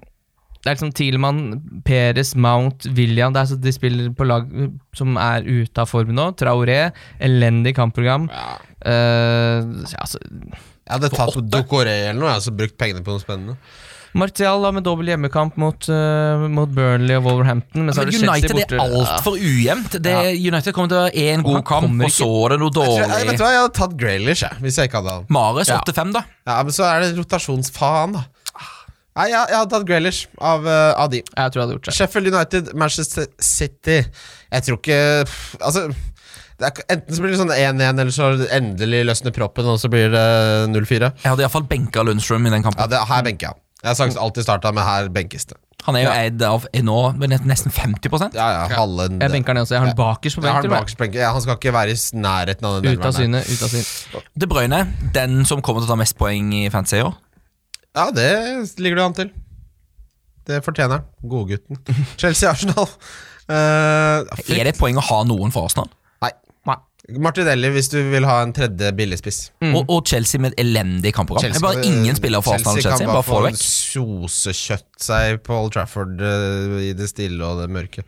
[SPEAKER 4] Det er liksom Thielmann, Peres, Mount, William det er, så De spiller på lag eh, som er ute av form nå. Traoré, elendig kampprogram.
[SPEAKER 3] Ja.
[SPEAKER 4] Eh, ja, altså,
[SPEAKER 3] Jeg hadde tatt Dokoré eller noe, jeg hadde brukt pengene på noe spennende.
[SPEAKER 4] Martial da, med dobbel hjemmekamp mot, eh, mot Burnley og Wolverhampton. Men så er
[SPEAKER 5] Men
[SPEAKER 4] det
[SPEAKER 5] United
[SPEAKER 4] Chelsea
[SPEAKER 5] er
[SPEAKER 4] borte.
[SPEAKER 5] altfor ujevnt. Det, United kommer til å ha én
[SPEAKER 4] Og
[SPEAKER 5] god
[SPEAKER 4] han
[SPEAKER 5] kamp,
[SPEAKER 4] kommer
[SPEAKER 5] og så er det noe
[SPEAKER 3] Jeg, tror, jeg, vet
[SPEAKER 5] dårlig.
[SPEAKER 3] du hva, jeg hadde tatt Grealish jeg, hvis jeg ikke hadde han.
[SPEAKER 5] Mares
[SPEAKER 4] Ja.
[SPEAKER 5] 8-5, da.
[SPEAKER 3] Ja, Men så er det rotasjonsfaen, da.
[SPEAKER 4] Ah.
[SPEAKER 3] Nei, jeg, jeg hadde tatt Grealish av, eh, av de.
[SPEAKER 4] Ja, jeg tror jeg hadde gjort det.
[SPEAKER 3] Sheffield United, Manchester City Jeg tror ikke pff, Altså det er, Enten så blir det sånn 1-1, eller så endelig løsner proppen, og så blir det 0-4.
[SPEAKER 5] Jeg hadde iallfall benka Lundstrøm i den
[SPEAKER 3] Ja,
[SPEAKER 5] kampen.
[SPEAKER 3] det, her benker jeg. Jeg har sagt alltid starta, men her benkes det.
[SPEAKER 5] Han er jo eid av er nå men nesten 50
[SPEAKER 3] Ja, ja, halve en-
[SPEAKER 4] Jeg benker den også. Jeg har den bakerst på
[SPEAKER 3] Jeg har den
[SPEAKER 4] benken.
[SPEAKER 3] bakerst på benken. Ja, han skal ikke være i s- nærheten av den
[SPEAKER 4] Ute av
[SPEAKER 3] elveren
[SPEAKER 4] syne,
[SPEAKER 3] der.
[SPEAKER 4] ute av syne.
[SPEAKER 5] De Bruyne, den som kommer til å ta mest poeng i fantasy i år.
[SPEAKER 3] Ja, det ligger du an til. Det fortjener han. Godgutten. Chelsea-Arsenal. Eh,
[SPEAKER 5] Er det et poeng å ha noen for Arsenal?
[SPEAKER 3] nei. Martinelli hvis du vil ha en tredje billigspiss.
[SPEAKER 5] Og, og Chelsea med et elendig kampprogram. Det er bare ingen spillere for Arsenal og Chelsea.
[SPEAKER 3] kan
[SPEAKER 5] Bare få det vekk.
[SPEAKER 3] sosekjøtt seg på Old Trafford eh, i det stille og det mørke.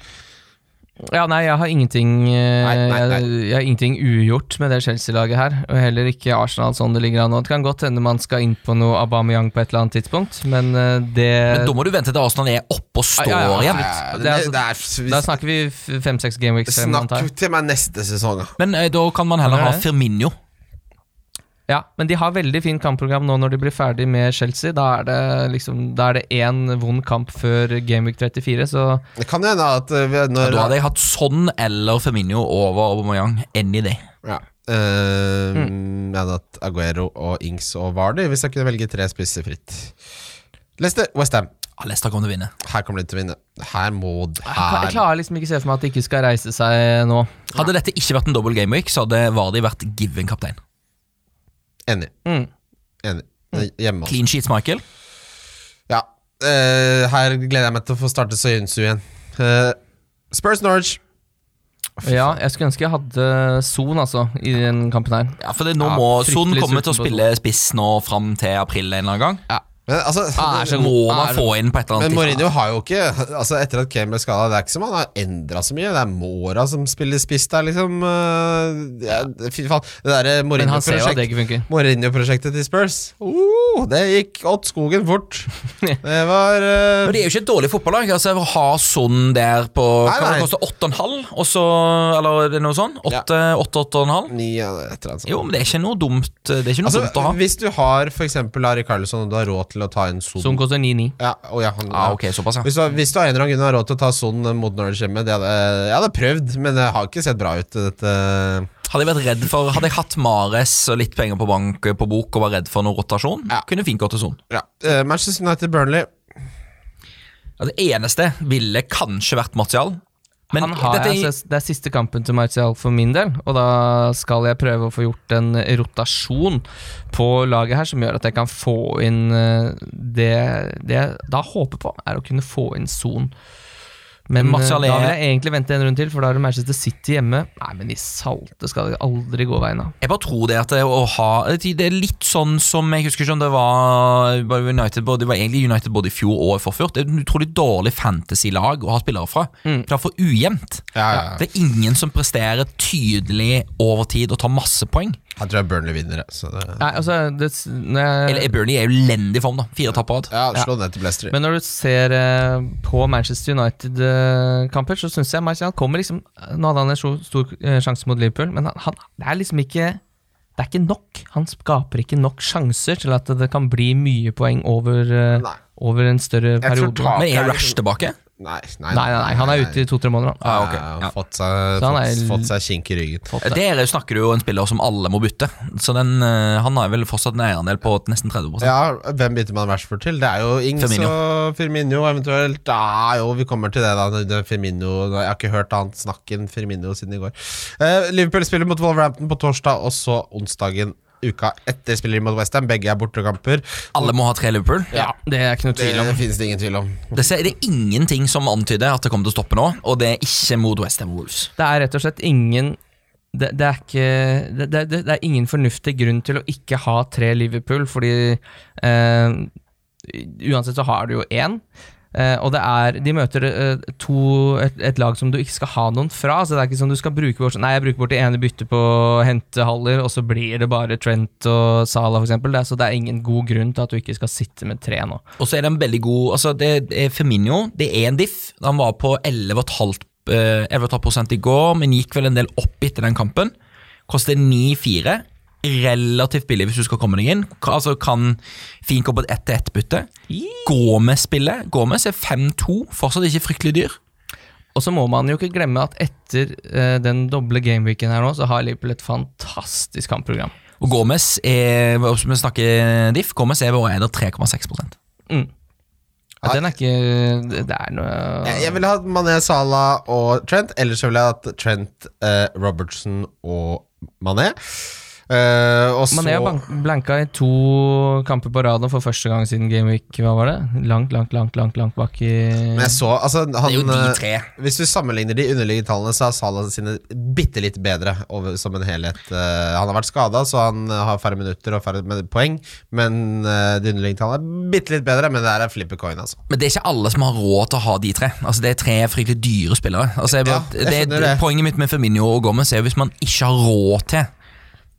[SPEAKER 4] Ja, nei, jeg har ingenting eh,
[SPEAKER 3] Nei, nei, nei.
[SPEAKER 4] Jeg, jeg har ingenting ugjort med det Chelsea-laget her. Og heller ikke Arsenal sånn det ligger an nå. Det kan godt hende man skal inn på noe Aubameyang på et eller annet tidspunkt, men eh, det
[SPEAKER 5] Men da må du vente til Arsenal er oppe og står
[SPEAKER 4] Ja, ja, ja.
[SPEAKER 5] igjen.
[SPEAKER 4] Ja, det er altså- Da snakker vi f- fem-seks gameweeks. frem,
[SPEAKER 3] Snakk
[SPEAKER 4] antar jeg.
[SPEAKER 3] til meg neste sesong, da.
[SPEAKER 5] Men eh, da kan man heller
[SPEAKER 4] Ja,
[SPEAKER 5] ha
[SPEAKER 4] det er det.
[SPEAKER 5] Firmino.
[SPEAKER 4] Ja, men de har veldig fint kampprogram nå når de blir ferdig med Chelsea. Da er det liksom Da er det én vond kamp før gameweek 34, så
[SPEAKER 3] Det kan hende at eh, vi-
[SPEAKER 5] Da
[SPEAKER 3] når
[SPEAKER 5] hadde jeg hatt Son eller Firmino over Aubameyang. Any day.
[SPEAKER 3] ja. Eh, Jeg hadde hatt Aguero og Ings og Vardy hvis jeg kunne velge tre spisser fritt. Leicester, Westham.
[SPEAKER 5] Ja, Leicester kommer til å vinne.
[SPEAKER 3] Her kommer de til å vinne. Her må d-
[SPEAKER 4] Jeg
[SPEAKER 3] her.
[SPEAKER 4] klarer liksom ikke se for meg at de ikke skal reise seg nå.
[SPEAKER 5] Hadde dette ikke vært en double game week, så hadde Vardi vært given kaptein.
[SPEAKER 3] Enig.
[SPEAKER 4] Mm.
[SPEAKER 3] Enig. Eh, Hjemme, altså.
[SPEAKER 5] Clean sheets, Michael.
[SPEAKER 3] Ja. eh, her gleder jeg meg til å få starte Soyuncu igjen. Eh, Spurs Norwich.
[SPEAKER 4] Ja, jeg skulle ønske jeg hadde Son, altså, i den kampen her.
[SPEAKER 5] Ja, for det, nå
[SPEAKER 4] Ja,
[SPEAKER 5] må
[SPEAKER 4] fryktelig
[SPEAKER 5] Son komme
[SPEAKER 4] sulten
[SPEAKER 5] til å
[SPEAKER 4] på
[SPEAKER 5] spille spiss nå fram til april en eller annen gang.
[SPEAKER 3] Men, altså,
[SPEAKER 4] Ah, er så
[SPEAKER 5] Så må
[SPEAKER 4] god.
[SPEAKER 5] man
[SPEAKER 4] Er-
[SPEAKER 5] få inn på et eller
[SPEAKER 3] Men
[SPEAKER 5] annet
[SPEAKER 3] Mourinho har jo ikke Altså Etter at Kane ble skada, det er ikke som han har endra så mye. Det er Mora som spiller spiss der, liksom. Øh, Ja, fy faen. Det derre
[SPEAKER 4] Men han ser jo at det
[SPEAKER 3] Mourinho-prosjektet
[SPEAKER 4] ikke funker.
[SPEAKER 3] Mourinho-prosjektet til Spurs, uh, det gikk åt skogen fort. Det var øh,
[SPEAKER 5] Men Det er jo ikke et dårlig fotballag. Altså, å ha Son der på
[SPEAKER 3] Nei,
[SPEAKER 5] Hva
[SPEAKER 3] nei.
[SPEAKER 5] det koster 8,5, og så Eller er det noe sånn? 8-8,5?
[SPEAKER 3] ni eller et eller annet sånt.
[SPEAKER 5] Jo, men det er ikke noe dumt Det er ikke noe dumt å
[SPEAKER 3] Altså,
[SPEAKER 5] ha.
[SPEAKER 3] hvis du har f.eks. Ari Carlsson, og du har råd til å ta inn Son
[SPEAKER 4] Son koster 9-9.
[SPEAKER 3] ja, å, ja, han,
[SPEAKER 5] Ah,
[SPEAKER 3] ja.
[SPEAKER 5] ok, såpass, ja.
[SPEAKER 3] Hvis, du, hvis du av en eller annen grunn har råd til å ta Son mot Norwich hjemme det hadde, Jeg hadde prøvd, men det har ikke sett bra ut, dette.
[SPEAKER 5] Hadde jeg vært redd for Hadde jeg hatt Mares og litt penger på bank på bok og var redd for noe rotasjon,
[SPEAKER 3] Ja.
[SPEAKER 5] kunne fint gått til Son.
[SPEAKER 3] Ja. Eh, Manchester United-Burnley.
[SPEAKER 5] Altså, Ja, det eneste ville kanskje vært Martial. Men
[SPEAKER 4] han har
[SPEAKER 5] dette er-
[SPEAKER 4] jeg, altså, det er siste kampen til Martial for min del, og da skal jeg prøve å få gjort en rotasjon på laget her som gjør at jeg kan få inn eh, det, det jeg da håper på, er å kunne få inn Son. Men eh,
[SPEAKER 5] Martial er-
[SPEAKER 4] da vil jeg egentlig vente en runde til, for da er det Manchester City hjemme. Nei, men i salte skal det aldri gå veien av.
[SPEAKER 5] Jeg bare tror det at det å ha Det er litt sånn som jeg husker ikke om det var bare United både, Det var egentlig United både i fjor og forfjort. Det er et utrolig dårlig fantasy-lag å ha spillere fra. For det er for ujevnt.
[SPEAKER 3] Ja, Mm. ja, ja.
[SPEAKER 5] Det er ingen som presterer tydelig over tid og tar masse poeng.
[SPEAKER 3] Jeg tror jeg Burnley vinner. jeg, Så det,
[SPEAKER 4] Nei, altså, det, s- når jeg,
[SPEAKER 3] Eh.
[SPEAKER 5] Eller Bernie er jo elendig form, da. Fire tap på rad.
[SPEAKER 3] ja, slå ned til Leicester.
[SPEAKER 4] Men når du ser eh, på Manchester United-kamper, så syns jeg Martial kommer liksom Nå hadde han en stor, stor eh, sjanse mot Liverpool, men han, han, det er liksom ikke Det er ikke nok. Han skaper ikke nok sjanser til at det kan bli mye poeng over, eh,
[SPEAKER 3] Nei.
[SPEAKER 4] over en større
[SPEAKER 3] tror
[SPEAKER 4] periode.
[SPEAKER 3] ta-
[SPEAKER 5] Men er Rush tilbake?
[SPEAKER 3] Nei,
[SPEAKER 4] Nei, nei, nei, han er ute i to-tre måneder. Han.
[SPEAKER 5] Ah, ok.
[SPEAKER 3] Ja,
[SPEAKER 5] Ja.
[SPEAKER 3] Fått seg,
[SPEAKER 4] Så han er
[SPEAKER 3] fått,
[SPEAKER 4] l-
[SPEAKER 3] fått seg kink i ryggen.
[SPEAKER 5] Der er jo- snakker du jo en spiller som alle må bytte. Så den, eh, han har vel fortsatt en eierandel på nesten 30
[SPEAKER 3] Ja, Hvem bytter man Rashford til? Det er jo Ings
[SPEAKER 5] Firmino.
[SPEAKER 3] og Firmino eventuelt. Ja, jo, vi kommer til det, da. Det er Firmino, jeg har ikke hørt annet snakk enn Firmino siden i går. Eh, Liverpool spiller mot Wolverhampton på torsdag, og så onsdagen uka etter spiller de mot Westham. Begge er bortekamper.
[SPEAKER 5] Alle må ha tre Liverpool.
[SPEAKER 4] Ja, det er ikke noe
[SPEAKER 3] Det,
[SPEAKER 4] tvil om.
[SPEAKER 3] det finnes det ingen tvil om.
[SPEAKER 5] Det, ser, det er ingenting som antyder at det kommer til å stoppe nå, og det er ikke mot West Ham Wolves.
[SPEAKER 4] Det er rett og slett ingen det, det, er ikke, det, det, det er ingen fornuftig grunn til å ikke ha tre Liverpool, fordi eh, Uansett så har du jo én. Eh, og det er, de møter eh, to, et, et lag som du ikke skal ha noen fra. Så det er ikke sånn du skal bruke bort Nei, jeg bruker bort det ene byttet på å hente Haller, og så blir det bare Trent og Salah, for eksempel. Det er, så det er ingen god grunn til at du ikke skal sitte med tre nå.
[SPEAKER 5] Og så er det en veldig god altså det, det er Firmino det er en diff. Han var på 11,5 eh, 11,5% i går, men gikk vel en del opp etter den kampen. Koster 9,4. Relativt billig hvis du skal komme deg inn. Ka- Altså Kan fint gå på et ett-til-ett-bytte. Gomez-spillet. Gomez er 5-2. Fortsatt ikke fryktelig dyr.
[SPEAKER 4] Og så må man jo ikke glemme at etter eh, den doble gameweeken her nå, så har Liverpool et fantastisk kampprogram.
[SPEAKER 5] Og Gomez er, hvis vi snakker diff, Gomez er vår eier 3,6
[SPEAKER 4] Ja, den er ikke Det er noe
[SPEAKER 3] Jeg, jeg ville hatt Mané Salah og Trent. Ellers så ville jeg hatt Trent, eh, Robertson og Mané. Eh, og så
[SPEAKER 4] Mané har bank- blanka i to kamper på rad nå for første gang siden Gameweek. Hva var det? Langt, langt, langt langt, langt bak i
[SPEAKER 3] Men jeg så, altså, han,
[SPEAKER 5] Det er jo de
[SPEAKER 3] eh,
[SPEAKER 5] tre.
[SPEAKER 3] Hvis du sammenligner de underliggende tallene, så er Salah sine bitte litt bedre over, som en helhet. Eh, han har vært skada, så han eh, har færre minutter og færre med poeng. Men eh, de underliggende tallene er bitte litt bedre, men det her er flipper coin, altså.
[SPEAKER 5] Men det er ikke alle som har råd til å ha de tre. Altså Det er tre fryktelig dyre spillere. Altså jeg bare,
[SPEAKER 3] Ja, jeg
[SPEAKER 5] det,
[SPEAKER 3] skjønner det.
[SPEAKER 5] Poenget mitt med Firmino og Gomez er jo hvis man ikke har råd til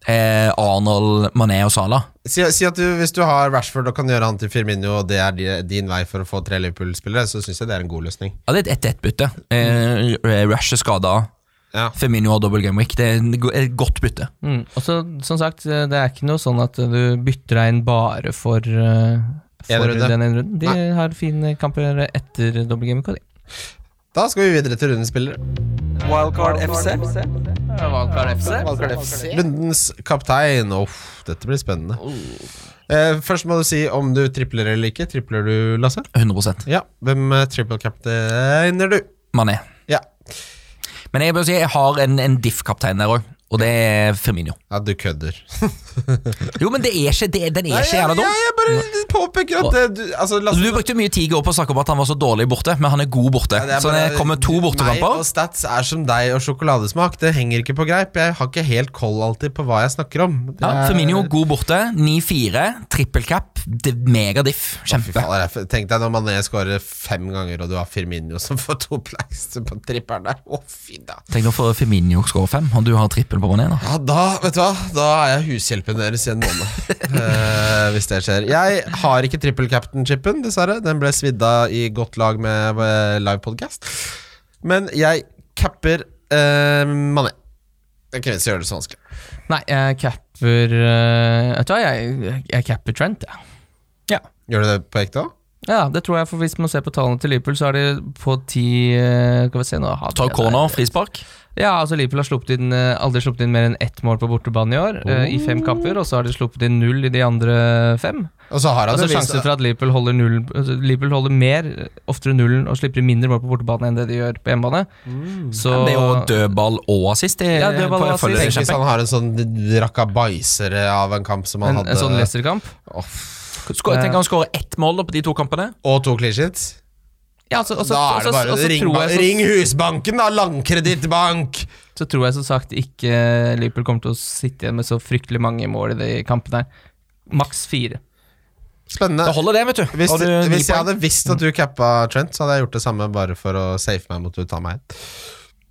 [SPEAKER 5] eh, Arnold, Mané og Salah
[SPEAKER 3] Si, si at du, hvis du har Rashford og kan gjøre han til Firmino, og det er di- din vei for å få tre Liverpool-spillere, så syns jeg det er en god løsning.
[SPEAKER 5] Ja, Det er et 1-1-bytte. Eh, Rush er skada.
[SPEAKER 3] Ja.
[SPEAKER 5] Firmino har double game week. Det er en go- et godt bytte.
[SPEAKER 4] mm. Og så, som sagt, det er ikke noe sånn at du bytter deg inn bare for, eh,
[SPEAKER 3] En
[SPEAKER 4] for
[SPEAKER 3] runde.
[SPEAKER 4] den ene runden. De har fine kamper etter doble gameweek. og de.
[SPEAKER 3] Da skal vi videre til rundens spillere.
[SPEAKER 1] Wildcard FC.
[SPEAKER 2] Wildcard FC.
[SPEAKER 3] Rundens kaptein. Uff, dette blir spennende. Eh, først må du si om du tripler eller ikke. Tripler du, Lasse?
[SPEAKER 5] 100
[SPEAKER 3] Ja, hvem eh, triple captainer du?
[SPEAKER 5] Mané.
[SPEAKER 3] Ja,
[SPEAKER 5] Men jeg, bare si, jeg har en, en diff-kaptein der òg, og det er Firmino.
[SPEAKER 3] ja du kødder.
[SPEAKER 5] Jo, men det er ikke, det, den er ikke jævla
[SPEAKER 3] jeg,
[SPEAKER 5] dum.
[SPEAKER 3] jeg, jeg bare påpeker at det, du, altså,
[SPEAKER 5] Altså,
[SPEAKER 3] Lasse,
[SPEAKER 5] Du brukte mye tid i går på å snakke om at han var så dårlig borte, men han er god borte.
[SPEAKER 3] Ja, det er
[SPEAKER 5] så
[SPEAKER 3] bare-
[SPEAKER 5] det kommer to
[SPEAKER 3] Meg og
[SPEAKER 5] bortekamper.
[SPEAKER 3] stats er som deg og sjokoladesmak. Det henger ikke på greip. Jeg har ikke helt koll alltid på hva jeg snakker om. Det
[SPEAKER 5] Ja,
[SPEAKER 3] er-
[SPEAKER 5] Firmino, god borte. 9-4, trippelkapp. Megadiff.
[SPEAKER 3] Fy
[SPEAKER 5] Kjempe.
[SPEAKER 3] faen, jeg- Tenk deg når Mané scorer fem ganger, og du har Firmino som får to plaster på tripperen der. Å, fy da.
[SPEAKER 5] Tenk nå for Firmino score 5, og du har trippel på Mané. da.
[SPEAKER 3] Ja, da, vet du hva? Da er jeg hushjelpen deres i en måned. eh, hvis det skjer. Jeg har ikke trippel captain-chipen, dessverre. Den ble svidd av i godt lag med eh, live podcast. Men jeg capper eh, Mané. Det er ikke vits i å gjøre det så vanskelig.
[SPEAKER 4] Nei, jeg capper eh, Vet du hva, jeg, jeg capper Trent, jeg.
[SPEAKER 5] Ja.
[SPEAKER 3] Gjør du det på ekte òg?
[SPEAKER 4] Ja, det tror jeg, for hvis man ser på tallene til Liverpool, så er de på ti eh, Skal vi se nå har vi
[SPEAKER 5] Ta
[SPEAKER 4] det
[SPEAKER 5] corner,
[SPEAKER 4] der.
[SPEAKER 5] frispark.
[SPEAKER 4] Ja, altså Liverpool har sluppet inn, eh, aldri sluppet inn mer enn ett mål på bortebane i år, eh, i fem kamper. Og så har de sluppet inn null i de andre fem.
[SPEAKER 3] Og så har han
[SPEAKER 4] Altså
[SPEAKER 3] jo vist
[SPEAKER 4] Sjansen for at Liverpool holder, null, altså, Liverpool holder mer, eh, oftere nullen og slipper inn mindre mål på bortebane enn det de gjør på hjemmebane. Så
[SPEAKER 5] Det er jo dødball og assist. Det,
[SPEAKER 4] Ja, dødball og assist.
[SPEAKER 3] Tenk hvis han har en sånn rakabaiser av en kamp som han
[SPEAKER 4] en,
[SPEAKER 3] hadde.
[SPEAKER 4] en sånn Leicester-kamp.
[SPEAKER 5] Skår, tenk han skårer ett mål da på de to kampene.
[SPEAKER 3] og to clean sheets.
[SPEAKER 4] Ja, altså, også,
[SPEAKER 3] Da er det bare ring, ring Husbanken, da! Landkredittbank!
[SPEAKER 4] så tror jeg som sagt ikke Liverpool kommer til å sitte igjen med så fryktelig mange mål i de kampene. her. Maks fire.
[SPEAKER 3] Spennende.
[SPEAKER 5] Da holder det, vet du.
[SPEAKER 3] Hvis,
[SPEAKER 5] Har du ni
[SPEAKER 3] hvis jeg
[SPEAKER 5] poeng?
[SPEAKER 3] hadde visst at du cappa Trent, så hadde jeg gjort det samme bare for å safe meg mot å ta meg en.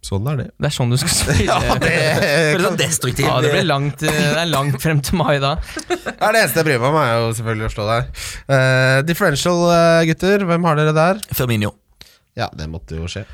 [SPEAKER 3] Sånn er det.
[SPEAKER 4] Det er sånn du skal spille. ja, det,
[SPEAKER 5] Veldig sånn destruktiv.
[SPEAKER 4] blir langt, eh, det er langt frem til mai da.
[SPEAKER 3] Det er det eneste jeg bryr meg om, er jo selvfølgelig å slå deg. Eh, differential, eh, gutter. Hvem har dere der?
[SPEAKER 5] Firmino.
[SPEAKER 3] Ja, det måtte jo skje.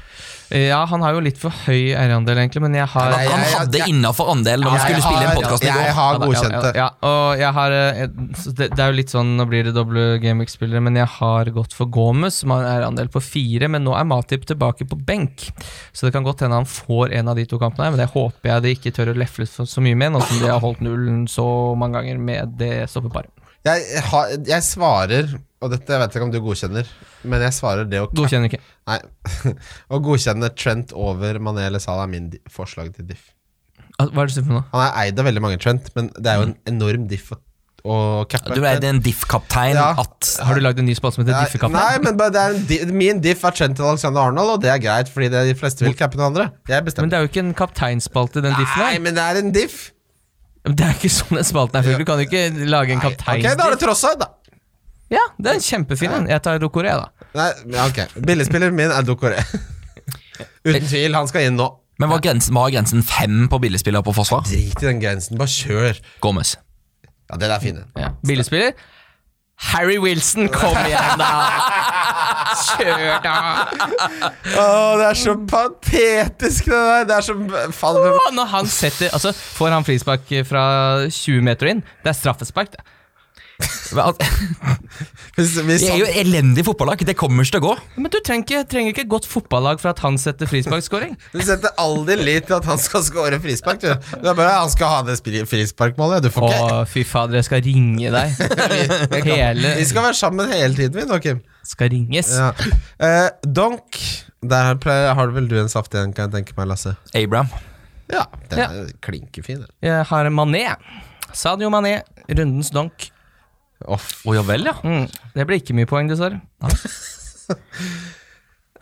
[SPEAKER 4] Ja, han har jo litt for høy eierandel, egentlig, men jeg har
[SPEAKER 3] Nei,
[SPEAKER 5] Han
[SPEAKER 3] jeg-
[SPEAKER 5] hadde
[SPEAKER 3] jeg-
[SPEAKER 5] innafor andel når vi
[SPEAKER 3] Jeg
[SPEAKER 5] skulle spille
[SPEAKER 3] har-
[SPEAKER 5] inn podkasten i
[SPEAKER 3] Jeg
[SPEAKER 5] går.
[SPEAKER 3] har
[SPEAKER 4] Ja da, ja,
[SPEAKER 3] godkjent det.
[SPEAKER 4] Ja, ja, og jeg har eh, et- så det, det er jo litt sånn, nå blir det doble Gameweek-spillere, men jeg har gått for Gomez, som har en eierandel på fire, men nå er Matip tilbake på benk. Så det kan godt hende han får en av de to kampene her, men det håper jeg de ikke tør å lefle for så mye med, nå som de har holdt nullen så mange ganger med det stoppeparet.
[SPEAKER 3] Jeg, har, jeg svarer, og dette jeg vet ikke om du godkjenner, men jeg svarer det å
[SPEAKER 4] Godkjenner ikke.
[SPEAKER 3] Nei, å godkjenne Trent over Mané eller Salah er min di- forslag til diff.
[SPEAKER 4] Ah, Hva er det du sier for noe?
[SPEAKER 3] Han er eid av veldig mange Trent, men det er jo en enorm diff å, å cappe.
[SPEAKER 5] Du er en diff-kaptein
[SPEAKER 3] Ja.
[SPEAKER 5] at
[SPEAKER 4] Har du lagd en ny spalte som heter
[SPEAKER 3] Nei, nei,
[SPEAKER 4] Diffekappen?
[SPEAKER 3] men bare det er en di min diff er Trent til Alexander Arnold, og det er greit, fordi det er de fleste vil cappe noen andre. Jeg
[SPEAKER 4] Men
[SPEAKER 3] bestemmer.
[SPEAKER 4] det er jo ikke en kapteinspalte, den diffen
[SPEAKER 3] Nei,
[SPEAKER 4] her.
[SPEAKER 3] men det er en diff!
[SPEAKER 4] Men Det er ikke sånn den spalten er full. Du kan jo ikke lage en
[SPEAKER 3] Nei, ok,
[SPEAKER 4] kapteinsdiff.
[SPEAKER 3] da er det trossa, da.
[SPEAKER 4] Ja, det er en kjempefin en. Jeg tar Rokoré, da.
[SPEAKER 3] Nei, ja, ok. Billigspilleren min er Dokore. Uten tvil, han skal inn nå.
[SPEAKER 5] Men var grensen, var grensen fem på billigspiller på forsvar?
[SPEAKER 3] Drit i den grensen, bare kjør.
[SPEAKER 5] Gomez.
[SPEAKER 3] Ja, den er fin. den.
[SPEAKER 4] Ja. Billigspiller. Harry Wilson, kom igjen, da! Kjør, da!
[SPEAKER 3] Åh, det er så Mm. patetisk, det der. Det er så Faen, hvem
[SPEAKER 4] Og når han setter Altså, får han frispark fra 20 meter inn, det er straffespark, det.
[SPEAKER 5] Hva-
[SPEAKER 3] Hvis, hvis
[SPEAKER 5] Vi er jo et elendig fotballag. Det kommer ikke til å gå.
[SPEAKER 4] Men du trenger ikke, trenger ikke et godt fotballag for at han setter frisparkskåring.
[SPEAKER 3] Du setter all din lit til at han skal score frispark. Du. Det er bare Han skal ha det spri- frisparkmålet. Du får
[SPEAKER 4] Å,
[SPEAKER 3] ikke
[SPEAKER 4] fy fader, jeg skal ringe deg. Hele
[SPEAKER 3] Vi skal være sammen hele tiden, vi nå, Kim.
[SPEAKER 4] skal ringes.
[SPEAKER 3] Ja. Eh, donk. Der pleier, har du vel du en saftig en, kan jeg tenke meg, Lasse.
[SPEAKER 5] Abraham.
[SPEAKER 3] Ja, den
[SPEAKER 4] Ja.
[SPEAKER 3] er klinkefin. den.
[SPEAKER 4] Jeg har Mané. Sadio Mané, rundens donk.
[SPEAKER 3] Off.
[SPEAKER 5] Å ja vel, ja.
[SPEAKER 4] Mm. Det ble ikke mye poeng, dessverre.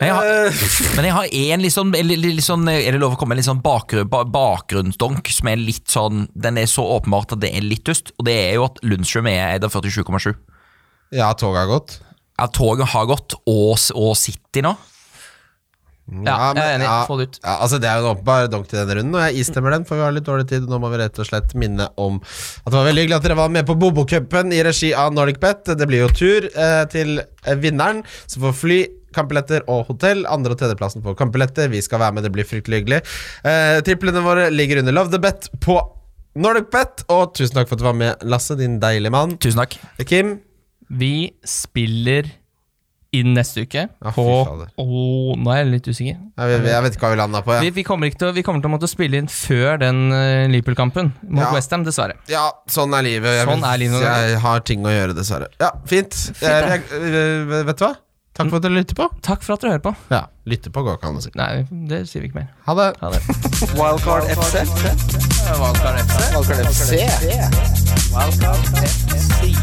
[SPEAKER 5] Men jeg har, men jeg har en litt sånn, eller litt sånn Er det lov å komme med en litt sånn bakgrunn, ba- bakgrunnsdonk som er litt sånn Den er så åpenbart at det er litt dust, og det er jo at Lundstrøm er eid av 47,7.
[SPEAKER 3] Ja, toget har gått.
[SPEAKER 5] At toget har gått, og, s- og City nå.
[SPEAKER 4] Ja, jeg er
[SPEAKER 3] men-
[SPEAKER 4] enig. Få det ut.
[SPEAKER 3] Ja, altså Det er jo en åpenbar donk til denne runden, og jeg istemmer den, for vi har litt dårlig tid. Nå må vi rett og slett minne om at det var veldig hyggelig at dere var med på Bobokupen i regi av Nordic Bet. Det blir jo tur eh, til eh, vinneren, som får fly. Kampbilletter og hotell. Andre- og tredjeplassen får kampbilletter. Vi skal være med, det blir fryktelig hyggelig. Eh, triplene våre ligger under Love the Bet på Nordic Bet. Og tusen takk for at du var med, Lasse, din deilige mann.
[SPEAKER 5] Tusen takk.
[SPEAKER 3] Kim,
[SPEAKER 4] Vi spiller inn neste uke
[SPEAKER 3] Ja, fy
[SPEAKER 4] på
[SPEAKER 3] fader.
[SPEAKER 4] Åh, Nå er jeg litt usikker.
[SPEAKER 3] jeg, vet- jeg vet ikke hva vi landa på. Ja.
[SPEAKER 4] Vi, vi, kommer ikke til, å- vi kommer til å måtte spille inn før den eh, Liverpool-kampen mot
[SPEAKER 3] Ja.
[SPEAKER 4] Westham, dessverre.
[SPEAKER 3] Ja, sånn er livet. Jeg,
[SPEAKER 4] Sånn er livet noen ganger.
[SPEAKER 3] jeg har ting å gjøre, dessverre. Ja, fint. Eh, jeg, eh, vet du hva? Takk for at dere lytter på.
[SPEAKER 4] Takk for at dere hører på.
[SPEAKER 3] Ja, lytter på går ikke an å si.
[SPEAKER 4] Nei, det sier vi ikke mer.
[SPEAKER 3] Ha det.
[SPEAKER 4] Ha det.
[SPEAKER 1] Wildcard FC.
[SPEAKER 2] Valgkar FC.
[SPEAKER 1] Wildcard FC.
[SPEAKER 2] Wildcard FC.